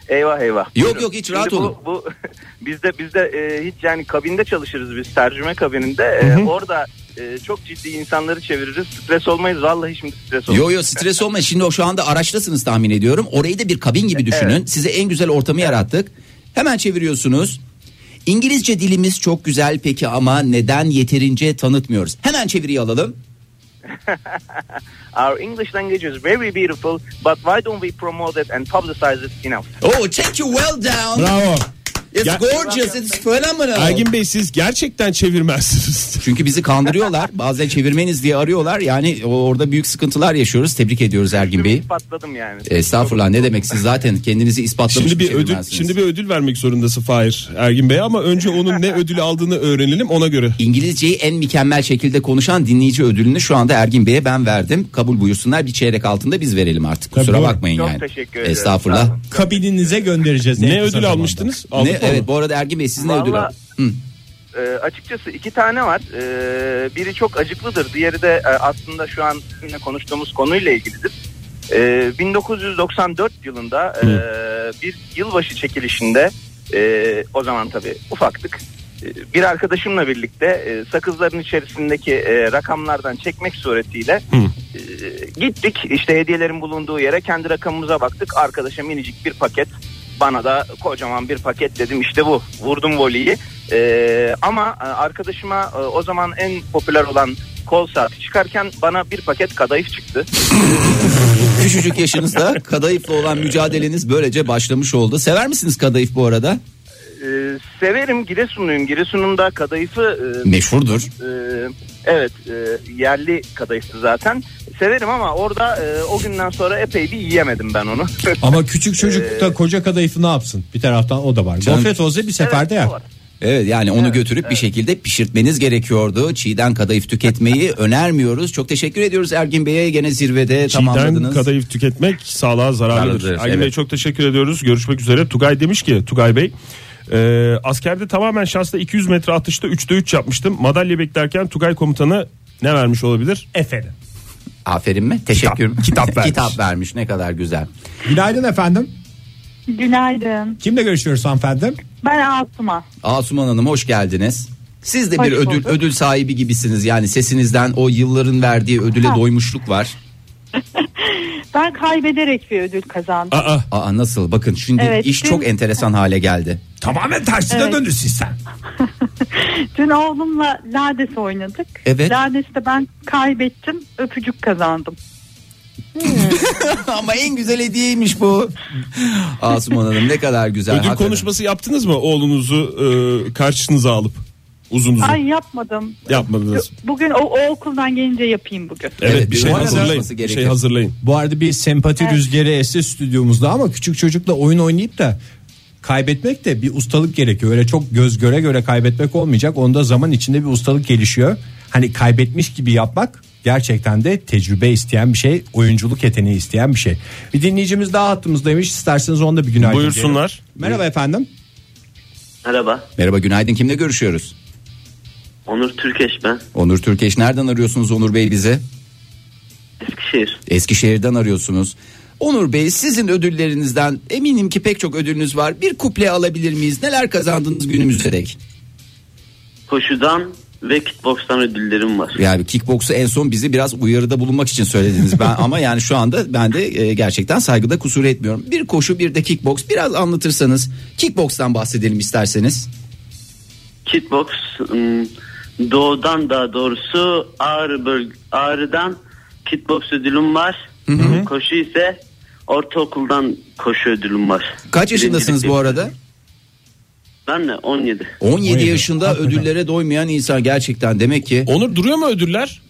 Eyvah eyvah.
Yok, yok, hiç rahat
bu,
olun.
Bu bizde bizde e, hiç yani kabinde çalışırız biz tercüme kabininde. E,
Hı hı.
orada e, çok ciddi insanları çeviririz. Stres olmayız vallahi şimdi stres olmayız.
Yo yo stres olmayın. Şimdi o şu anda araçtasınız tahmin ediyorum. Orayı da bir kabin gibi düşünün. Size en güzel ortamı yarattık. Hemen çeviriyorsunuz. İngilizce dilimiz çok güzel peki ama neden yeterince tanıtmıyoruz? Hemen çeviriyi alalım.
Our English language is very beautiful but why don't we promote it and publicize it enough?
Oh take you well down.
Bravo.
It's
Ya-
gorgeous. It's phenomenal.
Ergin Bey siz gerçekten çevirmezsiniz.
Çünkü bizi kandırıyorlar. Bazen çevirmeniz diye arıyorlar. Yani o- orada büyük sıkıntılar yaşıyoruz. Tebrik ediyoruz Ergin Bey'i.
Patladım yani.
E, Estağfurullah ne demek siz zaten kendinizi ispatlamış
Şimdi bir ödül
çevirmensiniz.
şimdi bir ödül vermek zorundasın Fahir Ergin Bey ama önce onun ne ödülü aldığını öğrenelim ona göre.
İngilizceyi en mükemmel şekilde konuşan dinleyici ödülünü şu anda Ergin Bey'e ben verdim. Kabul buyursunlar bir çeyrek altında biz verelim artık. Kusura
Tabii.
bakmayın
Çok
yani.
teşekkür
ederim.
Estağfurullah.
Kabininize göndereceğiz. en
Ne
kısa
ödül
zamanda.
almıştınız? Ne- Aldık mı evet, onu? bu arada Ergin Bey siz ne ödül aldınız?
E, açıkçası iki tane var. E, biri çok acıklıdır. Diğeri de e, aslında şu an sizinle konuştuğumuz konuyla ilgilidir. E, 1994 yılında e, bir yılbaşı çekilişinde e, o zaman tabii ufaktık. E, bir arkadaşımla birlikte e, sakızların içerisindeki e, rakamlardan çekmek suretiyle e, gittik. İşte hediyelerin bulunduğu yere kendi rakamımıza baktık. Arkadaşa minicik bir paket bana da kocaman bir paket dedim işte bu vurdum voleyi Ee, ama e, arkadaşıma e, o zaman en popüler olan kol saati çıkarken bana bir paket kadayıf çıktı.
Küçücük yaşınızda kadayıfla olan mücadeleniz böylece başlamış oldu. Sever misiniz kadayıf bu arada?
Ee, severim Giresunluyum Giresun'un da kadayıfı e,
Meşhurdur.
e, evet e, yerli kadayıftı zaten severim ama orada e, o günden sonra epey bir yiyemedim ben onu.
Ama küçük çocuk
Ee,
da koca kadayıfı ne yapsın? Bir taraftan o da var.
Canım-
Gofret olsa bir seferde yer.
Evet yani onu götürüp bir şekilde pişirtmeniz gerekiyordu. Çiğden kadayıf tüketmeyi önermiyoruz. Çok teşekkür ediyoruz Ergin Bey'e gene zirvede
Çiğden
tamamladınız.
kadayıf tüketmek sağlığa zararlıdır.
Zararlıdır,
Ergin
evet.
Bey çok teşekkür ediyoruz. Görüşmek üzere. Tugay demiş ki Tugay Bey e, askerde tamamen şansla 200 metre atışta 3'te 3 yapmıştım. Madalya beklerken Tugay komutanı ne vermiş olabilir?
Efendim.
Aferin mi? Teşekkür. Kitap,
vermiş.
kitap vermiş ne kadar güzel.
Günaydın efendim.
Günaydın.
Kimle görüşüyoruz hanımefendi?
Ben Asuma.
Asuman Hanım hoş geldiniz. Siz de bir
Hoş
ödül
bulduk.
ödül sahibi gibisiniz. Yani sesinizden o yılların verdiği ödüle doymuşluk var.
Ben kaybederek bir ödül kazandım.
Aa.
nasıl? Bakın şimdi
Evet,
iş
dün-
çok enteresan hale geldi.
Tamamen tersine
Evet.
döndü sistem.
Dün oğlumla lades oynadık.
Evet.
Lades'te ben kaybettim, öpücük kazandım.
Ama en güzel hediyeymiş bu. Asuman Hanım ne kadar güzel.
ödül
hakikaten.
konuşması yaptınız mı oğlunuzu e, karşınıza alıp uzun uzun
Ay yapmadım.
yapmadınız?
Bugün o, o okuldan gelince yapayım bugün.
Evet, bir şey
bu arada-
hazırlayın. Bir şey hazırlayın.
Bu arada bir sempati
Evet.
rüzgarı esti stüdyomuzda ama küçük çocukla oyun oynayıp da kaybetmek de bir ustalık gerekiyor. Öyle çok göz göre göre kaybetmek olmayacak. Onda zaman içinde bir ustalık gelişiyor. Hani kaybetmiş gibi yapmak gerçekten de tecrübe isteyen bir şey, oyunculuk yeteneği isteyen bir şey. Bir dinleyicimiz daha hattımızdaymış. İsterseniz onda bir günaydın.
Buyursunlar.
diyelim. Merhaba efendim.
Merhaba.
Merhaba günaydın kimle görüşüyoruz?
Onur Türkeş ben.
Onur Türkeş nereden arıyorsunuz Onur Bey bize?
Eskişehir.
Eskişehir'den arıyorsunuz. Onur Bey sizin ödüllerinizden eminim ki pek çok ödülünüz var. Bir kuple alabilir miyiz? Neler kazandınız günümüze dek?
Koşudan ve kickbokstan ödüllerim var.
Yani kickboksu en son bizi biraz uyarıda bulunmak için söylediniz. Ben ama yani şu anda ben de e, gerçekten saygıda kusur etmiyorum. Bir koşu bir de kickboks biraz anlatırsanız kickbokstan bahsedelim isterseniz.
Kickboks ım, doğudan daha doğrusu ağrı bölge, ağrıdan kickboks ödülüm var. Hı, Koşu ise ortaokuldan koşu ödülüm var.
Kaç yaşındasınız bu arada?
Ben de 17.
17, yaşında ödüllere doymayan insan gerçekten demek ki.
Onur duruyor mu ödüller?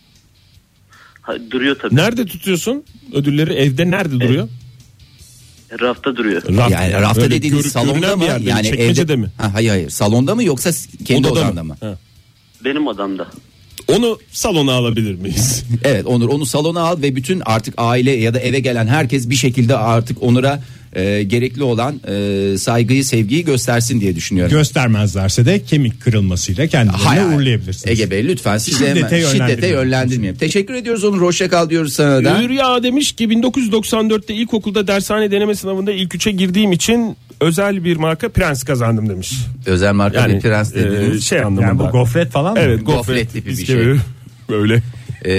Ha, duruyor tabii.
Nerede tutuyorsun ödülleri? Evde nerede duruyor?
Rafta duruyor.
yani rafta
Böyle
dediğiniz
görü-
salonda
görünen
mı?
bir yerde mi?
Yani
Çekmecede
evde
mi?
Ha, hayır hayır. Salonda mı yoksa kendi
Odada mı?
odanda mı?
Benim odamda.
Onu salona alabilir miyiz? evet Onur onu salona al ve bütün artık aile ya da eve gelen herkes bir şekilde artık Onur'a e, gerekli olan e, saygıyı sevgiyi göstersin diye düşünüyorum.
Göstermezlerse de kemik kırılmasıyla kendilerini
hayır.
uğurlayabilirsiniz.
Ege Bey lütfen siz de
Şiddete
hemen- şiddete
yönlendirmeyin.
yönlendirmeyelim. Teşekkür ediyoruz Onur hoşça kal diyoruz sana da.
Hülya demiş ki 1994'te ilkokulda dershane deneme sınavında ilk üçe girdiğim için özel bir marka prens kazandım demiş.
Özel marka bir prens dediğiniz-
e, şey
Yani bu
anlamında.
gofret falan mı?
Evet gofret,
Gofret tipi bir
bisküvi.
şey.
Böyle.
E,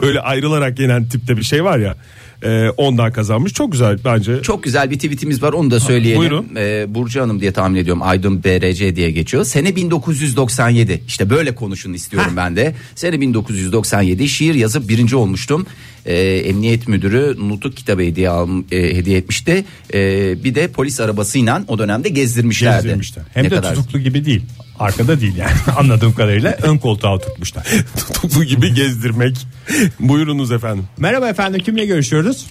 Böyle ayrılarak yenen tipte bir şey var ya. E, ondan kazanmış. Çok güzel bence.
Çok güzel bir tweetimiz var onu da söyleyelim.
Buyurun.
Ee, Burcu Hanım diye tahmin ediyorum Aydın BRC diye geçiyor. Sene 1997 işte böyle konuşun istiyorum ben de. Sene 1997 şiir yazıp birinci olmuştum. Ee, Emniyet Müdürü Nutuk kitabı hediye, al, e, hediye etmişti. Ee, bir de polis arabasıyla o dönemde gezdirmişlerdi.
Gezdirmişler. Hem
Ne
de
kadar-
tutuklu gibi değil. Arkada değil yani anladığım kadarıyla ön koltuğa oturtmuşlar. tutuklu gibi gezdirmek. Buyurunuz efendim. Merhaba efendim kimle görüşüyoruz?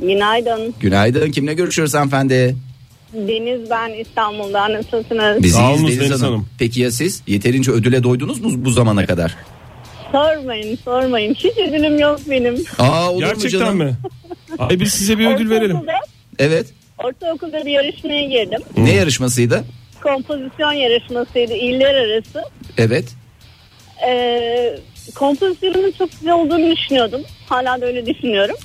Günaydın.
Günaydın kimle görüşüyoruz hanımefendi?
Deniz ben İstanbul'dan nasılsınız?
Biz Deniz, Hanım. Peki ya siz yeterince ödüle doydunuz mu bu zamana kadar?
Sormayın sormayın. Hiç ödülüm yok benim.
Aa, olur mu Gerçekten canım? mi?
E, biz size bir ödül verelim.
Ortaokulda,
Evet.
ortaokulda bir yarışmaya girdim.
Ne yarışmasıydı?
Kompozisyon yarışmasıydı iller arası.
Evet.
Ee, kompozisyonumun çok güzel olduğunu düşünüyordum. Hala da öyle düşünüyorum.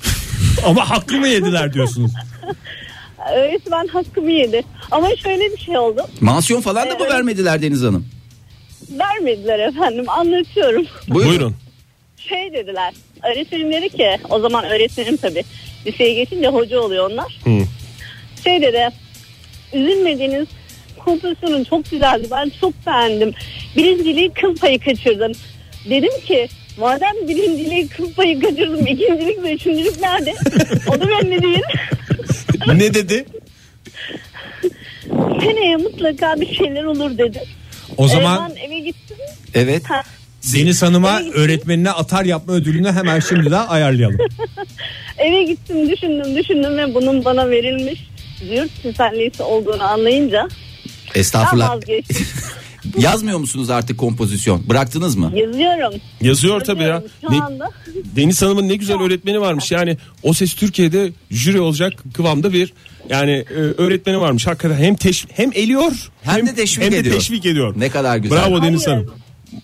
Ama hakkımı yediler diyorsunuz.
Ee, Öyleyse ben hakkımı yedi. Ama şöyle bir şey oldu.
Mansiyon falan da mı vermediler Deniz Hanım?
Vermediler efendim anlatıyorum.
Buyurun.
Şey dediler öğretmenim dedi ki o zaman öğretmenim tabii liseye geçince hoca oluyor onlar. Şey dedi üzülmediğiniz kompozisyonun çok güzeldi ben çok beğendim. Birinciliği kıl payı kaçırdın. Dedim ki madem birinciliği kıl payı kaçırdım ikincilik ve üçüncülük nerede? o da belli değil.
ne dedi?
Seneye mutlaka bir şeyler olur dedi.
O zaman-
Ee, ben eve gittim.
Evet.
Ha,
Deniz Hanım'a öğretmenine atar yapma ödülünü hemen şimdi de ayarlayalım.
Eve gittim düşündüm düşündüm ve bunun bana verilmiş yurt süperlisi olduğunu anlayınca ben
Estağfurullah.
vazgeçtim.
Yazmıyor musunuz artık kompozisyon? Bıraktınız mı?
Yazıyorum.
Yazıyor tabii ya.
Şu
Ne-
anda
Deniz Hanım'ın ne güzel öğretmeni varmış. Yani O Ses Türkiye'de jüri olacak kıvamda bir yani e, öğretmeni varmış. Hakikaten hem teş- hem eliyor hem, de teşvik
ediyor.
teşvik ediyor.
Ne kadar güzel.
Bravo Deniz Hanım.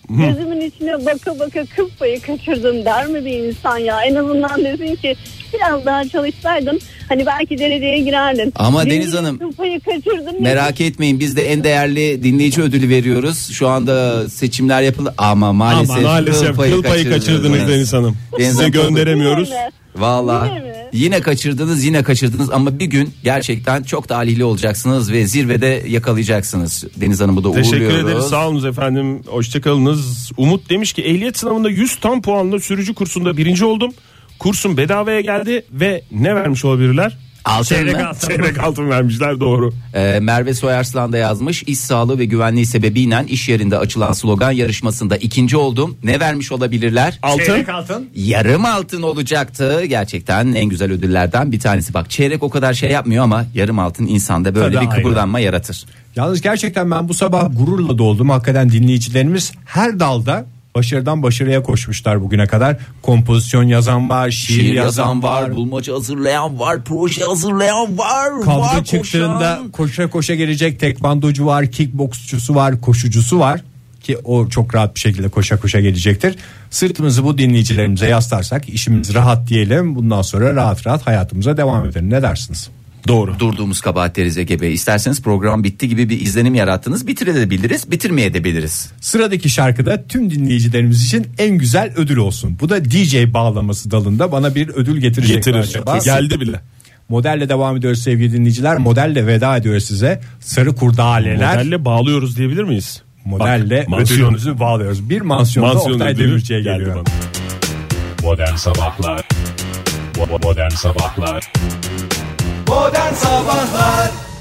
Hı.
gözümün içine baka baka kıl payı kaçırdım der mi bir insan ya? En azından desin ki biraz daha çalışsaydın hani belki dereceye girerdin.
Ama
Benim
Deniz Hanım,
Kıl payı kaçırdım.
Merak etmeyin biz de en değerli dinleyici ödülü veriyoruz. Şu anda seçimler yapıldı ama maalesef,
Ama maalesef kıl payı kaçırdınız Deniz Hanım. Size gönderemiyoruz.
Valla yine kaçırdınız yine kaçırdınız ama bir gün gerçekten çok talihli olacaksınız ve zirvede yakalayacaksınız. Deniz Hanım'ı da
Teşekkür
uğurluyoruz.
ederiz. Sağ olunuz efendim. Hoşçakalınız. Umut demiş ki ehliyet sınavında 100 tam puanla sürücü kursunda birinci oldum. Kursun bedavaya geldi ve ne vermiş olabilirler?
Altın
Çeyrek
mı?
altın. Çeyrek altın vermişler doğru.
Ee, Merve Soyarslan da yazmış. İş sağlığı ve güvenliği sebebiyle iş yerinde açılan slogan yarışmasında ikinci oldum. Ne vermiş olabilirler?
Çeyrek altın.
Yarım altın olacaktı. Gerçekten en güzel ödüllerden bir tanesi. Bak çeyrek o kadar şey yapmıyor ama yarım altın insanda böyle
Tabii,
bir kıpırdanma yaratır.
Yalnız gerçekten ben bu sabah gururla doldum. Hakikaten dinleyicilerimiz her dalda başarıdan başarıya koşmuşlar bugüne kadar. Kompozisyon yazan var, şiir,
Şiir
yazan,
yazan
var.
var, bulmaca hazırlayan var, proje hazırlayan var.
Kavga
var
çıktığında
koşan.
koşa koşa gelecek tekvandocu var, kickboksçusu var, koşucusu var ki o çok rahat bir şekilde koşa koşa gelecektir. Sırtımızı bu dinleyicilerimize yaslarsak işimiz rahat diyelim. Bundan sonra rahat rahat hayatımıza devam edelim. Ne dersiniz?
Doğru.
Durduğumuz kabahatleriz Ege Bey. İsterseniz program bitti gibi bir izlenim yarattınız. Bitirebiliriz, bitirmeyebiliriz.
Sıradaki şarkı da tüm dinleyicilerimiz için en güzel ödül olsun. Bu da DJ bağlaması dalında bana bir ödül getirecek
Getirir.
mi acaba?
Geldi bile.
Modelle devam ediyoruz sevgili dinleyiciler. Modelle veda ediyoruz size. Sarı kurdaleler.
Modelle bağlıyoruz diyebilir miyiz?
Modelle
Bak, mansiyon.
ödülümüzü bağlıyoruz. Bir mansiyonda
Mansiyon
Oktay
ödülü
Demirci'ye
geldi
geliyor.
Modern Sabahlar Bo- bo- Modern Sabahlar
Modern Sabahlar